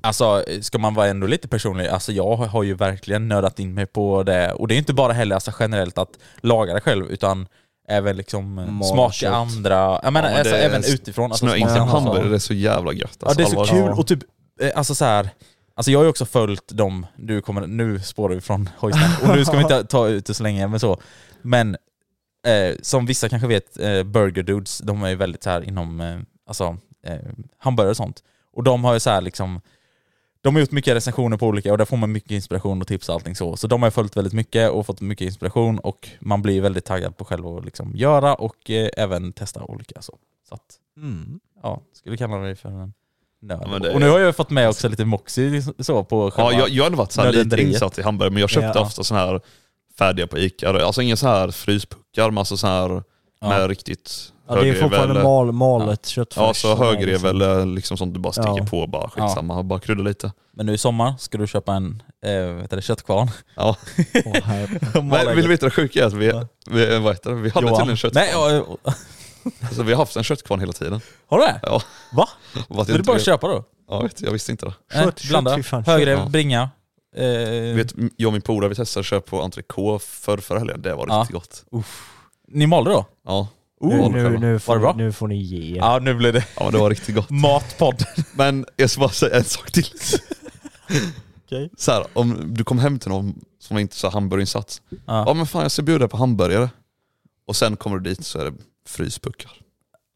Speaker 2: alltså, ska man vara ändå lite personlig, alltså jag har ju verkligen nördat in mig på det. Och det är inte bara heller alltså, generellt att laga det själv, utan även liksom eh,
Speaker 3: Mala
Speaker 2: smaka
Speaker 3: kött.
Speaker 2: andra, jag menar
Speaker 4: men
Speaker 2: alltså,
Speaker 4: det är
Speaker 2: även
Speaker 4: s-
Speaker 2: utifrån. Alltså,
Speaker 4: Snöa in sig
Speaker 2: smaka
Speaker 4: en
Speaker 2: massa-
Speaker 4: hamburgare, det är så jävla gött. alltså,
Speaker 2: Ja det är så
Speaker 4: allvarligt.
Speaker 2: kul och typ, eh, alltså så här. Alltså jag har ju också följt dem, nu, kommer, nu spårar vi från hojsnack och nu ska vi inte ta ut det så länge men så. Men eh, som vissa kanske vet, eh, Burger Dudes, de är ju väldigt så här inom eh, alltså, eh, hamburgare och sånt. Och de har ju så här liksom, de har gjort mycket recensioner på olika och där får man mycket inspiration och tips och allting så. Så de har jag följt väldigt mycket och fått mycket inspiration och man blir väldigt taggad på själv att liksom
Speaker 3: Mm.
Speaker 2: göra och eh, även testa olika så. Så att, ja, skulle kalla det för en nöd.
Speaker 4: Ja, men det
Speaker 2: Och
Speaker 4: är-
Speaker 2: nu har jag ju fått med också lite Moxie så på
Speaker 4: Ja,
Speaker 2: själva...
Speaker 4: jag, jag har ändå varit så här lite
Speaker 2: nödvändighet.
Speaker 4: insatt i hamburgare, men jag köpte
Speaker 2: Ja.
Speaker 4: ofta sådana här färdiga på Ica. Alltså inga så här fryspuckar, men alltså så här
Speaker 2: Ja.
Speaker 4: med riktigt
Speaker 3: Ja, det är fortfarande
Speaker 4: eller-
Speaker 3: mal, malet köttfärs.
Speaker 4: Ja, så
Speaker 3: som är
Speaker 4: högrev
Speaker 3: liksom-
Speaker 4: eller liksom sånt du bara sticker
Speaker 3: Ja.
Speaker 4: på bara skitsamma, bara krydda lite.
Speaker 2: Men nu i sommar ska du köpa en eh, vad heter det, köttkvarn.
Speaker 4: Ja.
Speaker 2: *laughs*
Speaker 3: Åh, herre.
Speaker 4: *laughs* Men vill du veta det sjuka är att vi, vi, vad heter det? vi hade
Speaker 2: Johan.
Speaker 4: tydligen kött.
Speaker 2: Nej, ja, ja.
Speaker 4: Alltså, vi har haft en köttkvarn
Speaker 2: *laughs*
Speaker 4: hela tiden.
Speaker 2: har du det?
Speaker 4: Ja.
Speaker 2: Va?
Speaker 4: Vad jag
Speaker 2: Vill du
Speaker 4: inte
Speaker 2: bara
Speaker 4: vet-
Speaker 2: köpa då?
Speaker 4: Ja, vet, jag visste inte det.
Speaker 2: Nej,
Speaker 3: Kött, kött,
Speaker 2: blanda.
Speaker 3: fy fan, kött.
Speaker 2: Högre,
Speaker 4: Ja.
Speaker 2: bringa. Eh,
Speaker 4: Vet, jag och min polare vi testade att köra på entrecote förr, förra helgen, det var
Speaker 2: Ja.
Speaker 4: riktigt gott.
Speaker 2: Ni malde då?
Speaker 4: Ja.
Speaker 2: Oh.
Speaker 3: Nu, nu,
Speaker 4: själva.
Speaker 3: nu,
Speaker 2: Var det bra? Ah.
Speaker 3: får, nu får ni ge er.
Speaker 2: Ja, nu blev det
Speaker 4: ja, men det var riktigt
Speaker 2: *laughs*
Speaker 4: gott.
Speaker 2: matpodd.
Speaker 4: Men jag ska bara säga en sak till. Så här, om du kom hem till någon som inte sa hamburgarinsats. Ja. men fan jag ska bjuda på hamburgare. Och sen kommer du dit så är det fryspuckar.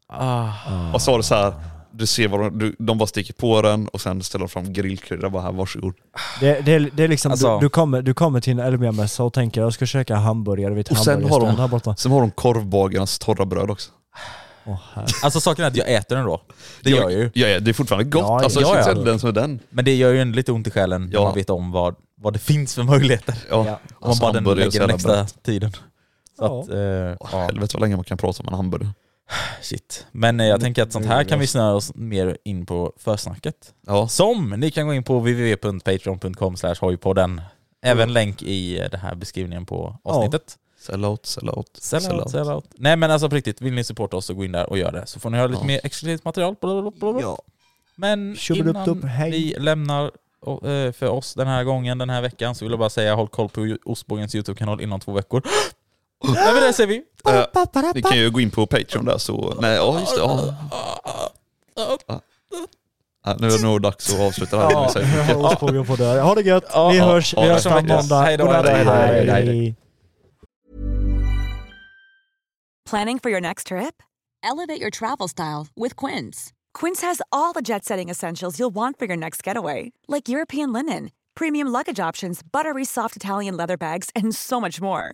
Speaker 2: Ah.
Speaker 4: Och så var det så här, du ser vad de, du, de bara sticker på den och sen ställer de fram grillkrydda bara här, varsågod.
Speaker 3: Det, det, är- det är liksom,
Speaker 2: Alltså-
Speaker 3: du, du, kommer, du kommer till en Elmia-mässa och tänker jag ska käka hamburgare vid ett
Speaker 4: Och sen har,
Speaker 3: hamburgerställe här borta.
Speaker 4: de, sen har de korvbagarnas torra bröd också.
Speaker 3: Åh, herre.
Speaker 2: Alltså saken är att jag äter den då. Det gör jag ju.
Speaker 4: Ja, ja, det är fortfarande gott.
Speaker 3: Ja,
Speaker 4: alltså,
Speaker 2: ja,
Speaker 4: jag
Speaker 2: ja.
Speaker 4: ska inte säga den som är den.
Speaker 2: Men det gör ju en lite ont i själen när
Speaker 4: Ja.
Speaker 2: man vet om vad, vad det finns för möjligheter.
Speaker 4: Ja.
Speaker 3: Ja.
Speaker 2: Om man bara den
Speaker 4: hamburgare är så
Speaker 2: lägger den
Speaker 4: jävla
Speaker 2: extra
Speaker 4: bra.
Speaker 2: tiden. Så
Speaker 3: Ja.
Speaker 2: att, eh, ja,
Speaker 4: Helvete vad länge man kan prata om en hamburgare.
Speaker 2: shit. Men eh, jag tänker att sånt här kan vi snöra oss mer in på försnacket.
Speaker 4: Ja.
Speaker 2: Som ni kan gå in på www.patreon.com hojpodden. Även länk i eh, den här beskrivningen på avsnittet.
Speaker 4: Sell out, sell out,
Speaker 2: Sell out, sell out. Nej men alltså på riktigt, vill ni supporta oss så gå in där och gör det. Så får ni höra lite
Speaker 4: Ja.
Speaker 2: mer exklusivt material. Blablabla.
Speaker 3: Ja.
Speaker 2: Men
Speaker 3: Tjubbelupp,
Speaker 2: innan
Speaker 3: dupp, hej.
Speaker 2: vi lämnar och, eh, för oss den här gången, den här veckan, så vill jag bara säga håll koll på Ostbågens YouTube-kanal inom två veckor. *gasps* Nej men det *gasps* säger vi.
Speaker 4: Eh, Ni kan ju gå in på Patreon där så... Nej, ja just det. Ja.
Speaker 2: Ah,
Speaker 4: Ja. Ja, nu är det nog dags att avsluta det här.
Speaker 3: Ja,
Speaker 4: Det är
Speaker 3: jag
Speaker 5: *laughs*
Speaker 4: säkert-
Speaker 3: har ostbågen på dörren. Ha det gött!
Speaker 2: Ja,
Speaker 3: Vi
Speaker 2: ja,
Speaker 3: hörs,
Speaker 4: ja,
Speaker 3: vi
Speaker 4: det
Speaker 3: hörs
Speaker 4: är
Speaker 3: fram
Speaker 4: så mycket.
Speaker 3: måndag.
Speaker 2: Hej då,
Speaker 3: Godnatt.
Speaker 2: hej då, hej då, hej då.
Speaker 3: Hej.
Speaker 7: Planning for your next trip?
Speaker 8: Elevate your travel style with Quince.
Speaker 7: Quince has all the jet setting essentials you'll want for your next getaway, like European linen, premium luggage options, buttery soft Italian leather bags, and so much more.